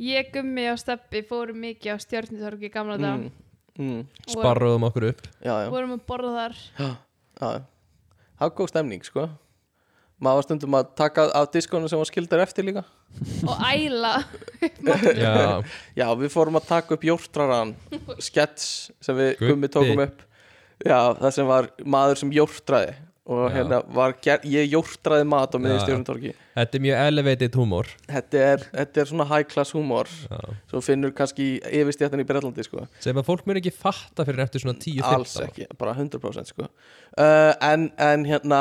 A: Ég, Gummi og Steppi fórum mikið á stjörnitorgi í gamla dag
C: mm, mm,
A: og
B: sparruðum okkur upp
C: Já, já,
A: vorum að borða þar
C: já Það er góð stemning, sko Maður var stundum að taka af diskonu sem var skildar eftir líka
A: og æla
B: Já,
C: Já, við fórum að taka upp jórtraran skets sem við
B: Gubbi.
C: gummi tókum upp Já, það sem var maður sem jórtraði og
B: Já.
C: hérna var ger, ég jórtraði mat á miðið
B: Já, já.
C: stjórnumtorki
B: Þetta er mjög elevated humor
C: þetta er, þetta er svona high class humor svo finnur kannski yfirstjættan í Bretlandi sko.
B: sem að fólk mér ekki fatta fyrir eftir svona 10-15
C: alls
B: ár.
C: ekki, bara 100% sko. uh, en, en hérna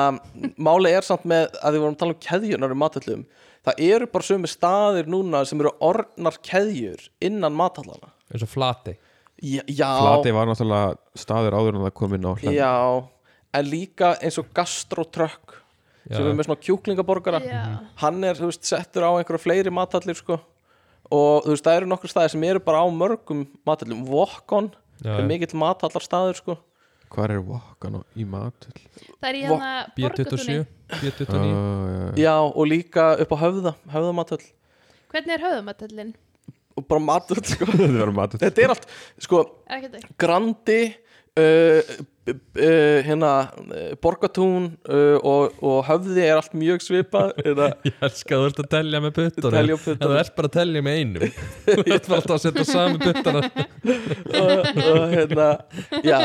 C: máli er samt með að við vorum að tala um keðjunar í matallum, það eru bara sömu staðir núna sem eru orðnar keðjur innan matallana
B: eins og flati
C: já, já,
D: Flati var náttúrulega staður áður en það kom inn á hlend
C: já en líka eins og gastrotrökk sem
B: Já.
C: er með svona kjúklingaborgara
A: Já.
C: hann er, þú veist, settur á einhverja fleiri matallir sko og þú veist, það eru nokkur staðir sem eru bara á mörgum matallum, Vokon
B: Já,
C: er
B: já.
C: mikill matallar staður sko
D: Hvað er Wakan og í matul?
A: Það er í hérna borgatunni
B: B27, B29
D: Uh,
C: já, og líka upp á höfða, höfðamatall
A: Hvernig er höfðumatallin?
C: og bara matur sko.
D: þetta var matul
C: þetta er allt, sko,
A: Er ekki þetta?
C: Grandi uh, b- b- uh, hérna uh, Borgatún uh, og, og höfði er allt mjög svipað hérna,
B: Ég elska að þú ert að telja með
C: Telja
B: puttunum
C: á
B: En
C: puttunum.
B: þú ert bara að telja með einum Þú ert bara alltaf að setja sami puttana
C: og, og hérna já,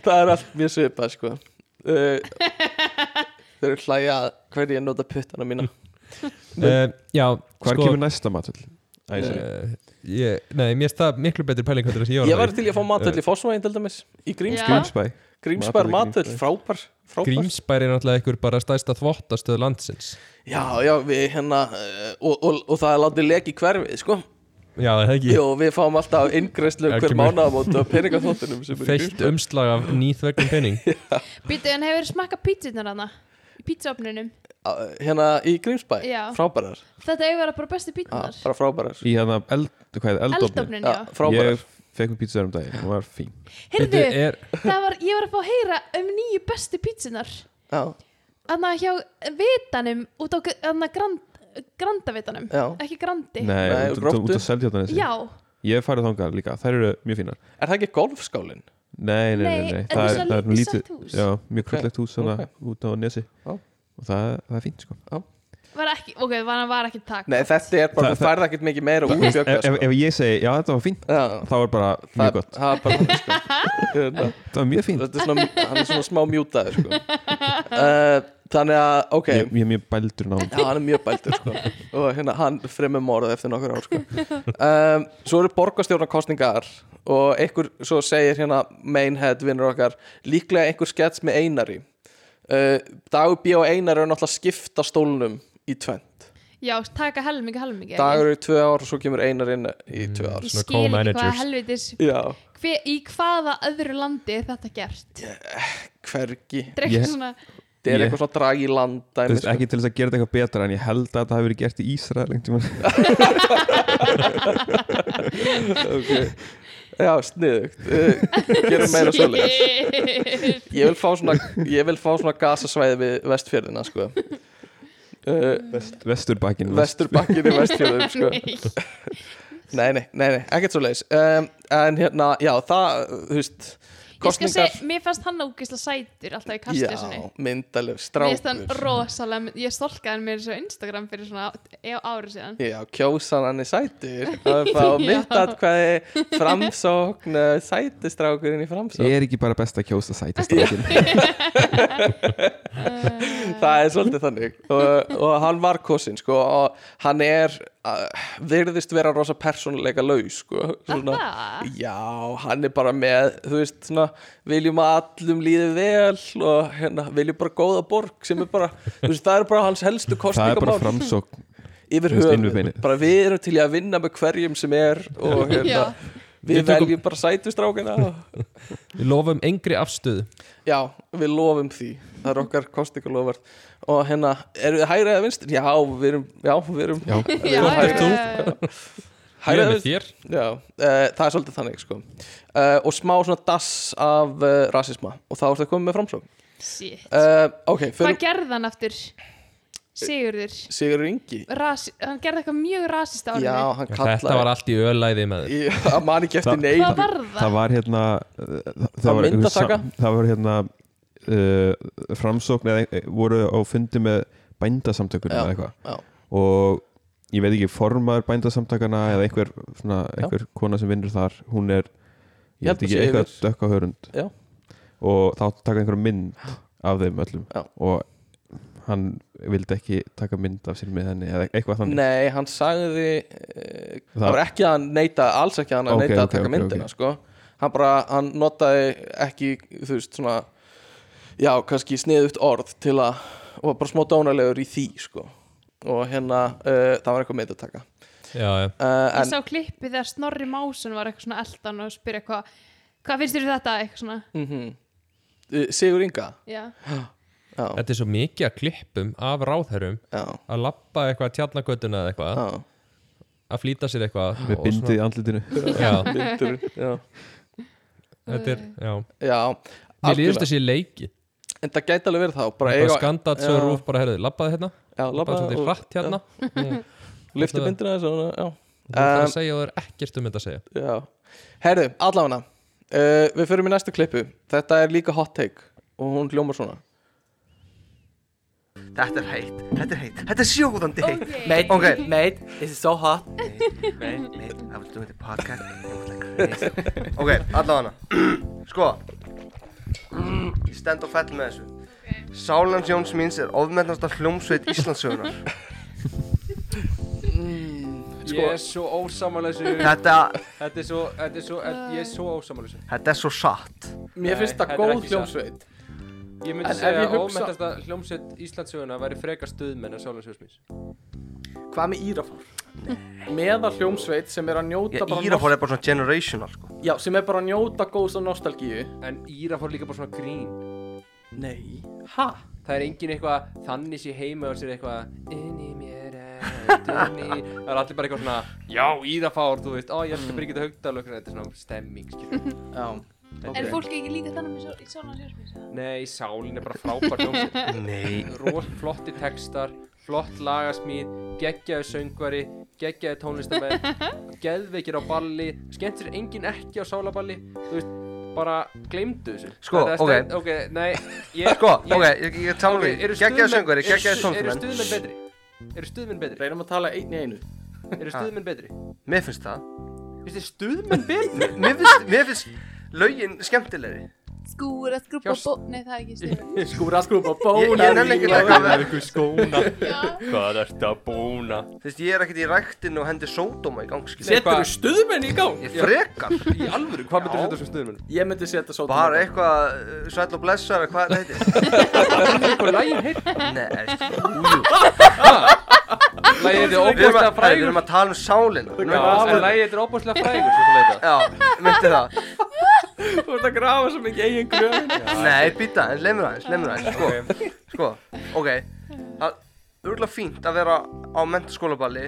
C: það er allt mjög svipað sko uh, þau eru hlæja að hverju ég nota puttana mína
B: uh, Já,
D: Hvar kemur næsta matul? Sko- Æ, sorry.
B: uh, ég, Nei, mér finnst það miklu betri pæling hvernig þess að ég var
C: ég
B: að
C: var til í að fá matöll í Fossvæðin til dæmis í Gríms,
A: Já.
D: Grímsbæ
C: Grímsbær
D: Matöll í
C: matöll, frábær, frábær
B: Grímsbær er náttúrulega einhver bara stæsta þvottastöð landsins
C: já, já, við hérna uh, og, og, og það er látið leki hverfið sko
B: Já, það er ekki
C: Jó, við fáum alltaf inngreyslu
B: Já,
C: hver
B: kemur-
C: mánaðamót og peningaþóttunum sem er í
B: Feitt um- umslag af nýþvegnum penning
A: Býtu, en hefur smakkað pítsunar hana? Pítsuopnunum?
C: Gríms- hérna í Grímsbæ
A: Já.
C: frábærar,
A: Þetta hefur bara bestu
C: Já,
A: pítsunar.
C: bara frábærar
D: Í hérna eld, hvað er eldofni?
A: Eldofnin, já.
C: frábærar
D: Ég fekk mér pítsu þar um daginn Hún var fín
A: Heyrðu,
B: er,
A: það var, ég var að fá að heyra um nýju bestu pítsunar.
C: já,
A: Anna hjá vitanum, út á anna grand, grandavitanum.
C: já.
A: Ekki grandi.
D: Nei,
C: Nei,
D: út, út,
C: gróttu.
D: út að selja þannig
A: Já,
D: Ég hef farið þangað líka, þær eru mjög fínar
C: er það ekki golfskálin?
D: Nei, nei, nei,
A: Nei,
D: nei.
A: en þú sagði
D: nú
A: lítið sætt hús.
D: Já, mjög krullegt hús svona
C: ok.
D: út á nesi
C: Já.
D: Og það, það er fínt sko
A: var ekki, ok, var, var ekki takk.
C: Nei, þetta er bara,
D: Það-
C: þú færð ekkert mikið meira úr
D: ef,
C: bjöggar
D: ef,
C: sko.
D: ef ég segi, já þetta var fínt
C: Já,
D: Þá er bara mjög
C: það
D: gott
C: það er bara sko. Hérna,
D: Það var mjög fínt
C: Þetta er svona, hann er svona smá mjútaður sko. uh, Þannig að, ok
D: Ég, ég er mjög bældur ná
C: Já, hann er mjög bæltur sko. og hérna, hann fremur morð eftir nokkur ár sko. um, Svo eru borgarstjórnarkostningar og einhver, svo segir hérna Mainhead vinnur okkar líklega einhver skets með Einari uh, Dagur B og Einar eru náttúrulega að skipta stólnum í tvend
A: Já, taka helmingi, helmingi.
C: Dagur er í tvö ár og svo kemur Einar inn í tvö ár
A: Ég
B: Svona
A: skil ekki
B: co-managers.
A: hvað helvitis,
D: Mm.
C: Já,
A: hver, í hvaða öðru landi er þetta gert?
C: hvergi
A: Þetta er ekki
D: Ég-
A: svona,
C: Þetta er
D: Ég-
C: eitthvað svona drag í sko. landa
D: Þú veist, ekki til þess að gera þetta eitthvað betra en ég held að það hafi verið gert í Ísra lengt tíma
C: Já, sniðugt uh, Gerum meira svoleiðis
A: Shit.
C: ég vil fá svona ég vil fá svona gasasvæði við vestfjörðina sko uh,
D: Vest, Vesturbakkin
C: vesturbakkinn í vestfjörðum sko nei, nei, nei, nei, ekkert svo leis um, en hérna, já, það þú veist,
A: Ég skal
C: kostningar
A: segja, mér fannst hann ógisla sætur alltaf í
C: já,
A: kastlesunni.
C: myndaleg
A: Mér finnst hann
C: strákur
A: rosalega, mynd- ég stolkaði hann mér svo Instagram fyrir svona á- ári síðan.
C: já, kjósan hann er sætur það er bara
A: Já.
C: mitt að hvað er framsókn eh, sætistrákurinn í framsókn
D: Ég er ekki bara best að kjósa sætastrákin
C: það er svolítið þannig og, og hann var kosin sko og hann er, uh, virðist vera rosa persónuleika laus sko svona,
A: Það?
C: Já, hann er bara með, þú veist, svona, viljum að allum líði vel og hérna, viljum bara góða borg sem er bara, þú veist, það er bara hans helstu
D: Það er bara
C: kostningamál
D: framsókn
C: yfir
D: þú veist, inn við
C: höfuð,
D: beinið.
C: bara við erum til í að vinna með hverjum sem er og hérna,
A: Já.
B: Við
C: við
B: tökum-
C: veljum bara sætustrákina og,
B: Við lofum engri afstöðu
C: já, við lofum því, það er okkar kostningalofar og hérna, eru þið hægri eða vinstri? Já, við erum, já, við erum
D: Já.
C: við
A: Já, uh, já,
C: erum hægri-
A: já, já.
B: Ég er
C: hægri eða
B: með
C: vinstri
B: þér
C: Já, uh, það er svolítið þannig sko. uh, og smá svona dass af uh, rasisma og þá ertu að koma með framsókn
A: Shit.
C: uh, ok,
A: Hvað
C: fyrir
A: gerði hann aftur? Sigurður.
C: Sigur Ingi
A: Ras, hann gerði eitthvað mjög rasist á
C: já,
A: orðinu.
C: hann
B: Þetta var
C: kallaði
B: allt í ölæði með þér
C: Ég- að man ekki eftir
D: Það-
C: neyn
A: Hvað var
D: Það
A: það?
D: var hérna uh,
C: Var
D: var einhver
C: myndataka?
D: sam- Það var hérna uh, Framsókn eða eh, voru á fundi með bændasamtökunum
C: Já,
D: eða eitthvað
C: já.
D: Og ég veit ekki formaður bændasamtakana eða einhver, svona, einhver kona sem vinnur þar Hún er,
C: Ég
D: ég
C: held að
D: veit ekki,
C: sé
D: eitthvað
C: yfir.
D: dökka hörund
C: Já.
D: Og þá áttu að taka einhverja mynd af þeim öllum
C: Já.
D: og hann vildi ekki taka mynd af sér með henni eða eitthvað þannig
C: Nei, hann sagði uh, það
D: Það-
C: var ekki að hann neita, alls ekki að hann
D: Ok,
C: okay, neita
D: ok,
C: að taka
D: ok,
C: myndina
D: ok.
C: Sko. hann bara, hann notaði ekki, þú veist, svona já, kannski sniðugt orð til að, og var bara smá dónalegur í því sko. og hérna uh, það var eitthvað myndataka
B: já, já
C: uh,
A: Ég
C: en,
A: sá klippið þegar Snorri Másson var eitthvað svona eldan og spyrja hvað hvað finnst þér um þetta eitthvað svona
C: mm Eh, Sigur Inga
A: já.
C: já,
B: Þetta er svo mikið að klippum af ráðherrum
C: já,
B: að lappa eitthvað tjarnagötuna eða eitthvað
C: já,
B: að flýta sér eitthvað
D: með
B: og
D: bindið í andlitinu
B: svona- já,
C: myndurinn, já,
B: þetta er, já
C: já
B: Mér líðist
C: algjörlega.
B: þessi leiki
C: en það gæti alveg verið þá bara
B: bara
C: eiga,
B: skandat svo
C: já.
B: rúf bara herðu, lappaði hérna
C: já,
B: bara
C: labbaðu
B: svolítið
C: og-
B: hratt hérna
C: já, lyfti
B: Alla-
C: myndina þessu og- já
B: þú þarf
C: Um,
B: að segja og það er ekkert um þetta að segja
C: Já, herðu, allavega uh, Við förum í næstu klippu Þetta er líka hot take og hún hljómar svona
H: Þetta er heitt, þetta er heitt, þetta er sjóðandi heitt.
A: Ok.
H: Mate, okay. mate, this is so hot. Mate, mate, mate, I was doing the podcast and it was like crazy. Ok, allavega Sko, mm, ég stend og fell með þessu. Sálans Jóns míns er ofmennast af hljómsveit Íslandsögunar.
C: Sko,
G: Ég er svo ósamalessu
H: Þetta,
G: Þetta er svo, þetta er svo, ég er svo ósamalessu
H: þetta er svo satt.
C: Mér
G: Nei,
C: finnst
G: þetta
C: það
G: er
C: góð
G: ekki satt.
C: hljómsveit
G: Ég
C: En
G: myndi
C: ef
G: segja
C: ég
G: að
C: hugsa-
G: ómættasta hljómsveit Íslandsöguna væri frekar stuðmenn en Sálansjóðsmís
C: Hvað með Írafár? Meða hljómsveit sem er að njóta
H: Ég
C: bara
H: íra fór er bara svona generational, sko.
C: Já, sem er bara að njóta góðs og nostalgíu
G: En Íra fór líka bara svona grín
C: Nei Ha?
G: Það er engin eitthvað, þannig sé heima og sér eitthvað Inni mér eldunni Það er allir bara eitthvað svona Já, Íra fór, þú veist, ó ég elskar Birgitta Haugdal og eitthvað, Þetta er svona stemming, skilur
C: Já
A: Er fólk ekki lítið þannig með svona sjónsmís?
G: Nei, Sálin er bara frábær hljómsveit
H: Nei.
G: Rós, flotti textar, flott lagasmíð, geggjaði söngvari, geggjaði tónlistamenn, geðveikir á balli, skemmt sér enginn ekki á sálaballi, þú veist, bara gleymdu þessu.
H: Sko,
G: Þetta er
H: ok.
G: stend- Ok, nei, ég...
H: Sko, ok, ég, ég tala um því.
G: eru
H: Gekkjaði
G: stuðmenn-
H: söngveri,
G: eru
H: gekkjaði
G: stu- Eru
H: tónstumenn.
G: stuðmenn betri? Eru stuðmenn betri?
C: Reynum að tala einn í einu
G: Eru stuðmenn betri?
H: Mér finnst það.
G: Þú veist, er stuðmenn betri?
H: Mér finnst, mér finnst lögin skemmtilegri.
A: Skúra, skrúpa,
G: Hjá-
A: bó... Nei, það er ekki stuð
G: sko,
C: Skúra skrúpa
H: Ég,
C: bóna
H: ég nenni ekki að taka
G: Ykkur skóna, hvað ertu að bóna?
H: Þú veist, ég er ekkert í ræktinu og hendi sódóma í gang, skilja.
C: Setur þú stuðmenn í gang?
H: Ég frekar,
G: Í alvöru, hvað myndir
H: Já.
G: þetta sem stuðmenn?
C: Ég myndi setja sótum
H: bara eitthvað uh, sæll og blessar, eða hvað þetta heitir.
G: Hvað lægir heitt?
H: Nei, újú.
G: Lægir þetta
H: Við erum,
G: óbúinlega
H: að, við
G: frægur.
H: erum að tala um sálina. Við erum að tala um-
G: Lægir þetta óbúinlega frægur, svo þú leita.
H: Já, myndi það.
C: Þú ert að grafa svo mikið eigin gröðin
H: Nei, býta, en lemur aðeins, lemur aðeins, sko, sko, ok. Það er örgulega fínt að vera á mentaskólaballi,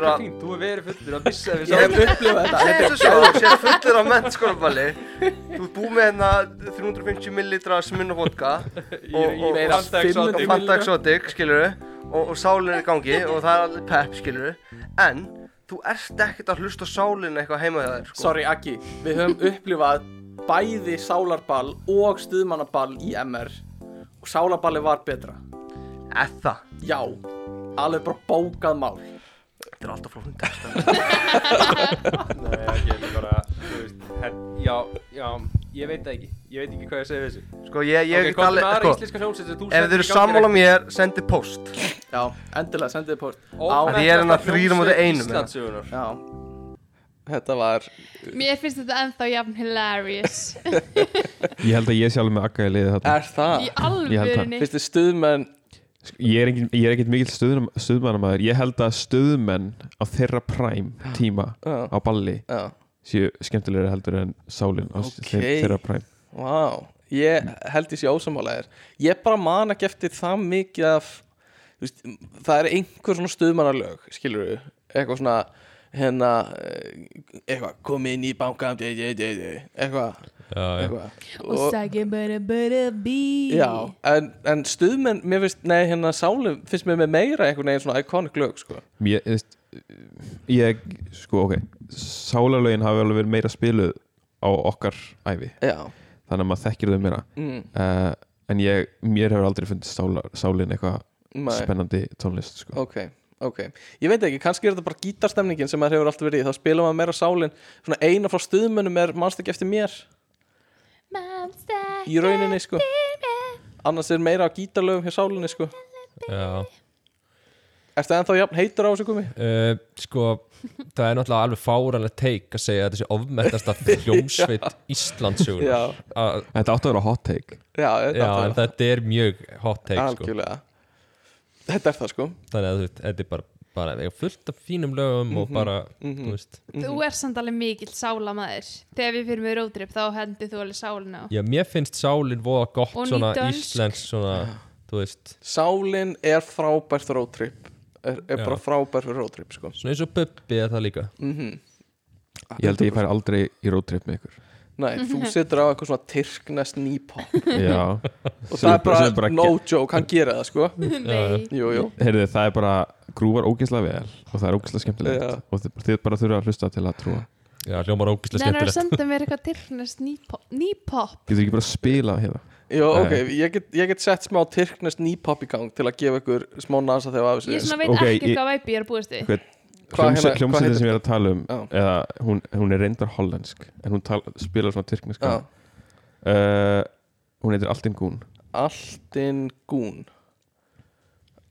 G: Þetta er
H: að...
G: fínt, þú er verið fullur að missa við
H: Ég
G: sáum
H: hef upplifað þetta. Nei, þessu sjá, þú sér fullur á mentaskólaballi, þú ert búið með hérna 350 millilitra smunna vodka og, og,
G: meira
H: og
G: Fanta Exotic.
H: og Fanta Exotic, skilur og, og sálinn er í gangi og það er allir pepp, skilur en þú ert ekkert að hlusta á sálinn eitthvað heima hjá þér, sko
C: Sorry Aki, við höfum upplifað bæði sálarball og stuðmannaball í MR og sálarballi var betra
H: Eða,
C: Já, alveg bara bókað mál
H: þetta er alltaf flóknum texta
G: Nei, ekki, þetta er bara, þú veist, her, já, já, ég veit það ekki, ég veit ekki hvað ég segi við þessu.
H: sko, ég, ég
G: ok,
H: get
G: hvað er með aðra
H: alveg, sko
G: íslenska hljómsveit sem þú
H: ef þið eru sammála mér, sendi post
C: Já, endilega sendið þið post
H: Af því ég er hérna þrír á móti einum, eða?
G: Íslandsögunar.
C: Já Þetta var
A: Mér finnst þetta ennþá jafn hilarious
D: ég held að ég sé alveg með akka í liði þetta
C: Er það?
A: Í
D: Ég held það.
A: alvörinni
C: Fyrst þið stuðmenn
D: ég er, engin, ég er ekkit mikill stuðnum, stuðmannamæður ég held að stuðmenn á þeirra præm tíma
C: Já.
D: á balli
C: Já,
D: séu skemmtilegri heldur en sálinn á okay.
C: Ókei.
D: þeirra præm
C: vá Ég held ég sé ósamálaðir Ég bara man ekki eftir það mikið af þú veist, Það er einhver svona stuðmannalög Skilur við Eitthvað svona hérna eh, eitthvað, kom inn í bankan dei, dei, dei, dei, eitthvað,
B: já, já.
C: eitthvað.
A: Og sagði bara bara bí
C: Já, en, en stuðmenn, mér finnst, nei, hérna sáli finnst mér með meira einhvern veginn svona iconic lög, sko.
D: ég, þú veist, ég sko ok sálarlögin hafi alveg verið meira spiluð á okkar æfi
C: Já,
D: þannig að maður þekkir þau meira
C: mm,
D: uh, en ég, mér hefur aldrei fundið sálar, sálin eitthvað
C: nei,
D: spennandi tónlist sko.
C: ok, ok. Ég veit ekki, kannski er þetta bara gítarstemningin sem maður hefur alltaf verið í, þá spila maður meira sálin, svona eina frá stuðmönnum er mannst ekki eftir mér,
A: Manstu
C: í rauninni, sko. annars er meira á gítarlögum hjá sálinni sko
B: Já
C: Ertu ennþá jafn heitur á þessu gumi?
B: Uh, sko, það er náttúrulega alveg fáranlega teik að segja að þessi ofmettasta hljómsveit Íslandsugur
C: Já,
D: Þetta átti að vera hot take
C: já, þetta
B: Já, en
C: er það
B: þetta er mjög hot take sko.
C: Algjörlega Þetta er það sko
B: Þannig að þú veist, þetta er bara, bara eiga fullt af fínum lögum
C: Mhm,
B: og bara, þú veist
A: Þú er samt alveg mikill sálamæður Þegar við fyrir með rótrip þá hendur þú alveg sálinu á
B: Já, mér finnst sálinn voða gott
A: Og
B: svona
A: nýdönsk.
B: íslensk svona, þú veist
C: Sálin er frábært roadtrip Er, er
B: Já.
C: bara frábært roadtrip sko
B: Svona eins og Bubbi er það líka
D: Ég held að ég fær aldrei í roadtrip með ykkur
C: Nei, þú setur á eitthvað svona tyrknest nýpop
D: Já
C: Og
D: Sem
C: það er bara,
D: sem bara
C: no joke, hann gera það sko
A: Nei,
C: Jú, jú
D: Heyrðu, það er bara grúvar ógeðslega vel og það er ógeðslega skemmtilegt
C: Já.
D: og þið, þið bara þurfa að hlusta til að trúa
B: Já, hljómar ógislega
A: það er að
B: skemmtilegt
A: senda mér eitthvað tilknast nýpop
D: Getur ekki bara að spila hérna
C: Jó,
D: Nei.
C: ok, ég get, ég get sett smá tyrknest nýpop í gang til að gefa ykkur smá nasa þegar af þessu
A: Ég
C: er.
A: svona veit
D: Ok,
A: ekki
D: ég-
A: hvað væpi ég er að búast við
C: Hvað hérna- hvað heitir
D: Hljómsveitin sem ég er að tala um
C: Já.
D: eða, hún, hún er reyndar hollensk en hún tala, spilar svona tyrkneska
C: Já,
D: uh, Hún heitir Alltin Gún
C: Alltin Gún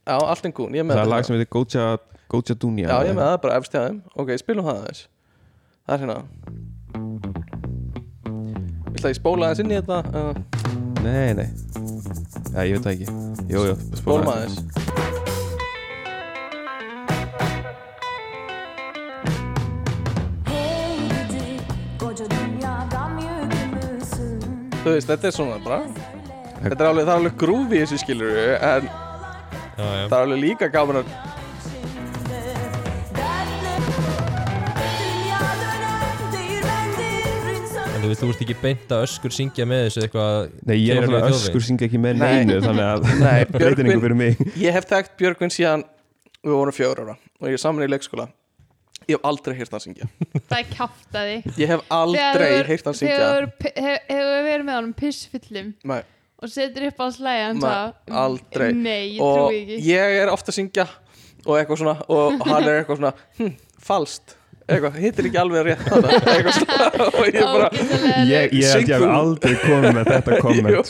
C: Já, Alltin Gún, ég er með
D: Það er lag sem heitir Goja, Goja Dunja
C: Já, ég er með það, bara efst hjá þeim Ok, spilum það aðeins Það er hérna Viltu að ég spóla aðeins inn í þetta? Uh,
D: Nei, nei Já, ég veit það ekki Jú, jú, spóla
C: spóla aðeins Þú veist, þetta er svona bara Þetta er alveg, það er alveg grúfi í þessu skilur En
B: Já, já.
C: það er alveg líka gaman að
B: En þú veist, þú veist ekki beint að öskur syngja með þessu eitthvað
D: Nei, ég
B: Gerum við
D: er náttúrulega
B: þjóðveginn?
D: öskur syngja ekki með
C: Nei.
D: neinu þannig að
C: Nei,
D: breytir
C: Björgvin-
D: einhver fyrir mig
C: Ég hef þekkt Björgvin síðan við vorum fjögur ára og ég er saman í leikskóla Ég hef aldrei heyrt hann syngja
A: Það er kjáftaði
C: Ég hef aldrei heyrt hann syngja
A: Þegar þú hefur verið með honum pissfyllum
C: Nei,
A: og setur upp á slæðan
C: Nei,
A: þá
C: aldrei.
A: Nei, ég
C: og
A: trúi ekki
C: ég er ofta að syngja og eitthvað svona og hann er eitthvað svona hm, falskt eitthvað, hittir ekki alveg rétt þarna, eitthvað svona og ég bara
D: Ég, ég held ég hef
C: Syng þú.
D: aldrei komið með þetta
C: Jú,
D: komment
C: jú,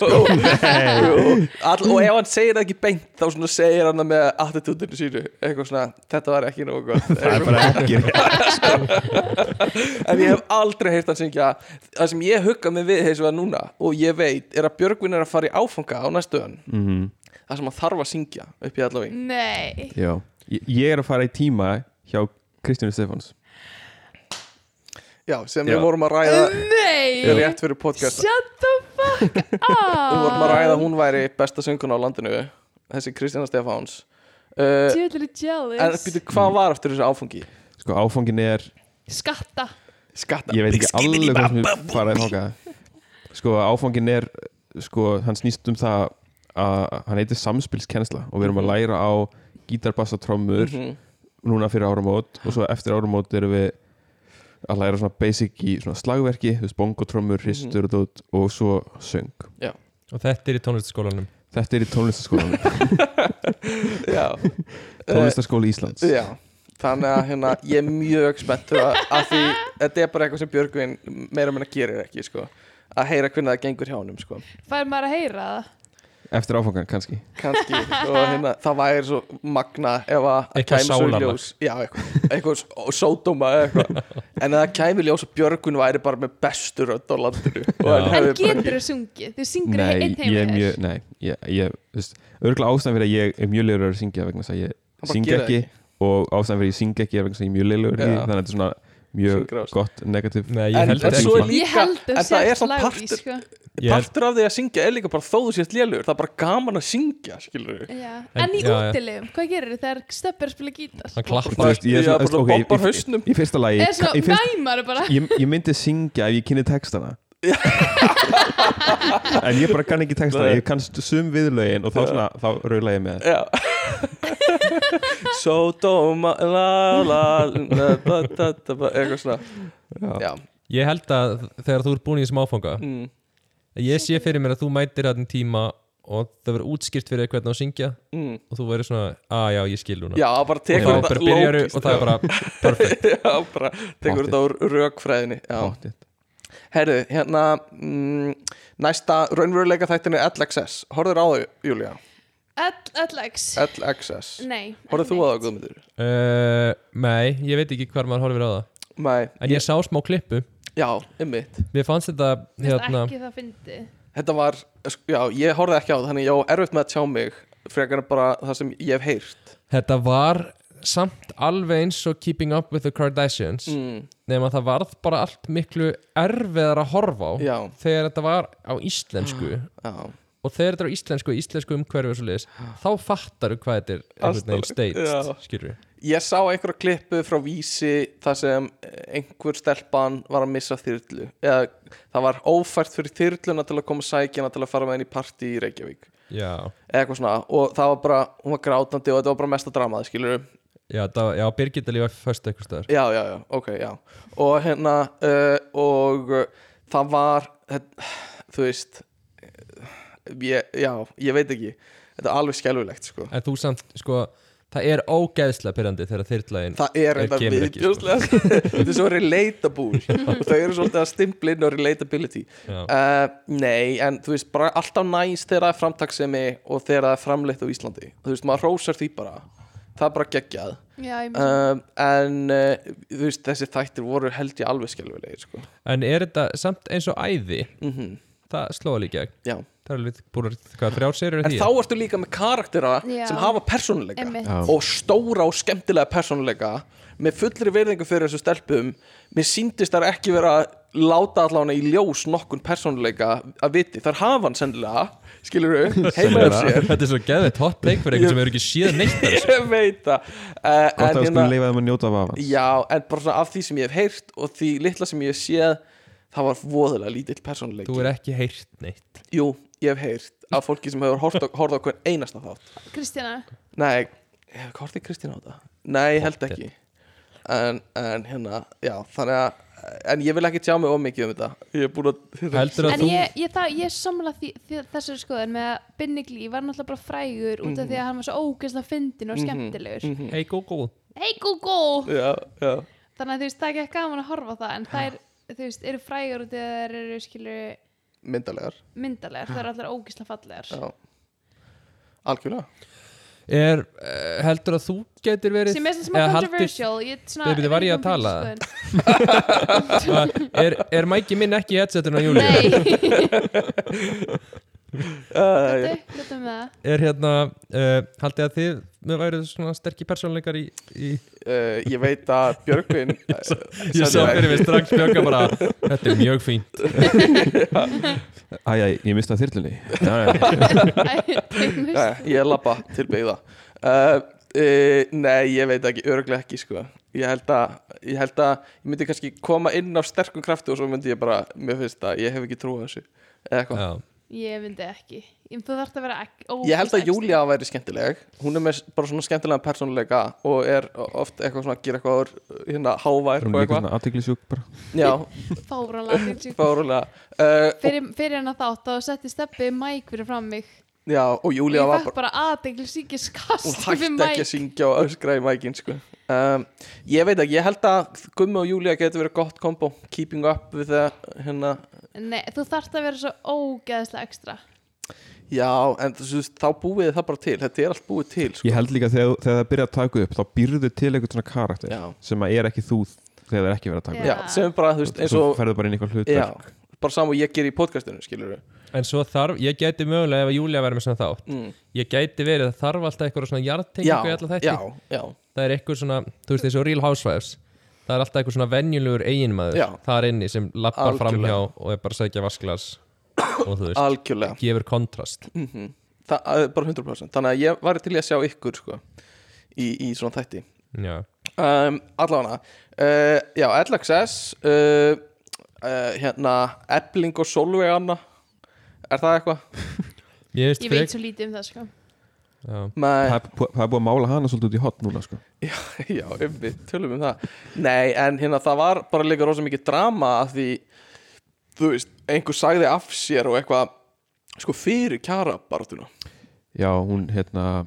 C: all, og ef hann segir það ekki beint þá svona segir hann það með attitúdinu sínu eitthvað svona, þetta var ekki nógu gott
D: Það er bara ekki rétt
C: en ég hef aldrei heyrt hann syngja það sem ég hugga mig við þessu að núna og ég veit er að Björgvin er að fara í áfanga á næstu ön það sem hann þarf að syngja upp í allaveg
A: Nei,
D: Já, ég, ég er að fara í tíma hjá Kristjánu Stefáns
C: já, sem
D: Já.
C: við vorum að ræða
A: nei
C: rétt fyrir podcast
A: Shut the fuck up
C: Við vorum að ræða að hún væri besta sönguna á landinu Þessi Kristjana Stefáns uh,
A: Tjóðlega
C: En
A: jealous
C: býtu, hvað var eftir þessu áfangi?
D: Sko áfangin er,
A: Skatta
C: Skatta
D: ég veit ekki alveg hvað sem ég faraði þáka Sko áfangin er, sko hann snýst um það að hann heitir samspilskensla og við erum að læra á gítarbassatrommur
C: Mhm.
D: núna fyrir áramót og svo eftir áramót erum við að læra svona basic í svona slagverki, þú veist bongotrommur, hristur og dót og svo söng
B: Og þetta er í tónlistaskólanum
D: Þetta er í tónlistaskólanum,
C: Já,
D: tónlistaskóli Íslands
C: já Þannig að hérna, ég er mjög spenntur að, að því þetta er bara eitthvað sem Björgvin meira meina gerir ekki, sko að heyra hvernig það gengur hjá honum, sko
A: Fær maður að heyra það?
D: Eftir áfangan kannski
C: kannski, og hérna, það væri svo magna ef að að
B: Eitthvað
C: kæmi svo í
B: sálarlag.
C: ljós já, eitthvað, eitthvað s- sódóma eða eitthvað, en að það kæmi í ljós og Björgun væri bara með bestu rödd á landinu og hann
A: En
C: hefði bara
A: getur þú sungið? Þú syngur
D: Nei,
A: einn
D: ég er
A: heim
D: mjög, nei, ég, ég, þú veist, örgulega ástæðan fyrir að ég er mjög leiður að syngja vegna þess að
C: Hann bara
D: ég syng
C: gerir
D: ekki og ástæðan fyrir að ég syng ekki er vegna þess að ég er mjög leiður í
C: Já.
D: því, þannig að þetta er svona mjög
C: Syngra ást.
D: gott negativ
B: Nei, ég
C: En-
B: held
C: en
B: þetta
C: svo
B: ekki
C: er líka-
A: Ég held
C: en
A: þú
C: það er
A: sért
C: samt
A: lagði,
C: partur-
A: sko.
B: Ég held-
C: partur af því að syngja er líka bara þó þú sést lélugur það er bara gaman að syngja skilur við
A: Já.
B: En-
A: En í
B: já, já.
A: útilegum, hvað gerir þið þegar stöppur að spila gítar?
B: Hann klappar
D: Þú veist, ég er
C: Já,
D: svona-
C: bara
D: ok,
C: bobbar
D: í- í-
C: hausnum.
D: Í fyrsta lagi,
A: Eða svona
D: í fyrsta-
A: næmar bara
D: ég, ég myndi syngja ef ég kynni textana En ég bara kann ekki textana, ég kannst sum viðlögin og þá svona, þá raula ég með
C: Já Sódóma la la la da, da, da, da, eitthvað svona Já,
B: Ég held að þegar þú ert búin í þessum áfanga
C: Mm.
B: Ég sé fyrir mér að þú mætir þarna tíma og það verður útskýrt fyrir þér hvernig á að syngja mm. og þú verður svona, að já, ég skil núna
C: já bara
B: og
C: tekur
B: þá bara byrjaru og það er bara perfect
C: Já, bara tekur
D: Pottþétt.
C: þetta úr rökfræðinni Já,
D: það
C: Herru, hérna mm, Næsta raunveruleika þættin er LXS Horður á þau, Júlía
A: LX
C: LXS
A: Nei
C: Horður þú á það, Guðmundur?
B: Uh, nei, ég veit ekki hvar maður horfir á það
C: Nei,
B: En ég sá smá klippu
C: já, ymmit
B: Mér fannst þetta
A: Hérna
B: hérna,
A: Ekki það fyndi
C: Þetta var, sk- já, ég horfði ekki á það Þannig ég á erfitt með að tjá mig Frekar en bara það sem ég hef heyrt
B: Þetta var samt alveg eins og Keeping Up with the Kardashians
C: mm,
B: nema það varð bara allt miklu erfiðar að horfa á
C: Já, Ah.
B: þegar þetta var á íslensku
C: já,
B: og þegar þetta er á íslensku, íslensku umhverfi og svo liðis þá fattar þú hvað þetta er einhvern veginn
C: Ah. já.
B: staged, skilur við
C: Ég sá einhverja klippu frá vísi þar sem einhver stelpan var að missa þyrlu eða það var ófært fyrir þyrluna til að koma sækina til að fara með henni í partí í Reykjavík
B: Já,
C: eða eitthvað svona og það var bara, hún var grátandi og þetta var bara mesta dramaði skilur
B: já, það var- já Birgitta lífa fyrst eitthvað staðar
C: já, já, já, ok, já og hérna uh, og uh, það var þetta, þú veist eh, ég, já, ég veit ekki þetta er alveg skelfilegt sko
B: En þú samt, sko, það er ógeðslega pyrrandi þegar þyrrlægin
C: það er
B: Er
C: enda
B: kemur ekki, sko.
C: viðbjóðslega þetta er svo relatable og það eru svolítið að stimpla inn á relatability
B: Já.
C: uh, nei, en þú veist bara alltaf næs þegar það er framtaksemi og þegar það er framleitt á Íslandi þú veist, maður rósar því bara það er bara geggjað
A: Já, ég myndi
C: um, en uh, þú veist, þessi þættir voru held ég alveg skelfilegir sko.
B: En er þetta samt eins og æði
C: mm
B: Mhm. það slóða líka
C: Já.
B: Það er alveg búin að hvað þrjár serur
C: en þá ertu líka með karaktera
A: Já.
C: sem hafa persónuleika
A: Einmitt.
C: og stóra og skemmtilega persónuleika með fullri verðingu fyrir þessu stelpum mér síndist þar ekki vera að láta allavega í ljós nokkun persónuleika að viti, þar hafa hann sennilega skilur við, heima af sér
B: Þetta er svo geðveitt hot take fyrir einhvern sem hefur ekki séð neitt af þessu.
C: ég veit það uh,
D: Gott að við skulum leifa þeim að njóta af afans
C: já, en bara svona af því sem ég hef heyrt og því litla sem ég hef séð það var voðalega lítill persónuleiki
B: Þú er ekki heyrt neitt
C: jú, ég hef heyrt af fólki sem hefur hort- horfð á hvern einasta þátt
A: Kristjana
C: Nei, horti Kristín á þetta? Nei, ég held ekki en, en hérna, já, þannig að En ég vil ekki tjá mig of mikið um þetta Ég er búin að
B: Heldur að
A: En
B: þú
A: ég, ég, það, ég samla því, því, þessari skoðan með að Binni Glý var náttúrulega bara frægur út af
C: Mhm.
A: því að hann var svo ógeðslega fyndin og skemmtilegur
B: Hey Google
A: Hey Google!
C: Já, já,
A: Þannig að þú veist, það er ekki gaman að horfa á það en þær, þú veist, eru frægur út af því að þær eru skilur
C: myndarlegar
A: myndalegar, þær eru allar ógeðslega fallegar
C: Já Algjörlega
B: er, uh, Heldur að þú getur verið
A: sem er svona
B: eða
A: smá
B: haldið-
A: controversial ég, svona,
B: Byrjuðu,
A: ég
B: var
A: veit
B: ég
A: ekki
B: að
A: um
B: tala?
A: mína skoðun.
B: er, er mæki minn ekki í headsetinu á júli?
A: Nei,
C: uh,
A: gætu, gætu með um það
B: Er hérna, uh, haldið að þið með værið svona sterkir persónleikar í, í
C: uh, Ég veit að Björgvin
B: Ég sá fyrir mig strax bjöka bara Þetta er mjög fínt
D: Æj, æj, ég mista þyrlunni Já, já,
A: Æ, teiknist.
C: Nei, ég labba til byggða uh, uh, Nei, ég veit ekki, örglega ekki sko. ég, held að, ég held að ég myndi kannski koma inn á sterkum krafti og svo myndi ég bara, mér finnst að ég hef ekki trúið þessu eða eitthvað
B: Já,
A: ég myndi ekki Ég- þú þarf að vera ekki
C: Ég held
A: ógeðslega
C: að Júlia væri skemmtileg Hún er með bara svona skemmtilega persónuleika og er oft eitthvað svona að gera eitthvað úr, hérna hávær og
D: hún er líka
C: eitthvað
D: svona aðteglisjúk bara
C: Já,
A: fáránlega fyndin.
C: fárulega uh, og,
A: fyrir, fyrir hennar þátt þá setti steppi mæk fyrir fram mig
C: Já, og
A: og
C: Júlia
A: ég
C: var
A: fætt
C: bara
A: bara aðdegli síkis
C: Hún
A: kast
C: hætti
A: fyrir
C: ekki
A: mæk
C: að syngja og öskra í mækin sko. um, Ég veit ekki, ég held að Gummi og Júlia getur verið gott kombo Keeping up við það hérna
A: Nei, þú þarft að vera svo ógeðslega ekstra
C: Já, en þú veist, þá búið þið það bara til Þetta er allt búið til sko.
D: Ég held líka þegar, þegar það byrja að taka upp þá byrðu til eitthvað svona karakter
C: Já.
D: sem að er ekki þú þegar það er ekki verið að taka
A: Já.
C: Já, sem er bara, þú veist,
D: upp
C: eins
D: Svo
C: og
D: ferðu bara inn í eitthvað
C: Já,
D: hlutverk
C: bara saman og ég ger í podcastinu, skilur við
B: en svo þarf, ég gæti mögulega ef að Júlia væri með svona þátt
C: mm.
B: Ég gæti verið að þarf alltaf eitthvað svona
C: Já,
B: jarðtengingu í alla þætti
C: já, já
B: það er eitthvað svona, þú veist þessu Real Housewives það er alltaf eitthvað svona venjulegur eiginmaður
C: Já.
B: þar inni sem lappar
C: Algjörlega.
B: framhjá og er bara að segja vasklas og þú veist,
C: Algjörlega
B: gefur kontrast
C: mm Það það er bara 100% Þannig að ég var til í að sjá ykkur sko, í, í svona þætti
B: já,
C: um, Allána uh, Já, LXS uh, uh, Hérna Ebling og Solveig Anna Er það eitthvað?
B: ég veist
A: Ég veit svo lítið um það sko
B: já.
D: Það
C: Nei,
D: er bú- það er búið að mála hana svolítið út í hot núna sko.
C: já, um, við tölum um það Nei, en hérna það var bara líka rosa mikið drama að því, þú veist, einhver sagði af sér og eitthvað sko fyrir kjara barátuna
D: Já, hún hérna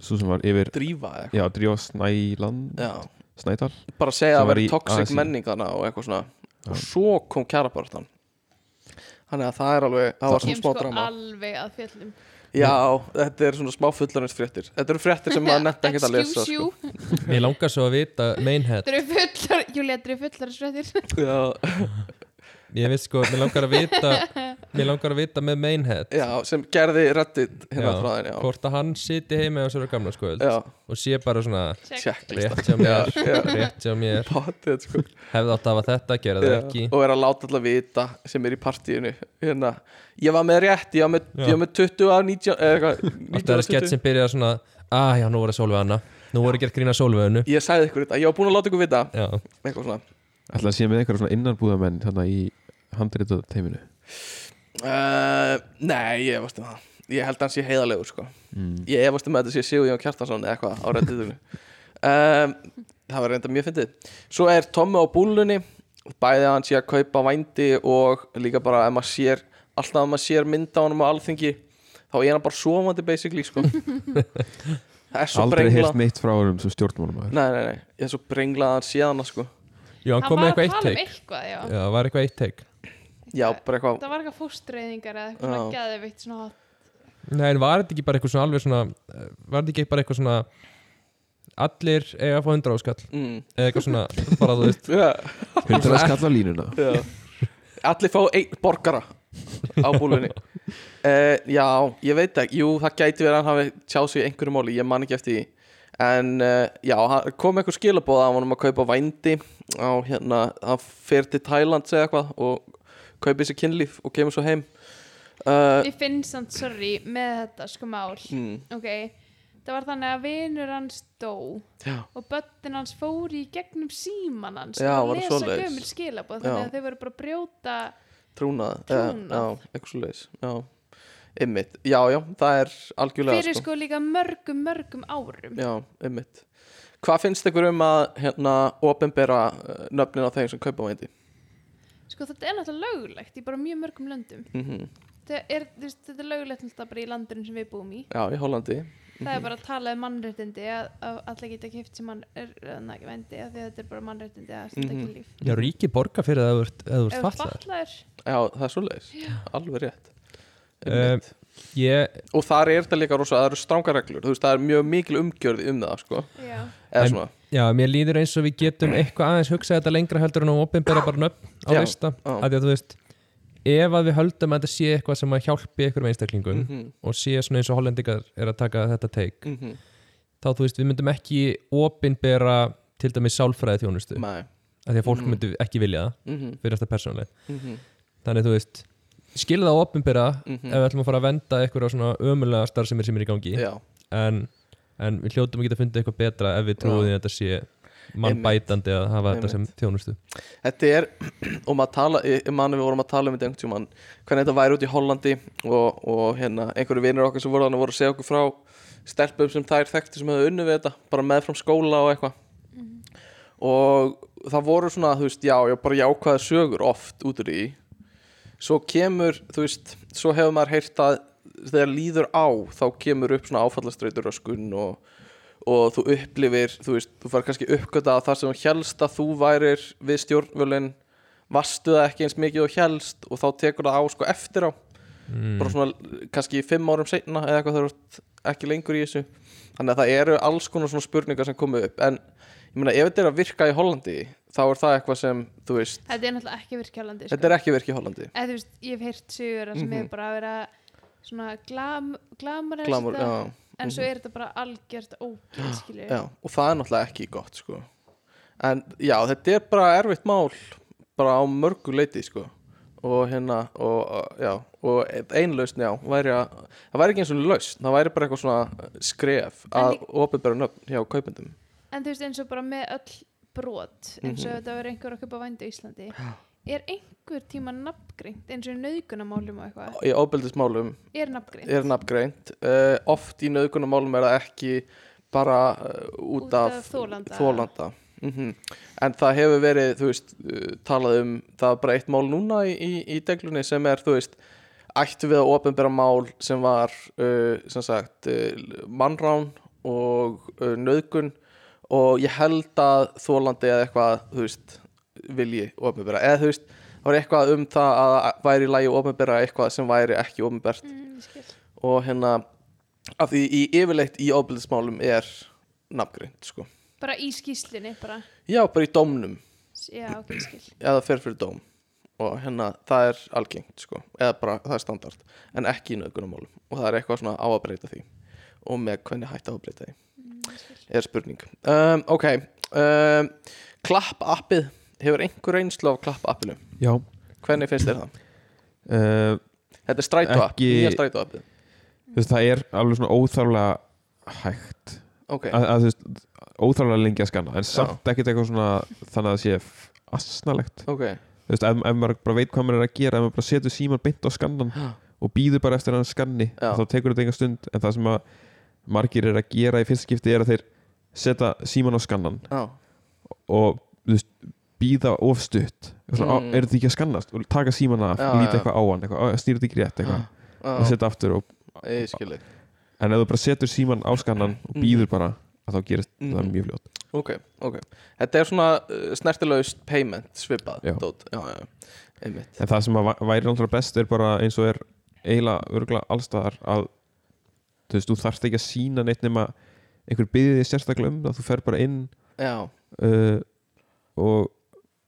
D: svo sem var yfir
C: drífa eða eitthvað
D: Já, Drífa Snæland
C: Já,
D: Snædal
C: bara segja
D: Sem
C: að
D: var
C: vera
D: í
C: toxic
D: ASI.
C: menning þarna og eitthvað svona og svo kom kjarabaratan þannig að það er alveg það var svona
A: Kem
C: smá
A: sko
C: drama
A: alveg að fjöllum
C: já, þetta er svona smá fullanins fréttir þetta eru fréttir sem maður netta ekki að lesa
A: Excuse you,
C: sko.
B: Mér langar svo að vita Mainhead
A: þetta eru fullar Júlia, þetta eru fullar svettir
C: já,
B: Ég veist sko, mér langar að vita Mér langar að vita með Mainhead
C: já, sem gerði reddit hérna
B: Já,
C: þráðin já,
B: Hvort að hann siti heima á sér á gamla skoöld
C: já,
B: Og sé bara svona Rétt
C: checklist
B: hjá
C: Já,
B: mér,
C: já.
B: rétt hjá mér
C: potið sko
B: Hefði átt að hafa þetta, gera það
C: Já,
B: ekki
C: og er að láta alltaf vita sem er í partíinu hérna, ég var með rétt, ég var með, ég var með 20 af 19 eða eitthvað, 19
B: Þetta er
C: af
B: að skett
C: 20.
B: sem byrja svona ah, já, nú voru að sólvega hana Nú voru gert grína sólveginu
C: ég sagði ykkur þetta, ég var búin að láta ykkur vita
B: Já,
C: eitthvað svona
D: Ætla að sé með einhverja svona innanbúðamenn Þannig í handrita teiminu
C: uh, nei, ég efast um það ég held að hans sé heiðalegur sko
D: Mm.
C: ég efast um að þetta sé Sigurjón Kjartansson eða eitthvað á redditunum um, það var reynda mjög fyndið svo er Tommi á búlunni bæði að hann sé að kaupa vændi og líka bara ef maður sér alltaf að maður sér mynda honum á alþingi þá er hann bara svovandi basically sko það er svo
D: Aldrei
C: brengla
D: heilt neitt frá honum sem stjórnmálum
C: nei, nei, nei, ég er svo brengla að hann sé hann sko
B: já hann kom með eitthvað eitt
A: um
B: teik
A: eitthvað, já.
B: Já, var eitthvað eitt teik
C: já, bara eitthvað
A: það var eitthvað fóstreiðingar eða eitthvað svona
C: Já.
A: geðveikt svona hot.
B: Nei, en var þetta ekki bara eitthvað svona alveg svona eh, Var þetta ekki bara eitthvað svona eh, Allir eiga að fá hundra áskall
C: mm.
B: Eða eitthvað svona, bara þú veist
C: yeah.
D: Hundra skalla línuna
C: Já. Allir fá einn borgara á búlunni uh, Já, ég veit ekki Jú, það gæti verið að hann hafi tjáð sig í einhverju máli Ég man ekki eftir því En uh, já, hann- kom eitthvað skilabóð að hann var um að kaupa vændi á hérna, hann fer til Thailand segja eitthvað og kaupið sér kynlíf og kemur svo heim uh,
A: ég finn samt, sorry, með þetta sko mál
C: mm,
A: ok, það var þannig að vinur hans dó
C: Já.
A: og börnin hans fór í gegnum síman hans
C: Já,
A: að
C: var það
A: lesa
C: svoleiðis?
A: gömul skilabóð þannig
C: Já.
A: að þau voru bara að brjóta
C: Trúnað, eh,
A: Trúnað.
C: Já, já, eitthvað svo leis Já, ymmit, já, já, það er algjörlega
A: fyrir sko líka mörgum, mörgum árum
C: Já, einmitt Hvað finnst ykkur um að hérna ofinbera nöfnin á þeim sem kaupa vændi?
A: sko þetta er náttúrulega lögulegt í bara mjög mörgum löndum
C: Mm
B: Mhm.
A: þetta er, þú veist, þetta er lögulegt náttúrulega bara í landurinn sem við búum í
C: Já, í Hollandi
A: það
C: Mhm.
A: er bara að tala um mannréttindi að, að allir geta kipt sem mann er ekki vendi af því að þetta er bara mannréttindi að stunda ekki
C: Mhm.
A: líf
B: Já, ríki borga fyrir það ef þú ert- ef þú
A: ef
B: ert
A: þú
B: fatlaður
A: fatlaður
C: Já, það er svoleiðis, alveg rétt
B: Eh,
C: Einmitt.
B: Ég,
C: Og þar er þetta líka rosa, það eru stranga reglur Þú veist, það er mjög mikil umgjörð um það, sko
A: já,
C: Eða
B: En-
C: svona,
B: já, mér líður eins og við getum eitthvað aðeins hugsað þetta lengra heldur en að opinbera bara nöfn á
C: Já,
B: lista
C: já.
B: að því að þú veist ef að við höldum að þetta sé eitthvað sem að hjálpi einhverjum einstaklingum
C: Mhm,
B: og sé svona eins og hollendingar er að taka þetta teik þá þú veist, við myndum ekki opinbera til dæmis sálfræði þjónustu
C: mæ
B: af því að fólk myndi ekki vilja það
C: mm -hmm.
B: fyrir þetta persónuleg
C: mm -hmm.
B: þannig þú veist, skilða það opinbera ef
C: Mhm.
B: við ætlum að fara að venda einhverja svona ömulega starfsemir sem er í gangi
C: Já,
B: en, en við hljótum ekki að funda eitthvað betra ef við trúum því að þetta sé mannbætandi að hafa þetta sem þjónustu
C: þetta er og maður tala, ég man að við vorum að tala um þetta einhvern tímann, hvernig þetta væri út í Hollandi og, og hérna, einhverju vinir okkar sem voru þannig voru að segja okkur frá stelpum sem þær þekkti sem hefðu unnið við þetta bara með frám skóla og eitthvað og það voru svona, þú veist, já, já, bara jákvæða sögur oft út úr því svo kemur, þú veist, svo hefur maður heyrt að þegar líður á þá kemur upp svona áfallastreitur öskun og, og þú upplifir þú veist, þú fær kannski uppgöta að það sem þú helst að þú værir við stjórnvölin vastu það ekki eins mikið og helst og þá tekur það á sko eftir á
B: Mm.
C: bara svona kannski fimm árum seinna eða eitthvað þau eru ekki lengur í þessu þannig að það eru alls konar svona spurningar sem komu upp en ég meina ef þetta er að virka í Hollandi þá er það eitthvað sem, þú veist
A: þetta er náttúrulega ekki virkjálandi
C: þetta er ekki að virka í Hollandi
A: eða þú veist, ég hef heyrt sögur að sem
C: Mhm.
A: hefur bara verið svona glam, glamur
C: Glamour, já,
A: en svo
C: mhm.
A: er þetta bara algjört ógæð skilur
C: já, og það er náttúrulega ekki gott sko. en já, þetta er bara erfitt mál bara á mörgu leiti sko. og hérna og, já, og ein lausn já væri að, það væri ekki eins og lausn það væri bara eitthvað svona skref að
A: lík-
C: ofinbæra nöfn hjá kaupendum
A: en þú veist eins og bara með öll brot eins
C: Mhm.
A: og ef þetta verið einhver að köpa vændi á Íslandi er einhver tíma nafngreint eins og í nauðgunamálum og eitthvað
C: í ofbeldismálum
A: er nafngreint
C: er nafngreint uh, oft í nöðgunamálum er það ekki bara uh, út,
A: Út
C: af,
A: af þolanda.
C: þolanda. Mhm. en það hefur verið þú veist, uh, talað um það er bara eitt mál núna í, í, í deglunni sem er þú veist ættu við að opinbera mál sem var uh, sem sagt uh, mannrán eh, og uh, nöðgun og ég held að þólandi eða eitthvað þú veist vilji ofinbera eða þú veist, það var eitthvað um það að væri í lagi ofinbera eitthvað sem væri ekki ofinbert
A: Mm, ég skil.
C: og hérna af því í yfirleitt í ofbeldismálum er nafngrind sko.
A: bara í skýslinni bara.
C: já, bara í dómnum
A: já, ok, ég skil
C: eða fer fyrir dóm og hérna það er algengt sko eða bara það er standard en ekki í nöðgunumálum og það er eitthvað svona á að breyta því og með hvernig hægt á að breyta því er spurning um, ok um, klapp appið hefur einhver reynslu af klapp appinu
D: já
C: hvernig finnst þér það?
D: uh,
C: þetta er strætó app,
D: Ekki-
C: nýja strætó appið
D: þú veist, það er alveg svona óþarflega hægt
C: ok,
D: að, að, þú veist, óþarflega lengi að skanna en samt ekkert eitthvað svona þannig að það sé f- asnalegt
C: ok
D: þú veist, ef, ef maður bara veit hvað maður er að gera ef maður bara setur síman beint á skannan
C: Já.
D: og býður bara eftir að hann skanni
C: Já.
D: þá tekur þetta enga stund en það sem að margir er að gera í fyrsta skipti er að þeir setja síman á skannan
C: já,
D: og þú veist, býða ofstutt svona,
C: Mm.
D: mm. er þetta ekki að skannast og taka síman af,
C: Já,
D: líta
C: já.
D: eitthvað á hann eitthvað, "Ó, snýr þetta ekki rétt eitthvað og
C: já,
D: setja aftur og
C: ég skilji
D: en ef þú bara setur síman á skannan og
C: Mm.
D: býður bara að þá gerist
C: Mm.
D: það mjög fljótt
C: ok, ok þetta er svona uh, snertilegust payment svipað
D: Já.
C: dót. já, já, já, einmitt
D: en það sem að væ- væri náttúrulega best er bara eins og er eiginlega örgulega allstaðar að þú veist, þú þarft ekki að sína neitt nema einhver byggði þig sérstaklega um það þú fer bara inn
C: já,
D: uh, og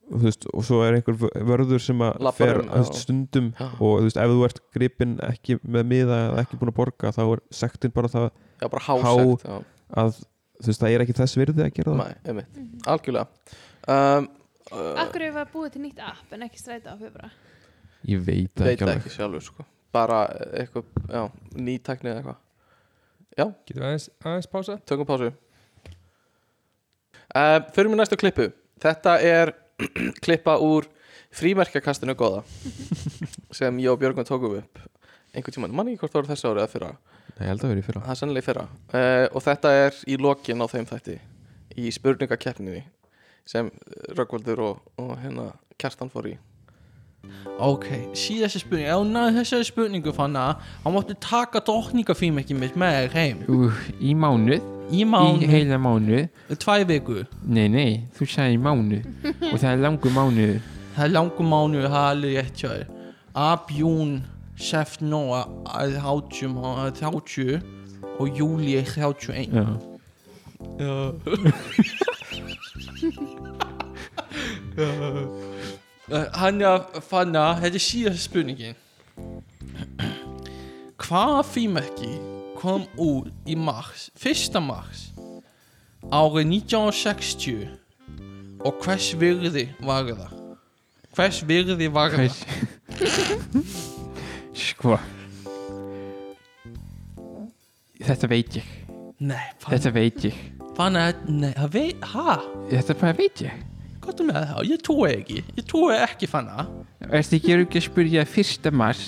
D: þú veist, og svo er einhver vö- vörður sem að
C: Labbar
D: fer
C: um,
D: um, veist,
C: já.
D: stundum
C: Já.
D: og þú veist, ef þú ert gripinn ekki með miða eða ekki búin að borga þá er sektin bara það
C: já, bara hásegt já.
D: að þú veist, það er ekki þess virði að gera það
C: Nei, einmitt, algjörlega um, uh,
A: Akkur hefur búið til nýtt app en ekki stræta app bara.
D: ég veit það
C: Veit
D: ekki
C: það
D: alveg
C: ekki sjálfur sko Bara eitthvað, já, nýtækni eða eitthvað
I: Getum við aðeins, aðeins pása?
C: Tökum pásu uh, Förum við næstu klippu Þetta er klippa úr frímerkjakastinu góða sem ég og Björgum tókum upp einhvern tímann, mann ekki hvort það voru þessu árið eða fyrra
D: Nei, ég held að vera í fyrra
C: það er sennilega í fyrra uh, og þetta er í lokin á þeim þætti í spurningakeppninni sem Röggvaldur og, og hérna Kjartan fór í
B: Ok, síðasta spurning Ef hún náði þessari spurningu fann að Hann mátti taka drottningafím ekki mitt með þér heim
G: uh, í mánuð,
B: Í mánu,
G: í heila mánuð
B: tvær viku
G: nei, nei, þú sagði í mánuð og það er langur mánuð
B: Það er langur mánu, það er alveg rétt hjá þér Ab, jún, seft, nóa að 30 má- 30 og júli 31
G: já.
B: Já Eh, Hann er að fanna Þetta er síðast spurningin Hvaða fímerki kom út í mars Fyrsta mars Árið 1960 Og hvers virði var það Hvers virði var það
G: Hvers... sko þetta veit ég
B: Nei, fann
G: þetta veit ég
B: fann að Nei, það veit, hæ,
G: þetta bara veit ég
B: hvað er með það Ég trúi ekki, ég trúi ekki fann að
G: Ertu ekki eru ekki að spyrja 1. mars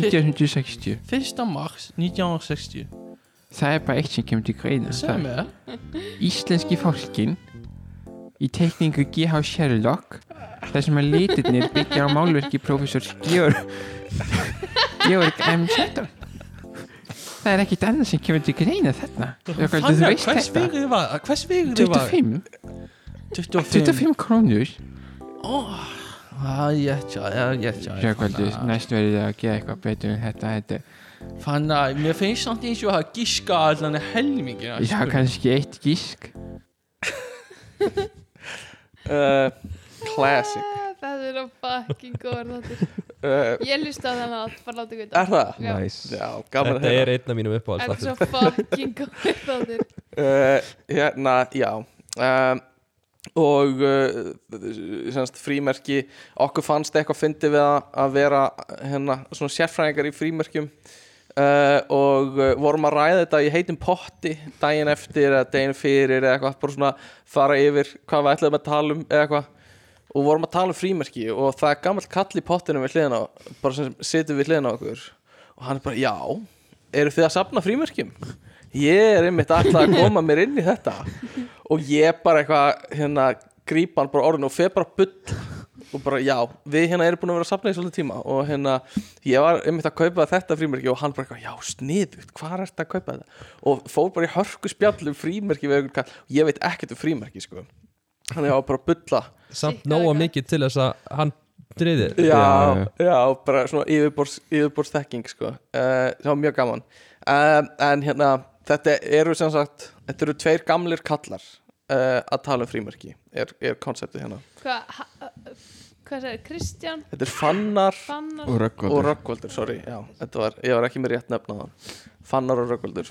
G: 1960
B: Fyrsta mars 1960
G: Það er bara eitt sem kemur til greina
B: Segð
G: Það
B: mér það
G: Íslenski fólkin í teikningu G.H. Sherlock þar sem að litirnir byggja á málverki professors Georg Georg M. Shetton Það er ekkit annað sem kemur til greina þarna Þú
B: Hann
G: þú
B: er,
G: veist
B: hvers
G: þetta
B: vegrið var það? Hvers vegrið var
G: 25 25 krónur
B: 25 Það er rétt hjá, það er rétt hjá þér,
G: Sjökvöldur,
B: Fannar.
G: næst verður það að gera eitthvað betur en þetta, þetta
B: Fannar, mér finnst samt eins og að gíska allan að helmingina
G: Ég hafa kannski eitt gísk
C: uh, Classic
A: Ah, Það er á fucking góður þáttur
C: uh,
A: Ég hlusta á þannig að bara láta ykkur
C: Er það?
A: Já.
D: nice.
C: Já, gaman að
I: Þetta er
C: heyra
I: einn af mínum uppáhalds
A: Þetta er svo fucking góður þáttur
C: uh, Hérna, já um, Og uh, semst, frímerki Okkur fannst eitthvað fyndi við að, að vera hérna, svona sérfræðingar í frímerkjum uh, og uh, vorum að ræða þetta í heitum potti daginn eftir eða daginn fyrir eða eitthvað, bara svona fara yfir hvað við ætlaðum að tala um eða eitthvað og vorum að tala um frímerki og það er gammalt kall í pottinu við hliðina á bara sem situr við hliðina á okkur og hann er bara, já, eru þið að safna frímerkjum? Ég er einmitt alltaf að koma mér inn í þetta og ég bara eitthvað, hérna grípa hann bara orðin og fer bara að bull og bara, já, við hérna erum búin að vera að safna í svolítið tíma og hérna, ég var einmitt að kaupa þetta frímerki og hann bara eitthvað, já, sniðut hvað er þetta að kaupa þetta? Og fór bara í hörku spjall um frímerki við einhvern kall og ég veit ekkert um frímerki, sko hann er á bara að bulla
B: samt nóga mikið til þess að hann driði
C: já, já, bara svona yfirborðs, yfirborðs þekking sko. uh, það var mjög gaman uh, en hérna, þetta eru sem sagt þetta eru tveir gamlir kallar uh, að tala um frímerki er, er konceptið hérna
A: Hvað, ha- hvað segir, Kristján?
C: þetta er Fannar,
A: Fannar.
D: Og Rögnvaldur.
C: og Röggvaldur, sorry já, þetta var, ég var ekki með rétt nefna það Fannar og Röggvaldur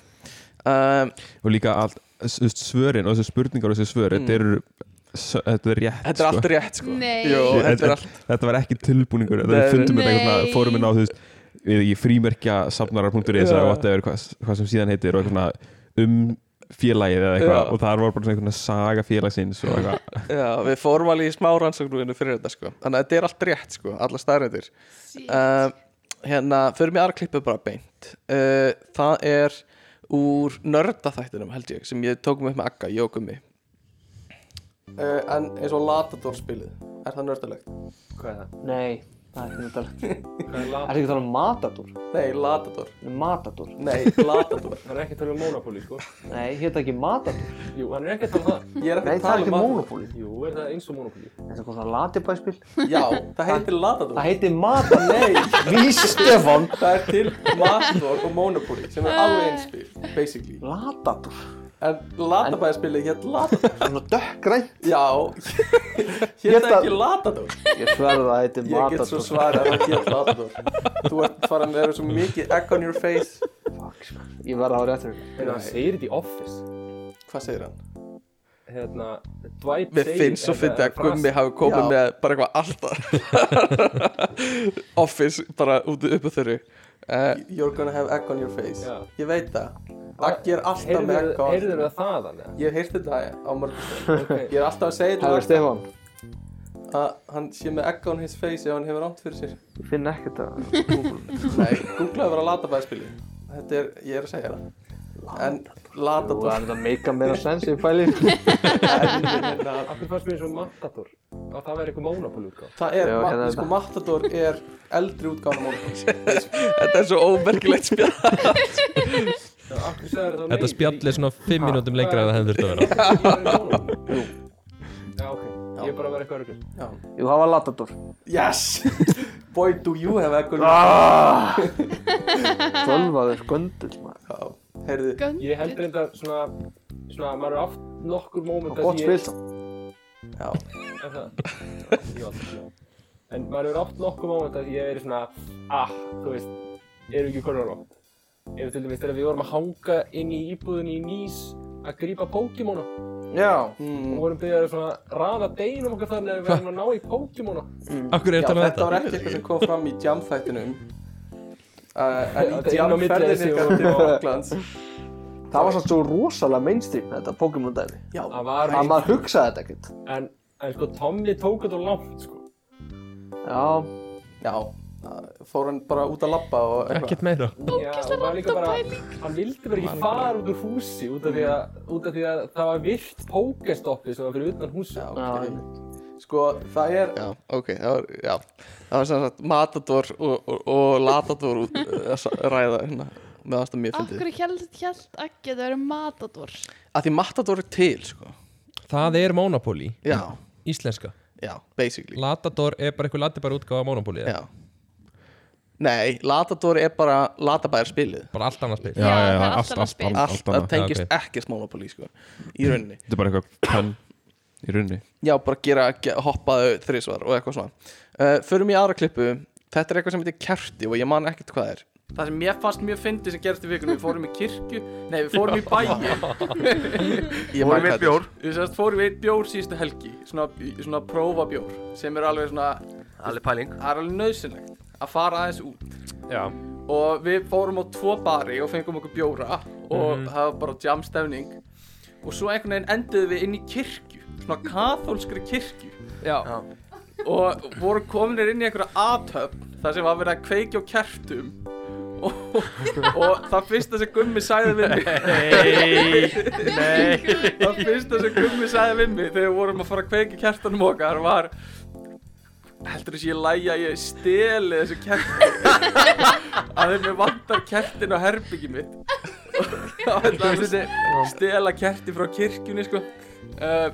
C: um,
D: og líka allt s- s- svörin og þessi spurningar og þessi svör
C: Mm.
D: þetta eru s- þetta er rétt
C: Þetta er allt rétt, sko. Nei. Jú,
D: Ég-
C: þetta er
D: þetta, þetta var ekki tilbúningur þetta
C: Nei,
D: við fundum
C: nei.
D: þetta eitthvað
C: Nei.
D: svona, fórum inn á þú veist við ekki frímerkjasafnarar.is
C: Já.
D: eða whatever, hvað, hvað sem síðan heitir og eitthvað svona um félagið
C: Já.
D: eða eitthvað og þar var bara svona einhvern veginn saga félagsins og eitthvað
C: já, við fórum alveg í smá rannsóknúinu fyrir þetta sko. þannig að þetta er allt rétt, sko, alla staðrættir uh, hérna, förum í aðra klippu bara beint uh, það er úr nördaþættinum held ég, sem ég tókum upp með Agga, ég og Gummi uh, en eins og Latador spilið, er það nördalegt?
H: Hvað er það?
J: Nei, það er ekki nördalegt.
H: Hvað er
J: Er ekki að tala um Matador?
C: Nei, Latador.
J: Matador?
C: Nei, Latador.
H: Það er ekki að tala um Monopoly, sko.
J: Nei, hétt ekki Matador?
H: Jú, hann er ekki að tala um
J: Ég
H: það.
J: er ekki að Nei, það er tala um ekki Monopoly. Monopoly.
H: Jú, er það eins og Monopoly?
J: Er það eitthvað svona latibæspil?
C: Já, það heitir Latador.
J: Það heitir Matador? Nei, ví Stefán.
C: Það er til Matador og Monopoly sem er alveg einspil, basically
J: Latador
C: En Latabæðarspilið hétt Latador
J: Svona dökkgrænt
C: Já, hétt það ekki Latador
J: Ég sverða það heitir
C: Ég get svo
J: Matador.
C: svarað að það hétt Latador Þú ert farin að vera svo mikið egg on your face
J: Ég verða á réttur
H: Hérna, hann segir þetta í Office.
C: Hvað segir hann?
H: Hérna, Dwight
C: Mér finnst svo fyndið að Gummi hafi komið með bara eitthvað alltaf Office bara út uppu þurru uh, You're gonna have egg on your face
H: Já.
C: Ég veit það Aggi er alltaf með egg á
H: Heyrður það þaðan, eða?
C: Ég hef heyrt þetta á mörgum
H: Ok.
C: Ég er alltaf að segja
J: Herra
C: þetta
J: Stefán.
C: að hann sé með egg on his face ef hann hefur ámt fyrir sér
J: Ég finn ekkert að
C: Nei, googlaðu bara latabæðspili Þetta er, ég er að segja það En
J: Þú er
C: latabæðspili
J: þetta meika meira sens í fælin
H: Akkur fannst mér eins og Matador. Og það væri eitthvað Monopoly útgáð.
C: Það er,
J: Já,
C: ma-
J: hérna
C: sko,
J: þetta.
C: Matador er eldri útgáðan á Monopoly Þetta er svo ómerkilegt spjall
H: Akkur segir það
B: þetta spjall er svona 5 mínútum lengra en það hefði þurft að vera
H: Jú. Já, ok. Ég er bara að vera eitthvað örgur.
J: Jú, það var Latador
C: Yes! Boy, do you have egg on
J: Ah! Tölvaður göndull maður
C: Já, heyrðu
H: Ég held reynda svona, svona, maður er oft nokkur móment
J: Og gott spil þá
C: Já,
H: En það, ég var alltaf svona. En maður er oft nokkuð móment að ég er svona, ah, þú veist, eru ekki konar langt. Ef til dæmis þegar við vorum að hanga inn í íbúðinni í Nýs að grípa Pokémona
J: Já
C: Hmm.
H: og vorum byggðið að svona raða deginum okkar þannig að við verðum að ná í Pokémona.
B: Akkur er
C: Já,
B: þetta
H: um
B: með
C: þetta
B: þetta?
C: var ekki eitthvað sem kom fram í jam-þættinum uh, En
H: Þetta
C: í
H: er inn á milli
C: jam-ferðinni
H: þessi
C: ykkar til
H: og-
C: Falklands
J: Það var samt svo rosalega mainstream þetta Pokémon dæmi
C: Já,
H: Það var,
J: Að maður hugsaði þetta ekkert
H: en, en sko Tommy tók þetta of langt, sko.
J: Já
C: já það Fór hann bara út að labba og
B: Ekkert meira
H: Ógæslega random pæling Hann vildi bara ekki fara út úr húsi út af því að, út af því að það var virt pókestoppi sem var fyrir utan húsi
C: Já,
J: Já,
C: ok. Sko, það er Já, ok, það var, já Það var sem sagt Matador og, og, og Latador út, eh, að ræða hérna með það sem ég fyndi
A: Akkur hjælt, hjælt ekki að það eru matador
C: Að því Matador er til, sko
B: Það er Monopoly,
C: Já,
B: íslenska
C: já, basically
B: Latador er bara eitthvað latibæra útgáfa af Monopoly eða?
C: Já Nei, Latador er bara Latabæðar spilið
B: Bara allt annað spil
A: Já, það er allt
D: allt,
A: annað
D: allt,
A: spil.
D: allt,
C: Allt,
D: allt
C: það
D: annað.
C: tengist
B: Já,
C: ekkert Monopoly, sko Í rauninni
D: þetta er bara eitthvað penn í runni
C: Já, bara gera, ge- hoppaðu þrísvar og eitthvað svona uh, Förum í aðra klippu Þetta er eitthvað sem heitir kerti og ég man ekkert hvað það er Það sem ég fannst mjög fyndið sem gerist í vikunum Við fórum í kirkju, nei við fórum í bæi Ég man
H: Fórum í
C: hvað
H: einn bjór.
C: þetta er. Við sérst fórum við bjór síðustu helgi Svona, svona prófa bjór Sem er alveg svona,
H: Allir pæling
C: það er alveg nöðsynlegt Að fara aðeins út
H: Já
C: Og við fórum á tvo bari og fengum okkur bjóra Og
H: Mhm.
C: það var bara jamstefning Og svo einhvern veginn enduðum við inn í kirkju Svona kathólskri kirkju
H: Já,
C: og voru kominir inn í einhverja aðtöfn þar sem var verið að kveikja á kertum og, og það fyrsta sem Gummi sagði við mig það fyrsta sem Gummi sagði við mig þegar við vorum að fara að kveikja kertunum okkar var heldur þess ég lægi að ég steli þessu kertum að þeim er vantar kertin á herbyggi mitt og það er stela kerti frá kirkjunni sko uh,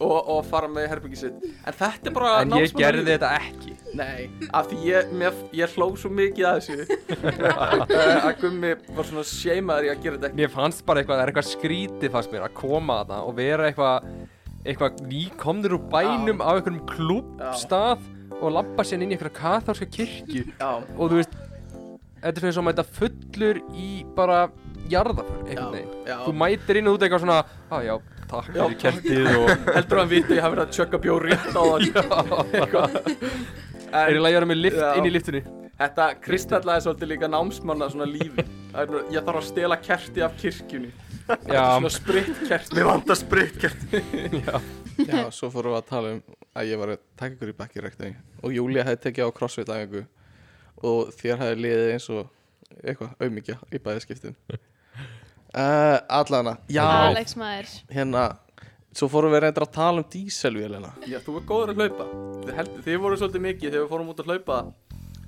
C: og, og fara með í herbyggi sitt en þetta er bara
G: En ég
C: námsmanna-
G: gerði þetta ekki.
C: nei, af því ég, mér, ég hló svo mikið að þessu Eh, að gummi var svona seimaður í að gera þetta ekki
G: Mér fannst bara eitthvað, það er eitthvað skrítið fannst mér að koma að og vera eitthvað eitthvað nýkomnir úr bænum á einhverjum klúbstað og labba sér inn í einhverja kathárska kirkju
C: Já.
G: og þú veist þetta er svona eins og að mæta fullur í bara jarðaför einhvern veginn
C: já.
G: þú mætir inn og út eitthvað svona að já, takk
C: Já,
G: fyrir kertið og
C: heldur að hann viti að ég hafi verið að tjökka bjór rétt á það
G: Er í lagi að vera með lyft inn í lyftunni?
C: Þetta kristallaði svolítið líka námsmanna svona lífi Það er nú- Ég þarf að stela kerti af kirkjunni Þetta er
G: Já.
C: Svona spritkerti
G: Mig vantar
C: spritkerti Já. Já, svo fórum við að tala um að ég var að taka ykkur í bekkirekting og Júlia hefði tekið á crossfit aðingu og þér hefði liðið eins og eitthvað, auðmikja í bæðiskiptin uh, Allana Já,
A: Alex maður
C: hérna Svo fórum við reyndar að tala um díselvélina Já, þú er góður að hlaupa Þið, heldur, þið voru svolítið mikið þegar við fórum út að hlaupa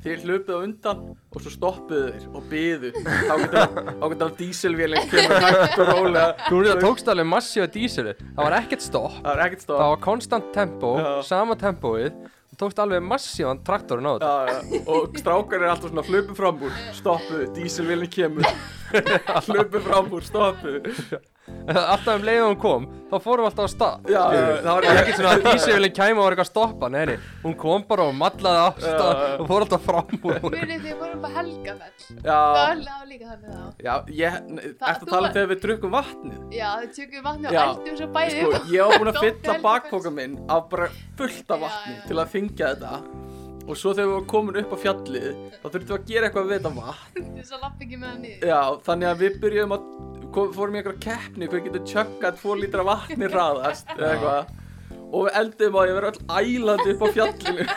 C: Þið hlaupið á undan og svo stoppuðu þeir og biðu Þá getur þá getur alveg díselvélin kemur hægt og rólega
G: Þú veist að tókst alveg massífa dísilu Það var ekkert stopp
C: Það var ekkert stopp
G: Það var konstant tempo, sama tempóið Þú tókst alveg massífan traktorinn á þetta
C: Já, já, og strákar er alltaf svona hlaupu fram úr, stoppuðu, díselvélin kemur Hlaupu fram úr, stoppuðu
G: Alltaf um leiðum hún kom, þá fórum við alltaf á stað
C: Já, já, já, það
G: það
C: var-
G: var ekkert svona að dísilin kæma og var eitthvað að stoppa Nei, nei, hún kom bara og mallaði á stað og fór alltaf fram úr
A: Munið því að vorum bara helgafell
G: Já.
A: Það var líka þannig þá
C: Já, ég, ertu
A: Það-
C: að
A: þú
C: tala
A: var-
C: um þegar við drukkum vatnið?
A: Já, þau tjökum vatni og
C: Já.
A: ældum svo bæði
C: Sko,
A: upp.
C: ég var búinn að
A: Dóttir
C: fylla
A: Helga
C: bakpoka minn af bara fullt af vatni til að fengja þetta og svo þegar við varum komin upp á fjallið þá þurftum við að gera eitthvað við þetta vatn
A: Þú veist að lappa ekki með hann niður.
C: já, þannig að við byrjum að kom, fórum í einhverja keppni hver getur tjökkað 2 lítra vatni raðast eða eitthvað og við eldum að ég verið öll ælandi upp á fjallinu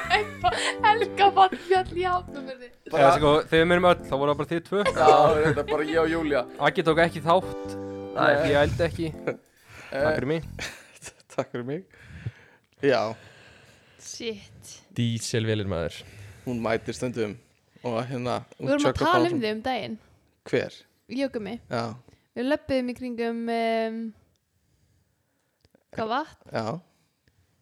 A: Helga vatn fjall í hafnumurði.
G: Já, sko, þegar við meinum öll, þá voru það bara þið tvö
C: Já, þetta er bara ég og Júlía
G: Akki tók ekki þátt Nei,
C: Nei.
G: ég held ekki Takk fyrir mig
C: Takk fyrir mig Já
A: Shit.
B: Díselvélin maður
C: Hún mætir stundum og hérna
A: Við vorum að tala um þau um daginn.
C: Hver?
A: Jökum mig.
C: Já,
A: Við löpum í kringum, um, hvað vatn?
C: já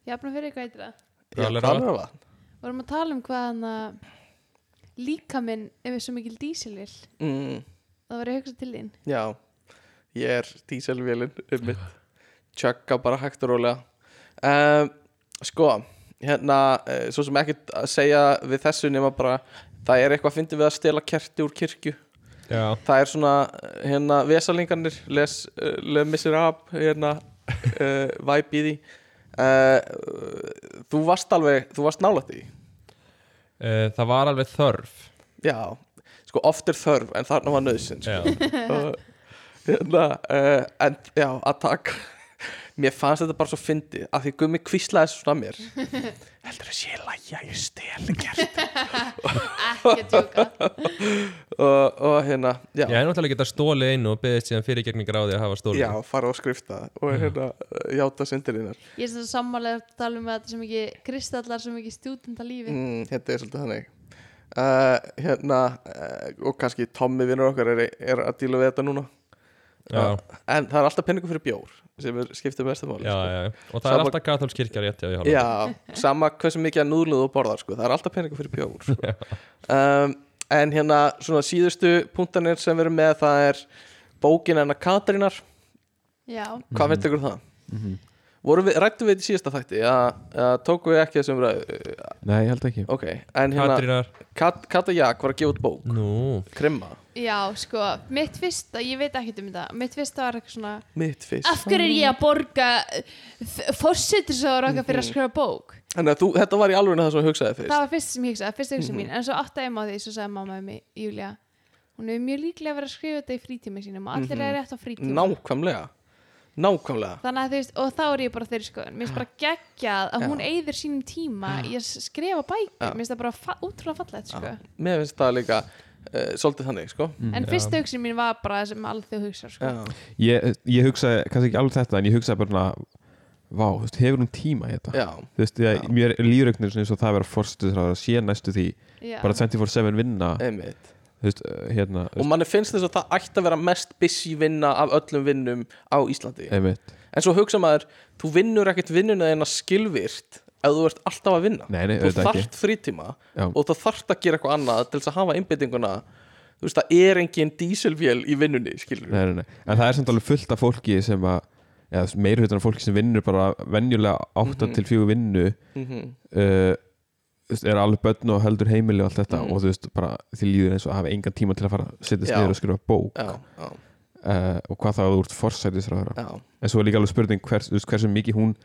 A: Jafnum fyrir hvað eitthvað.
C: Hvalaravatn.
A: Vorum að tala um hvað hann að líka minn ef við svo mikil dísilil.
C: Mm.
A: Það var ég að hugsa til þín.
C: Já, ég er díselvélinn um mitt Tjögga bara hægt og rólega um, Sko, hérna, eh, svo sem ekkert að segja við þessu nema bara Það er eitthvað að fyndi við að stela kerti úr kirkju
B: Já.
C: Það er svona, eh, hérna, vesalingarnir, les, uh, les missir ab, hérna, uh, væp í því uh, Þú varst alveg, þú varst nálætt því
B: uh, Það var alveg þörf
C: Já, sko oft er þörf en þarna var nöðsinn sko.
B: Já.
C: Og, hérna, uh, En já, að taka Mér fannst þetta bara svo fyndið af því gummi kvíslaði þessu svona að mér Heldur að sé lægja, ég stel gert
A: Ekki að djóka.
C: og, og hérna, já
B: Ég hef náttúrulega getað stólið inn og beðið síðan fyrirgegningar á því að hafa stólið
C: Já, fara og skrifta og hérna, eh, játa syndirinnar
A: Ég er svo sammálega að tala um að þetta sem ekki kristallar, sem ekki stúdenda lífi.
C: mm, Þetta er svolítið þannig uh, Hérna uh, og kannski Tommy vinnur okkar er, er að díla við þetta núna Eh,
B: Já.
C: En það er alltaf penningur fyrir bjór sem er skiptið mestu máli
B: Já,
C: sko.
B: já, já. Og það er
C: Sama-
B: alltaf katholsk kirkja rétt hjá í Hollandi.
C: Já, sama hversu mikið að núðluð og borðar sko. það er alltaf peningur fyrir bjór sko. um, en hérna svona síðustu punktanir sem við erum með það er bókin hennar Katrínar
A: Já.
C: hvað finnst ykkur um það? Vorum við, rættum við þetta í síðasta þætti að, að tókum við ekki þessum ræð
D: Nei, ég held ekki
C: ok, en hérna
B: Katrínar.
C: Kat, Kata Jak var að gefa út bók
B: Nú.
C: Krimma,
A: Já, sko, mitt fyrsta, ég veit ekkert um þetta, mitt fyrsta var eitthvað svona
C: mitt fyrst
A: Af hverju er ég að borga fósittisöður okkar
C: Mhm.
A: fyrir að skrifa bók?
C: Þannig að þú, þetta var í alveg það sem þú hugsaði fyrst
A: Það var fyrst sem ég hugsaði, fyrst hugsaði
C: Mhm.
A: mín En svo áttaði ég maður því, svo sagði mamma um mig, Júlia Hún er mjög líklega verið að skrifa þetta í frítíma sínum Og allir
C: Mhm.
A: er rétt á frítíma
C: Nákvæmlega, nákvæmlega
A: Þannig að þú veist, og þá er ég bara á þeirri skoðun Mér finnst bara geggjað að hún eyðir sínum tíma Í að skrifa
C: Já.
A: bækur, mér finnst það bara fa- ótrúlega fallegt sko.
C: Mér finnst það líka uh, svolítið þannig sko.
A: En fyrsta hugsun mín var bara það sem alþjóð hugsa sko.
D: ég, ég hugsaði, kannski ekki alveg þetta en ég hugsaði bara svona, vá, þú veist, hefur hún tíma í þetta
C: Já.
D: þú veist, ég, mér lífregnir eins og það að vera forstuð að sé næstu því
A: Já.
D: bara 24-7 vinna
C: Einmitt.
D: Þú veist, eh, hérna
C: Eh. og manni finnst þess að það ætti að vera mest busy vinna af öllum vinnum á Íslandi
D: Einmitt.
C: en svo hugsa maður þú vinnur ekkert vinnuna þeirna skilvirt ef þú ert alltaf að vinna
D: Nei, nei,
C: þú
D: auðvitað ekki.
C: þarft frítíma
D: Já.
C: og þú þarft að gera eitthvað annað til þess að hafa einbyttinguna þú veist það er engin dísilvél í vinnunni skilur
D: nei, nei, nei. En það er samt alveg fullt af fólki sem að ja, meirhautan af fólki sem vinnur bara venjulega 8
C: Mhm.
D: til 4 vinnu
C: Mhm.
D: uh, þú veist, er alveg börn og heldur heimili og allt þetta
C: Mhm.
D: og þú veist bara því líður eins og að hafa engan tíma til að fara að setjast
C: Já.
D: niður og skrifa bók
C: Já, já.
D: Uh, og hvað það að þú ert forsætisráður
C: Já.
D: en svo er líka alveg spurning hvers, þú veist, hversu mikið hún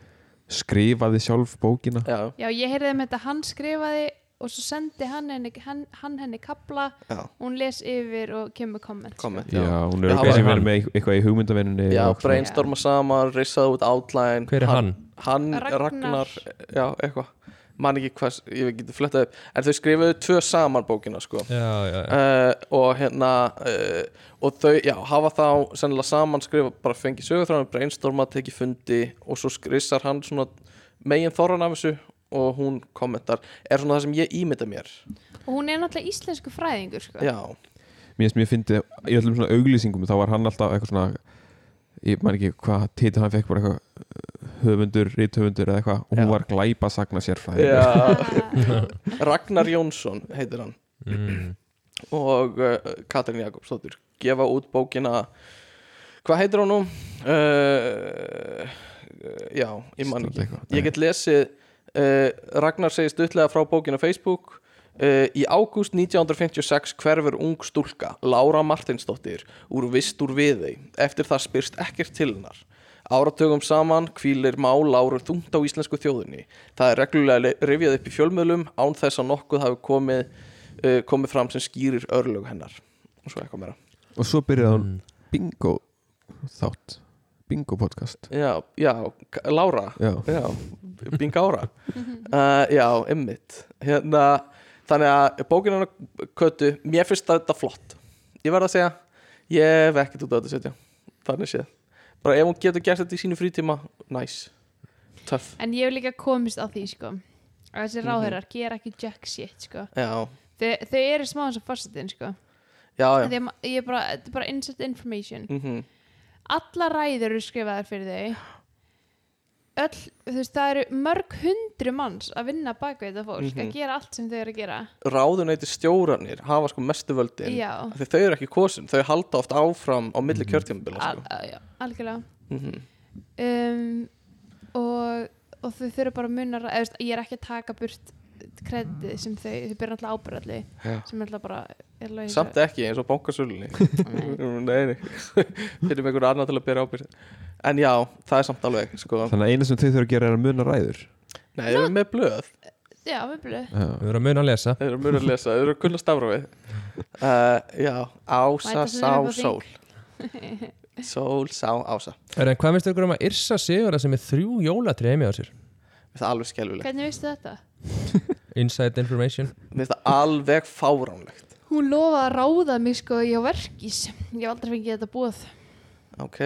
D: skrifaði sjálf bókina
C: Já.
A: Já, ég heyrði um þetta, hann skrifaði og svo sendi hann henni, hann, hann henni kapla,
C: Já.
A: hún les yfir og kemur komment. sko.
C: Comment,
D: Já, hún
C: Já,
D: er
C: hann-
D: kannski verið með eit- eitthvað í hugmyndavinnunni
C: já,
D: og svona.
C: brainstorma saman, risaðu út outline
D: Hver er
C: Hann,
A: Ragnar.
C: Ragnar, já, eitthvað man ekki hvað, ég geti flettað upp en þau skrifuðu tvö saman bókina sko.
B: Já, já, já.
C: Eh, og hérna uh, og þau, já, hafa þá sennilega saman skrifa, bara fengi sögurþráðan brainstorma, teki fundi og svo skrissar hann svona megin þorran af þessu og hún kommentar er svona það sem ég ímynda mér
A: Og hún er náttúrulega íslensku fræðingur, sko.
C: já,
D: mér finnst mjög fyndið í öllum svona auglýsingum þá var hann alltaf eitthvað svona ég man ekki hvað titur hann fekk bara eitthvað uh, höfundur, rithöfundur eða eitthvað og hún var glæpa sagna sérfræði
C: Já. Ragnar Jónsson heitir hann
D: Mm.
C: og uh, Katrin Jakobsdóttir gefa út bókina hvað heitir hún nú? Uh, já, ég man ekki ég get lesið uh, Ragnar segir stuttlega frá bókina á Facebook Uh, í ágúst 1956 hverfur ung stúlka, Lára Martinsdóttir, úr vist úr við þau. Eftir það spyrst ekkert til hennar. Áratögum saman hvílir mál Láru þungt á íslensku þjóðinni. Það er reglulega le- rifjað upp í fjölmiðlum án þess að nokkuð hafi komið, uh, komið fram sem skýrir örlög hennar. Og svo eitthvað meira.
D: og svo byrjaði hann bingo þátt bingo podcast
C: Já, já, K- Lára
D: Já.
C: Bingára uh, Já, ymmit hérna, Þannig að bókin hennar Kötu, mér finnst þetta flott Ég verð að segja, ég hef ekkert út á þetta að setja Þannig séð Bara ef hún getur gert þetta í sínu frítíma, nice Töff
A: En ég hef líka komist á því, sko. Að þessi
C: Mhm.
A: ráðherrar gera ekki jack shit, sko.
C: Já,
A: Þau, þau eru smá eins og fórsetin, sko.
C: já, já
A: Þegar ma- ég er bara, þetta er bara insert information.
C: Mhm.
A: Alla ræður eru skrifaðar fyrir þau. Öll, þú veist, það eru mörg hundru manns að vinna bakveit af fólk,
C: Mhm.
A: að gera allt sem þau eru að gera.
C: Ráðuneyti stjóranir hafa sko mestu völdin
A: Já.
C: Af því Þau eru ekki kosin, þau halda oft áfram á milli kjörtjámbila
A: Al,
C: sko.
A: al, já, algjörlega.
C: mm
A: um, og, og þau þurfa bara að muna eða, þú veist, ég er ekki að taka burt kredið sem þau, þau byrja alltaf ábyrðalli
C: Já.
A: sem er alltaf bara er lögin-
C: Samt ekki eins og bankasölunni Nei, nei Fyrir með einhverju annar til að bera ábyrð En já, það er samt alveg sko.
D: þannig að eina sem þau þurfa að gera er að muna ræður
C: Nei, þau eru með blöð
A: já, við blöð
D: Þau
B: eru að muna að lesa
C: Þau eru mjög að lesa, þau eru að kunna stafra við uh, Já, ása,
A: Mæta sér upp
C: sá,
A: á
C: sól
A: þing.
C: Sól, sá, ása
B: Er, en hvað finnst ykkur um að Yrsa Sigurða sem er þrjú jólatri heimi á sér?
C: Það er alveg skelvilegt
A: hvernig veistu þetta?
B: Inside information
C: Mér finnst það alveg fáránlegt
A: hún lofaði að ráða mig sko í á verkís ég hef aldrei fengið þetta búið
C: Ok,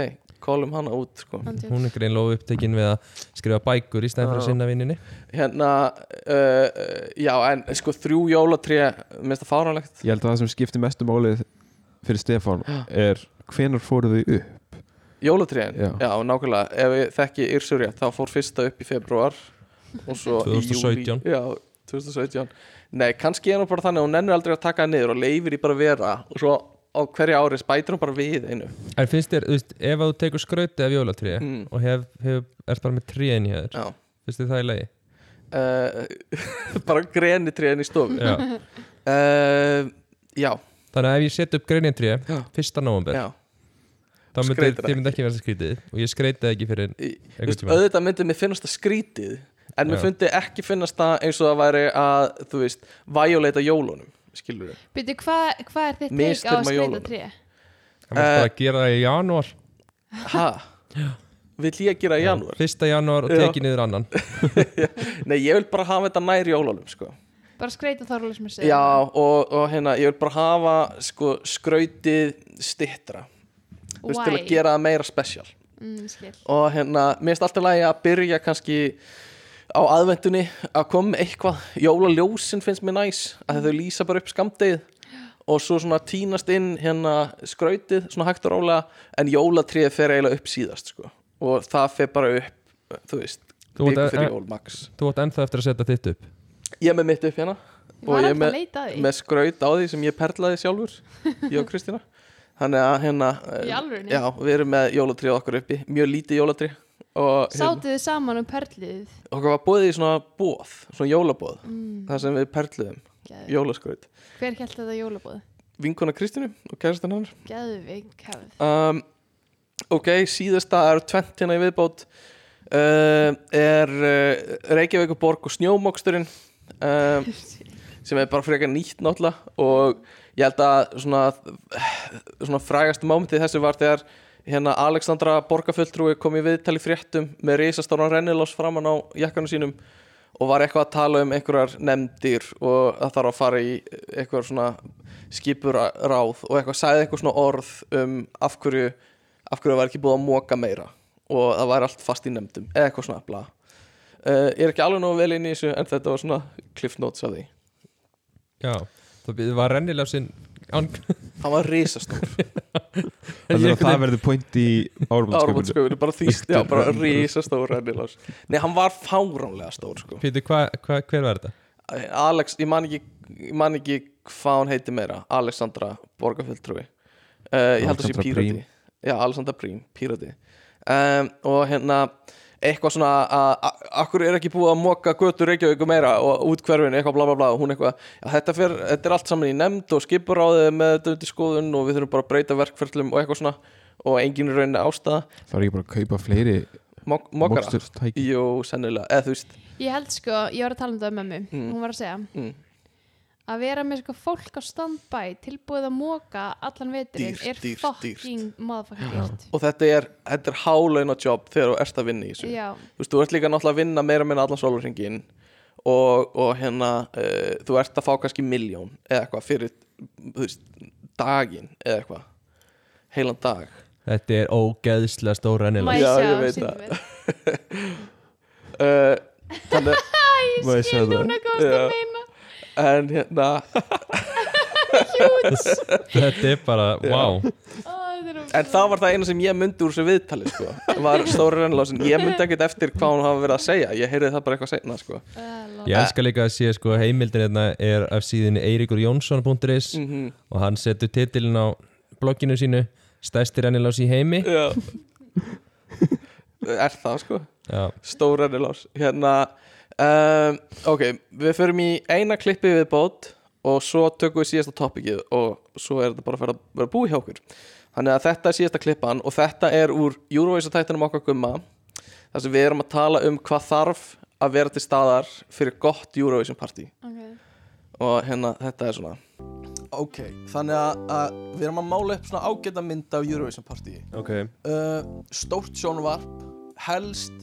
C: kólum hana út sko.
A: Andjóks.
B: Hún er greinlóð upptekinn við að skrifa bækur í stæðan fyrir að sinna vinninni
C: Hérna, uh, uh, já, en sko þrjú jólatré Mér finnst það fáránlegt
D: ég held að það sem skiptir mestu málið fyrir Stefán er hvenar fóruð þau upp
C: Jólatréin,
D: Já.
C: já. nákvæmlega ef ég þekki Yrsuria, þá fór fyrsta upp í februar og svo í júlí-
B: 2017.
C: Já, 2017 Nei, kannski er hún bara þannig að hún nennir aldrei að taka hann niður og leifir í bara að vera og svo á hverju ári spætir hún bara við einu
B: En finnst þér, þú veist, ef að þú tekur skrautið af jólatri
C: Mm.
B: og hef, hef, ert bara með tréin hjá þér
C: Já.
B: Finnst þér það í lagi?
C: uh, bara grenitréin í stofu
B: Já.
C: uh, já
B: Þannig að ef ég set upp greinintri 1. november
C: Já.
B: þá myndi
C: Skreytir
B: þér
C: það
B: myndi ekki verða skrítið og ég skreitið ekki fyrir
C: Þú
B: einhvern
C: veist,
B: tíma
C: auðvitað myndi mér finnast það skrítið en mér
B: Já.
C: fundi ekki finnast það eins og það væri að, þú veist, væjuleita jólunum skilur við
A: byrju, hvað hva er þitt teik á
C: Mistyrma
A: að skreita
C: jólunum.
A: tré?
B: Það
C: eh,
B: myndi bara að gera það í janúar
C: Hæ? Vill ég gera í janúar?
B: Fyrsta janúar og
C: Já.
B: tekið niður annan
C: Nei, ég vil bara hafa þetta nær jólunum sko.
A: bara skreita þorlöfsmessu
C: Já, og, og hérna, ég vil bara hafa sko, skrautið stittra Þú veist, til
A: Why?
C: að gera það meira spesial
A: mm, skil.
C: og hérna, mér finnst alltaf lagi að byrja kannski á aðvendunni að koma með eitthvað, jólaljósin finnst mér næs að þau lýsa bara upp skamdegið og svo svona tínast inn hérna skrautið, svona hægt og rólega en jólatríð fer eiginlega upp síðast sko. og það fer bara upp þú veist,
B: Þú átt
C: viku
B: en-
C: fyrir jól max
B: Þú átt ennþá eftir að setja þitt upp
C: ég er með mitt upp hérna
A: Var
C: og ég er
A: hægt að
C: með,
A: leita að því?
C: með skraut á því sem ég perlaði sjálfur ég og Kristina þannig að hérna eh,
A: Í alvörunni?
C: já, við erum með jólatrið okkar uppi, mjög lítið jólatrið og hérna,
A: Sátuð þið saman um perlið
C: okkar var búið í svona bóð svona jólabóð,
A: Mm.
C: þar sem við perluðum
A: Geðveikt.
C: jólaskraut,
A: Hver held þetta jólabóð?
C: vinkona Kristinu og kæristan hennar
A: Geðvig hefð
C: um, ok, síðasta er tvent hérna í viðbót uh, er uh, Reykjavíkuborg og snjómoksturinn um, sem er bara frekar nýtt náttúrulega og ég held að svona, svona frægasta mómentið þessi var þegar hérna Alexandra borgarfulltrúi kom í viðtal í fréttum með risastóran rennilás framann á jakkanum sínum og var eitthvað að tala um einhverjar nefndir og að þarf að fara í eitthvað svona skipur ráð og eitthvað sagði eitthvað svona orð um af hverju, af hverju var ekki búið að móka meira og það var allt fast í nefndum eða eitthvað svona bla uh, ég er ekki alveg nógu vel inn í þessu en þetta var svona cliff notes af því
B: Já, það var rennilega sinn Hann
C: var risastór
D: Þannig að það verður point í
C: árbúndskauðinu
D: árbúndskauðinu
C: bara þýst, já, bara risastór rennilás nei, hann var fáránlega stór sko.
B: Pítur, hva, hva, hver var þetta?
C: Alex, ég man ekki, ég man ekki hvað hún heiti meira Alexandra Borgarfjöldtrúi uh, ég held að sé
D: Alexandra
C: pírati
D: Brím.
C: já, Alexandra Brím, pírati um, og hérna eitthvað svona að- að akkur er ekki búið að moka götu Reykjavíku meira og út hverfinu eitthvað bla bla bla og hún eitthvað já, þetta, fer, þetta er allt saman í nefnd og skipur á þau með þetta undir skoðun og við þurfum bara að breyta verkferðlum og eitthvað svona og engin er rauninni ástæða
D: Það er ekki bara að kaupa fleiri
C: Mok mokara
D: Moksturstæki.
C: Jú, sennilega, eða þú veist
A: Ég held sko, ég var að tala um það með mömmu
C: Mm.
A: Hún var að segja
C: mm.
A: Að vera með sko fólk á standby Tilbúið að móka allan veturinn
C: Dýrt,
A: Er
C: dýrt,
A: fucking motherfucking dýrt
C: og þetta er, þetta er hálauna job þegar þú ert að vinna í þessu
A: Já.
C: þú, veist, þú ert líka náttúrulega að vinna meira og minna allan sólurringin og, og hérna uh, þú ert að fá kannski miljón eða eitthvað fyrir þú veist, daginn eða eitthvað heilan dag
B: Þetta er ógeðslega stór rennilega
C: Já, ég veit það uh, Þannig
A: Ég Má ég skil sjá það? núna hvað þú ert að
C: Já. En hérna
B: Þetta er bara,
C: Já.
B: wow
C: En það var það eina sem ég myndi úr þessu viðtali sko. var stóra rennlásin ég myndi ekkert eftir hvað hún hafa verið að segja ég heyrði það bara eitthvað seinna sko.
B: Ég elska líka að sé sko heimildin hérna er af síðinni eirikurjónsson.is
C: Mhm.
B: og hann setur titilin á blogginu sínu Stærsti rennilás í heimi
C: Já. er það sko
B: Já.
C: stór rennilás hérna, um, ok, við förum í eina klippi við bót og svo tökum við síðasta topikið og svo er þetta bara að fara að vera búið hjá okkur þannig að þetta er síðasta klippan og þetta er úr Eurovision-tættinum okkar gumma þar sem við erum að tala um hvað þarf að vera til staðar fyrir gott Eurovision-partí
A: Ok.
C: og hérna, þetta er svona Ok, þannig að, að við erum að mála upp svona ágæta mynd af Eurovision partíi
D: Ok.
C: uh, Stórt sjónvarp, helst,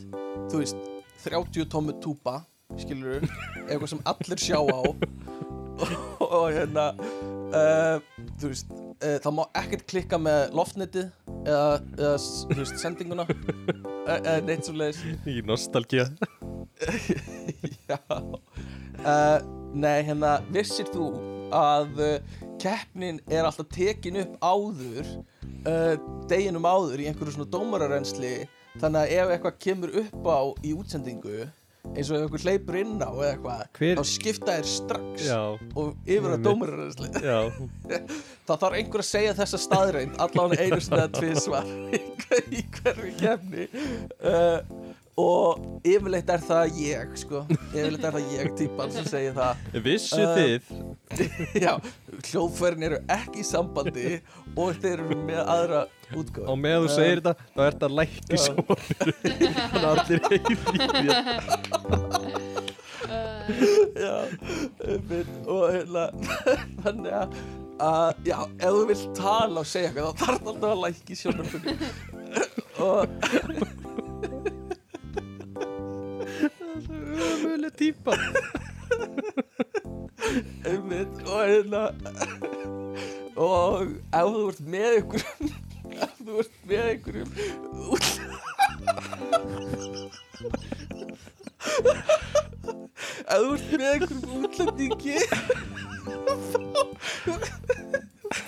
C: þú veist, 30 tómmu túpa, skilur eitthvað sem allir sjá á og, og hérna, uh, þú veist, uh, það má ekkert klikka með loftnetið eða, eða s- þú veist, sendinguna e- eða neitt svo leiðis
D: Í nostalgía
C: Já uh, Nei, hérna, vissir þú að uh, keppnin er alltaf tekin upp áður uh, deginum áður í einhverju svona dómararensli þannig að ef eitthvað kemur upp á í útsendingu eins og ef einhver hleypur inn á eða eitthvað
D: Hver-
C: þá skipta þér strax
D: Já.
C: og yfir á
D: Einmitt.
C: dómararensli
D: Já.
C: Það þarf einhver að segja þessa staðreind allan einu sinni eða tvið svar í hverju kefni uh, og yfirleitt er það ég sko, yfirleitt er það ég típan sem segir það
D: Vissuð
C: þið já, hljóðfærin eru ekki í sambandi og þeir eru með aðra útgáð
D: Og meðan þú
C: uh,
D: segir þetta, þá ert að lækka í sjónvarpinu. Þannig að allir heyri í
C: þér já, einmitt, og hérna þannig að að, já, ef þú vilt tala og segja eitthvað þá þarf alltaf að lækki sjónarfunni og
D: Ömuleg típa
C: einmitt og hérna og ef þú ert með einhverjum ef þú ert með einhverjum út ef þú ert með einhverjum útlendingi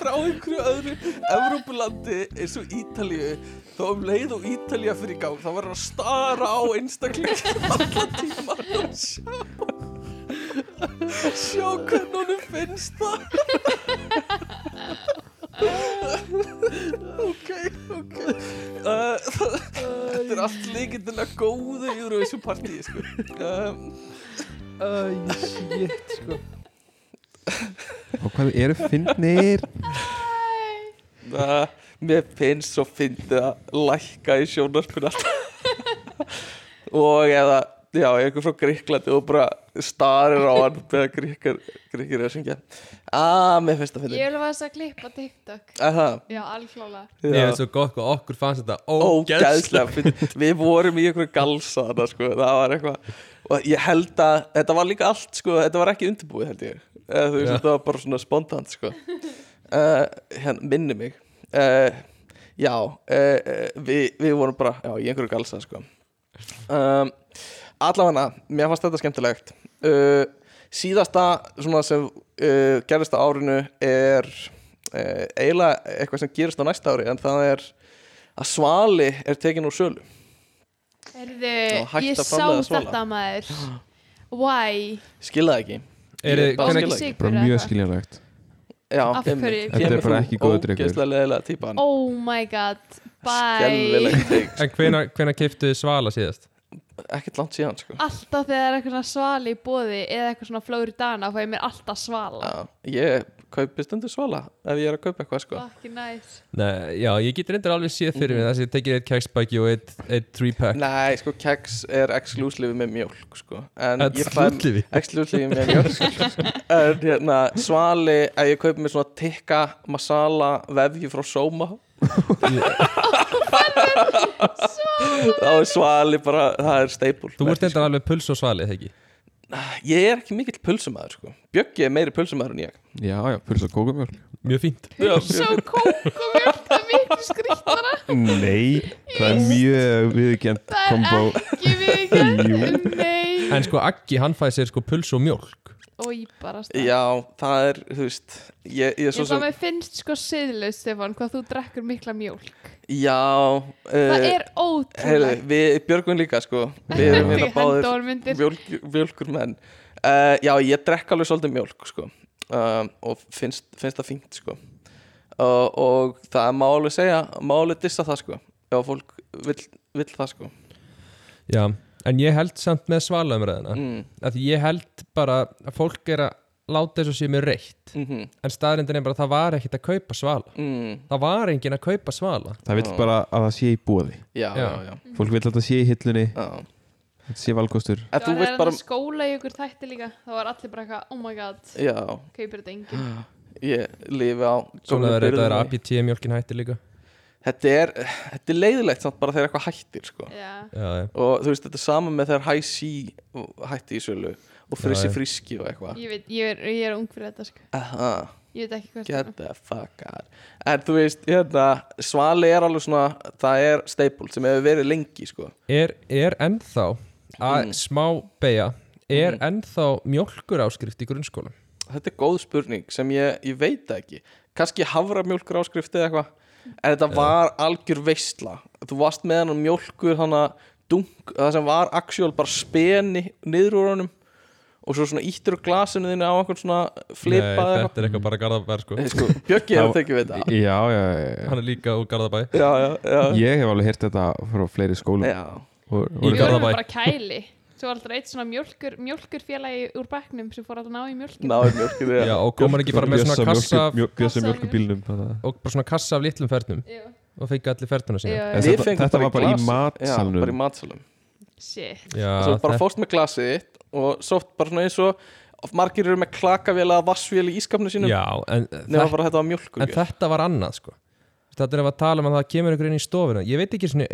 C: þá á einhverju öðru Evrópulandi eins og Ítalíu þá um leið og Ítalía fyrir í gang þá var hann að stara á einstakling allan tíman og sjá sjá hvernig honum finnst það ok, ok uh, þetta er allt líkindilega góðu Eurovision partíi sko um,
G: Æ, shit, sko
D: Og hvað eru finnir?
C: Uh, mér finnst svo fyndið að lækka í sjónarpun alltaf og eða já, einhver frá Gríklandi og bara starir á hann þegar Gríkir, Gríkir er að syngja að mér finnst það
A: Ég
C: fyndið
A: vil að þess að klippa TikTok
C: Er það?
A: Já, alflála
B: Ég veit svo gott hvað okkur fannst þetta
C: ógæðslega
B: ógeðslega
C: fyndið. við vorum í einhverju galsa þarna, sko. það var eitthvað og ég held að þetta var líka allt sko. þetta var ekki undirbúið held ég Eða, þú veist
B: Já.
C: þetta var bara svona spontant sko. uh, hérna, minni mig uh, já uh, uh, við, við vorum bara já, í einhverju galsa sko. um, allavega mér fannst þetta skemmtilegt uh, síðasta svona sem uh, gerist á árinu er uh, eiginlega eitthvað sem gerist á næsta ári en það er að svali er tekin úr sölu
A: Erðu,
C: Já, hægt
A: ég
C: að
A: sá
C: framleiða svala.
A: þetta maður Why?
C: skilða ekki
B: Er þið-
C: Ég bara
B: hvenær-
C: skil það ekki.
D: Bara mjög skiljanlegt
C: Já,
A: Af
C: einmitt.
A: hverju?
D: Þetta er
C: Kemur þú
D: bara ekki góður drykkur.
C: ógeðslega leiðilega típan
A: Oh my god, bye
C: Skelfilegt drykk.
B: En hvena, hvena keiptu Svala síðast?
C: Ekkert langt síðan sko
A: Alltaf þegar það er eitthvað svona svali í bóði eða eitthvað svona flóri dana fæ ég mér alltaf svala
C: Ég kaupi stundu svala ef ég er að kaupa eitthvað sko
A: Fucking nice
B: Nei, já, ég get reyndar alveg séð fyrir mig
C: Mhm.
B: þess að ég tekið eitt keksbæki og eitt, eitt three pack
C: Nei, sko, keks er exclusive með mjólk sko. En
B: Ex-
C: ég fæ-
B: exclusive?
C: Exclusive með mjólk En hérna, svali að ég kaupi mér svona tikka masala vefji frá Soma Þá er svali bara, það er staple
B: Þú ert reyndar alveg puls og Svali, þegar ekki?
C: Ég er ekki mikill pulsumæður sko Bjöggi er meiri pulsumæður en ég
D: Já, já, pulsa kókumjörn
B: Mjög fínt
A: Svo kókumjölk, það er miklu skrýttara
D: Nei, það er mjög viðkjönd
A: Það er
D: kombo
A: ekki viðurkennt.
D: Jú.
A: Nei
B: En sko Aggi, hann fæði sér sko puls og mjólk
A: Og ég bara stað
C: Já, það er, þú veist Ég, ég er
A: Ég
C: svo
A: svo
C: sem
A: mér finnst sko siðlaust, Stefán, hvað þú drekkur mikla mjólk
C: Já
A: Það
C: eh,
A: er ótrúlegt.
C: heyrðu, Við björgum líka sko Við erum
A: Við
C: hérna
A: hendur myndir.
C: báðir mjólk, mjólkur menn uh, Já, ég drekk alveg svolítið mjólk sko um, og finnst, finnst það fínt sko uh, og það má alveg segja má alveg dissa það sko ef fólk vill, vill það sko
B: Já, en ég held samt með svalumræðina
C: Mm.
B: að ég held bara að fólk er að láta þess að sé mér reitt
C: Mhm.
B: en staðrindin er bara að það var ekkert að kaupa svala
C: mm.
B: það var enginn að kaupa svala
D: Það vill bara að það sé í bóði
C: Já,
B: Já.
C: já.
D: Fólk vill að það sé í hillunni
C: Já.
D: Þetta sé valkostur
A: Það var hérna bara... skóla í ykkur þætti líka Það var allir bara eitthvað, oh my god
C: Já.
A: Kaupir þetta enginn
C: Ég lifi á
B: Svona er
C: gömlu
B: þetta er
C: byrðinni.
B: APT mjólkin hætti líka
C: þetta er, þetta er leiðilegt samt bara þegar eitthvað hættir sko.
A: Já.
B: Já, já.
C: og þú veist þetta er sama með þegar high sea hætti í sölu og frissi
B: Já, já.
C: friski og eitthvað
A: Ég veit, ég er, ég er ung fyrir þetta sko
C: Aha,
A: Ég veit ekki hvað
C: get the fuck out en þú veist, hérna, svali er alveg svona það er staple sem hefur verið lengi sko.
B: er, er ennþá að smá beja er ennþá mjólkur áskrift í grunnskóla
C: þetta er góð spurning sem ég, ég veit það ekki kannski hafra mjólkur áskrift eða eitthvað en þetta var algjör veistla þú varst með hann mjólkur þannig að dunk, það sem var actual bara speni niður úr honum og svo svona íttur glasinu þínu á einhvern svona flipa
B: Nei,
C: eða
B: þetta er eitthvað bara garðabær sko,
C: Nei, sko, Bjöggi hefur tekið við þetta.
D: Já, já, já, já.
B: hann er líka úr garðabæ
C: Já, já, já.
D: Ég hef alveg heyrt þetta frá fleiri skólum
C: Já.
D: og,
A: Við
D: og,
A: vorum bara kæli Svo var alltaf eitt svona mjölkur, mjölkur félagi úr bekknum sem fór alltaf að ná í mjölkinu
C: Náði mjólkinu
B: Já, og kom hann ekki bara með svona
D: Bjössa
B: kassa af-
D: mjólkur- mjólk- Bjössa Kassa af mjólkurbílnum, mjólk. þannig að-
B: og bara svona kassa af litlum fernum og fengi allir fernuna sína
A: Já, já.
D: En þetta- þetta var bara í matsalnum.
C: Já, bara í matsalum
A: Shit
B: Já,
C: Svo bara
B: þetta-
C: fórst með glasið þitt og svo bara svona eins og of margir eru með klakavél eða vassvél í ískapnu sínum
B: Já, en,
C: Nefna bara þetta var mjólkur
B: en þetta var annað sko þetta er að tala um að það kemur ykkur inn í stofuna ég veit ekki svona,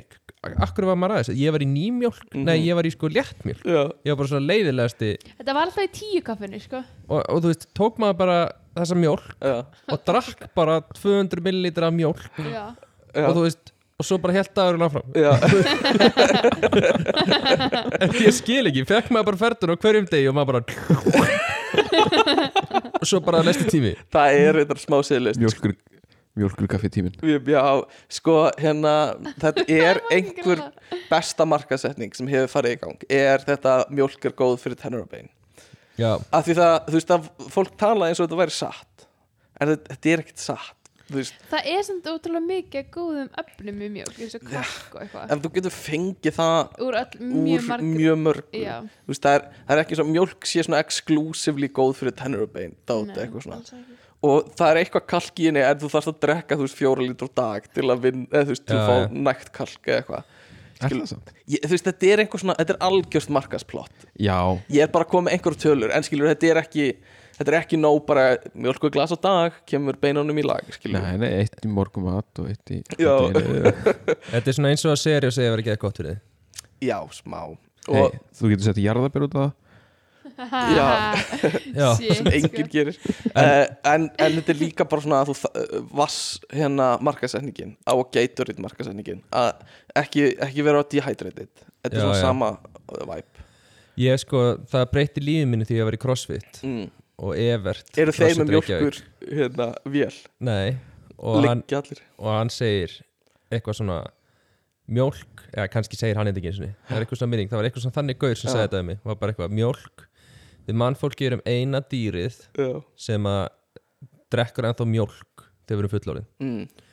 B: akkur var maður aðeins ég var í nýmjólk, nei ég var í sko léttmjólk
C: Já.
B: ég var bara svona leiðilegasti
A: Þetta var alltaf í tíu kaffinu sko
B: og, og þú veist, tók maður bara þessa mjólk
C: Já.
B: og drakk bara 200 millilitra af mjólk
A: Já.
B: og þú veist, og svo bara helt dagurinn áfram en ég skil ekki, fekk maður bara ferðun á hverjum degi og maður bara og svo bara næsti tími
C: það er þetta smá siðlist
D: mjólkur, mjólkur kaffi tímin
C: Já, sko, hérna þetta er einhver besta markasetning sem hefur farið í gang er þetta mjólk er góð fyrir tennur og bein
B: Já.
C: af því það, þú veist, að fólk tala eins og þetta væri satt en þetta, þetta er ekkert satt þú veist,
A: Það er samt ótrúlega mikið af góðum öfnum í mjólk, eins og kakk og eitthvað.
C: ef þú getur fengið það
A: Úr öll- mjög
C: úr
A: margri-
C: mjög mörgu
A: Já.
C: Þú veist, það, er, það er ekki svo mjólk sé svona exclusively góð fyrir tennur og bein dát,
A: Nei,
C: eitthvað
A: alls
C: svona
A: ekki.
C: og það er eitthvað kalk í henni en þú þarfst að drekka þú veist fjóra lítur á dag til að vinna, eða þú veist, til
B: Já,
C: að fá
B: já.
C: nægt kalk eða eitthvað Skil-
D: það samt?
C: Ég- þú veist, þetta er einhver svona, þetta er algjörst markasplott
D: Já,
C: ég er bara að koma með einhverjum tölur en skilur, þetta er ekki þetta er ekki nóg bara mjölku glas á dag kemur beinunum í lag, skilur
D: nei, nei, eitt í morgumat og eitt í
C: Já.
B: Þetta er svona eins og að seri og segja að vera ekki eitthvað gott fyrir þið
C: já, smá
D: Hey,
C: og
D: þú getur sett jarðabér út af
C: Já,
D: Já.
C: það sem
D: Shit,
C: enginn
D: sko.
C: gerir uh, en, en þetta er líka bara svona að þú þa- vass hérna markasetningin á að geiturinn markasetningin að ekki, ekki vera dehydrated þetta er
B: Já,
C: svona
B: já.
C: sama uh, vibe
B: Ég sko, það breytti lífið minni því að ég var í CrossFit
C: Mm.
B: og Evert
C: eru þeir
B: CrossFit
C: með
B: Reykjavík.
C: mjölkur hérna vél
B: Nei og hann,
C: Liggja allir.
B: og hann segir eitthvað svona mjólk, eða kannski segir hann eitthvað ekki einu sinni. það er eitthvað svona minning, það var eitthvað svona þannig gaur sem
K: Já.
B: sagði þetta um mig, var bara eitthvað mjólk við mannfólki erum um eina dýrið
C: Já.
B: sem að drekkur ennþá mjólk þegar við erum fullorðin
C: Mm.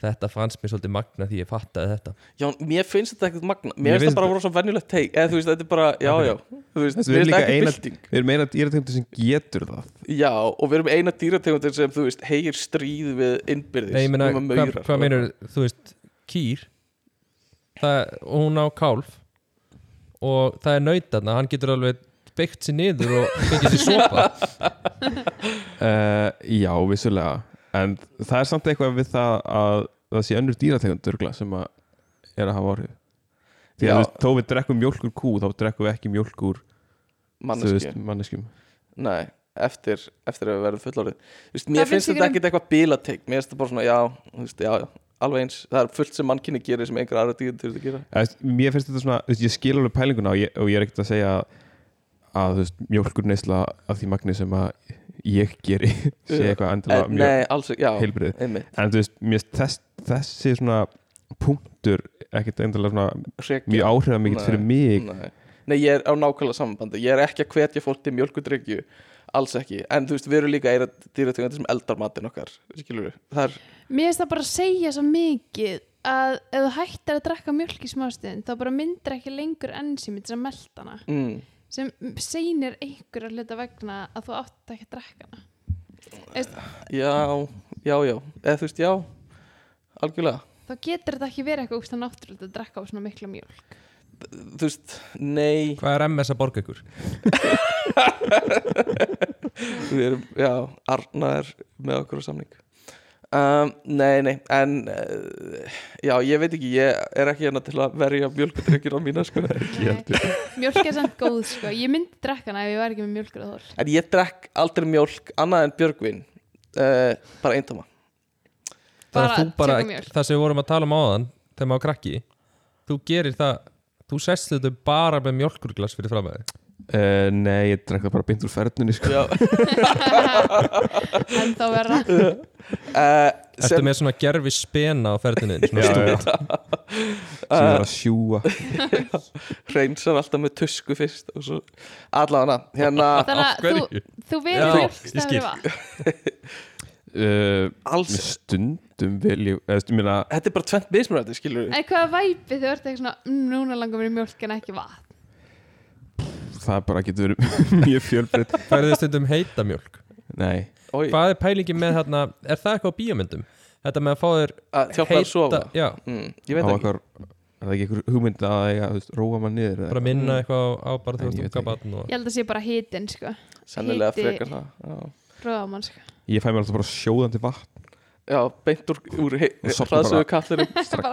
B: þetta fannst mér svolítið magna því ég fattaði þetta
C: Já, mér finnst þetta ekkert magna
B: Mér
C: Mér finnst
B: finnst
C: það bara voru svo venjulegt teik Eða þú veist, þetta er bara, já, já Þú veist,
D: Þessi,
C: mér
D: við
C: finnst
D: erum líka
C: ekki
D: eina,
C: bylting
D: við erum eina dýrategundir sem getur það
C: Já, og við erum eina dýrategundir sem, þú veist, heyr stríð við innbyrðis
B: Nei, ég meina,
C: um að
B: hvað
C: maurar.
B: hva meinar, þú veist, kýr það, og hún á kálf og það er nautarna hann getur alveg byggt sér niður og fengið sér sopa
D: uh, Já, vissulega En það er samt eitthvað við það að það sé önnur dýrategundur sem að er að hafa áhrif Því
C: Já.
D: að þú veist, þó við drekkum mjólkur kú þá drekkum við ekki mjólkur
C: Manneskju.
D: manneskjum
C: Nei, eftir, eftir að við verðum fullorðið Þú veist, mér
A: finnst
C: finnst
A: ykkur
C: þetta
A: um-
C: ekkert eitthvað bílateik Mér finnst þetta bara svona, já, þú veist, já, já Alveg eins, það er fullt sem mannkinni gerir sem einhver aðra dýrategundir gera
D: Eða, þú veist, Mér finnst þetta svona, þú veist, ég skil alveg pælinguna og ég, og ég er ekkert að segja að þú veist, mjólkur neysla af því magni sem að ég geri sé
C: Já.
D: eitthvað endilega
C: Eh, nei, alls ekki, já,
D: heilbrigð
C: einmitt.
D: en þú veist, mér finnst þess, þessi svona punktur ekkert endilega svona mjög áhrifða
C: Nei, Mm.
D: fyrir mig
C: nei. Nei, ég er á nákvæmlega samanbandi Ég er ekki að hvetja fólk til mjölkudryggju Alls ekki, en þú veist, við erum líka eira dýrategundir sem eldar matinn okkar Skilur það er
A: Mér finnst það bara að segja svo mikið að ef þú hættar að drekka mjölk í smástund þá bara myndir ekki lengur enzími til að melta hana
C: Mm.
A: sem seinir einhverja hluta vegna að þú átt ekki að drekka hana Eist,
C: Já, já, já Eða þú veist, já, algjörlega
A: þá getur þetta ekki verið eitthvað úrst að náttúrulega að drekka á svona mikla mjölk
C: Þú veist, nei
B: Hvað er MS að borga ykkur?
C: Við erum, já, Arna er með okkur á samning um, Nei, nei, en uh, Já, ég veit ekki, ég er ekki hérna til að verja mjölkudryggjur á mína sko. Ekki heldur
A: mjölk er samt góð sko, ég myndi drekka hana ef ég væri ekki með mjölkur að þól
C: En ég drekk aldrei mjólk annað en Björgvin uh, bara eintama
B: Það er
A: Bara
B: þú bara,
A: tökum mjólk.
B: það sem við vorum að tala um áðan þegar maður var krakki, þú gerir það þú sest þetta bara með mjölkurglas fyrir framæði
D: uh, Nei, ég drekk það bara beint úr ferðnunni sko.
A: en þá verða
C: Eh,
B: Ertu með svona gerfi spena á ferðinni
D: Já,
B: svona
D: já.
B: stúka
D: Sem er að sjúga.
C: Reynsar alltaf með tusku fyrst og svo allavega hérna
A: Þannig að Af hverju? þú- þú velur
C: Já,
A: mjólkstæður
C: ég skil.
D: uh,
C: Alls
D: Stundum vel ég, eða, stu, minna,
C: Þetta er bara tvent mismunandi, skilur
A: en hvað væpi þú ert eitthvað svona "Mm, núna langar mér í mjólk en ekki vatn
D: Það bara getur verið mjög fjölbreytt
B: Færðu þið stundum heita mjólk?
D: Nei
C: Oi.
B: Hvað er pælingin með þarna, er það eitthvað á bíómyndum? Þetta með að fá þér
C: Að hjálpa þér að sofa?
B: Já,
C: Mm, ég veit
D: Á
C: ekki.
D: okkar- Er það ekki einhver hugmynd að eiga, þú veist, róa mann niður eða
B: bara
D: eitthvað?
B: minna eitthvað á, á bara þú
D: En Mm.
B: veist
D: ég veit
B: unga batn og
A: ég held að sé bara hitin sko
C: Sennilega
A: Hiti
C: frekar það, já.
A: róa mann sko
D: Ég fæ mér alltaf bara sjóðandi vatn
C: Já, beint úr, úr
D: Og sofna
C: hraðsögu
D: bara
C: kallir
A: bara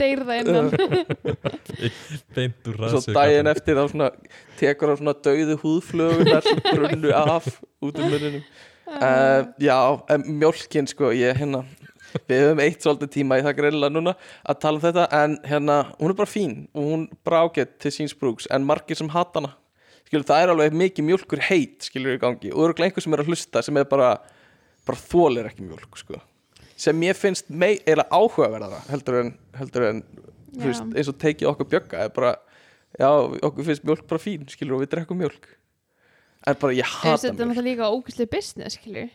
A: deyr það innan
B: Beint úr
C: Svo
B: raðsögu
C: daginn eftir þá svona tekur á svona dauðu húðflögunar sem brunnu af út um muninum uh, Já, en mjólkin sko ég hérna Við höfum eitt svolítið tíma í það greinilega núna að tala um þetta en hérna, hún er bara fín og hún bara ágætt til síns brúks en margir sem hata hana skilur, það er alveg mikið mjólkur heit skilur í gangi og eru einhver sem er að hlusta sem er bara, bara þólir ekki mjólk sko. sem ég finnst mei, eila áhugaverðara heldur en, heldur en þú
A: Já.
C: veist, eins og tekið okkur bjögga er bara, já, okkur finnst mjólk bara fín skilur og við drekkum mjólk en bara ég
A: Þú veist,
C: hata
A: Þetta er náttúrulega líka ógæslega business, skilju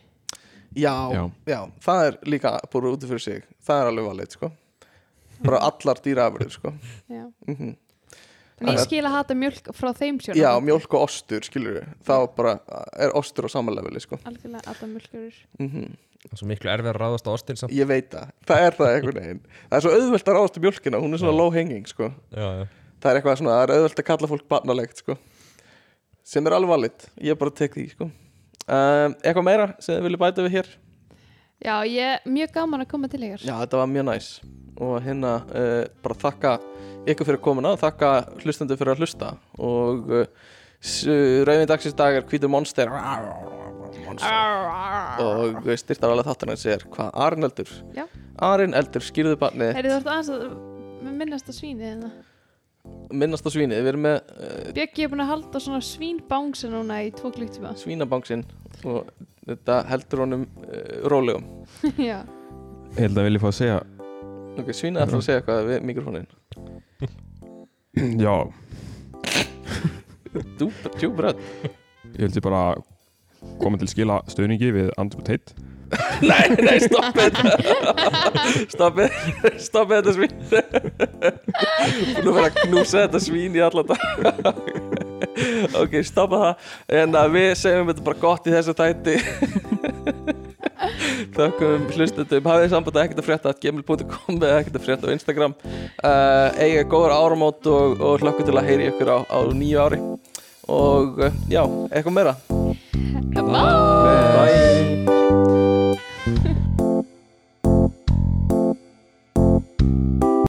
C: Já, já.
A: Já.
C: það er líka búið út fyrir sig það er alveg valið sko. bara allar dýraafurðir sko.
A: Já.
C: mm
A: En ég skil að hata mjölk frá þeim sjónum
C: Já, mjólk og ostur, skilur við þá bara er ostur á samanlefili sko.
A: Algjörlega alla mjölkurur
C: mm
B: Það er svo miklu erfið að ráðast á ostin samt
C: Ég veit það, það er það einhvern veginn Það er svo auðvelt að ráðast í mjólkina, hún er svona low hanging sko.
B: Já, já.
C: Það er eitthvað svona, það er auðvelt að kalla fólk barnalegt sko. sem er alveg valið ég bara tek því sko. um, Eitthvað meira sem þið viljið bæta við hér
A: Já, ég, mjög gaman að koma til ykkar
C: Já, þetta var mjög næs og hérna uh, bara þakka ykkur fyrir komuna þakka hlustandi fyrir að hlusta og uh, rauðin dagsins dag er hvítur monster monster og eh, styrtar alveg þáttarnans er hvað Arin Eldur
A: Já.
C: Arin Eldur skýrðu barnið
A: Heyrðu, þú ert aðeins að minnast að svíni hérna
C: minnast á svínið við erum með uh,
A: Bjöggi er búin að halda svona svínbangsa núna í tvo klukktíma
C: svínabangsinn og þetta heldur honum uh, rólegum
A: Já,
D: Ég held að vilja fá að segja
C: ok, svínið ætlar að segja eitthvað við mikrofónin
D: Já,
C: djúbröð
D: ég held ég bara koma til skila stöðningi við Andrew Tate
C: Nei, nei, stoppið Stoppið Stoppið þetta svín Nú verður að knúsa þetta svín í alla dag Ok, stoppa það En að við segjum þetta bara gott í þessu tæti Þökkum hlustendum Hafið samband að ekkert að frétta at gmail.com eða ekkert að frétta á Instagram uh, Eiga góður áramót og, og hlökkum til að heyri ykkur á, á nýju ári Og uh, já, eitthvað meira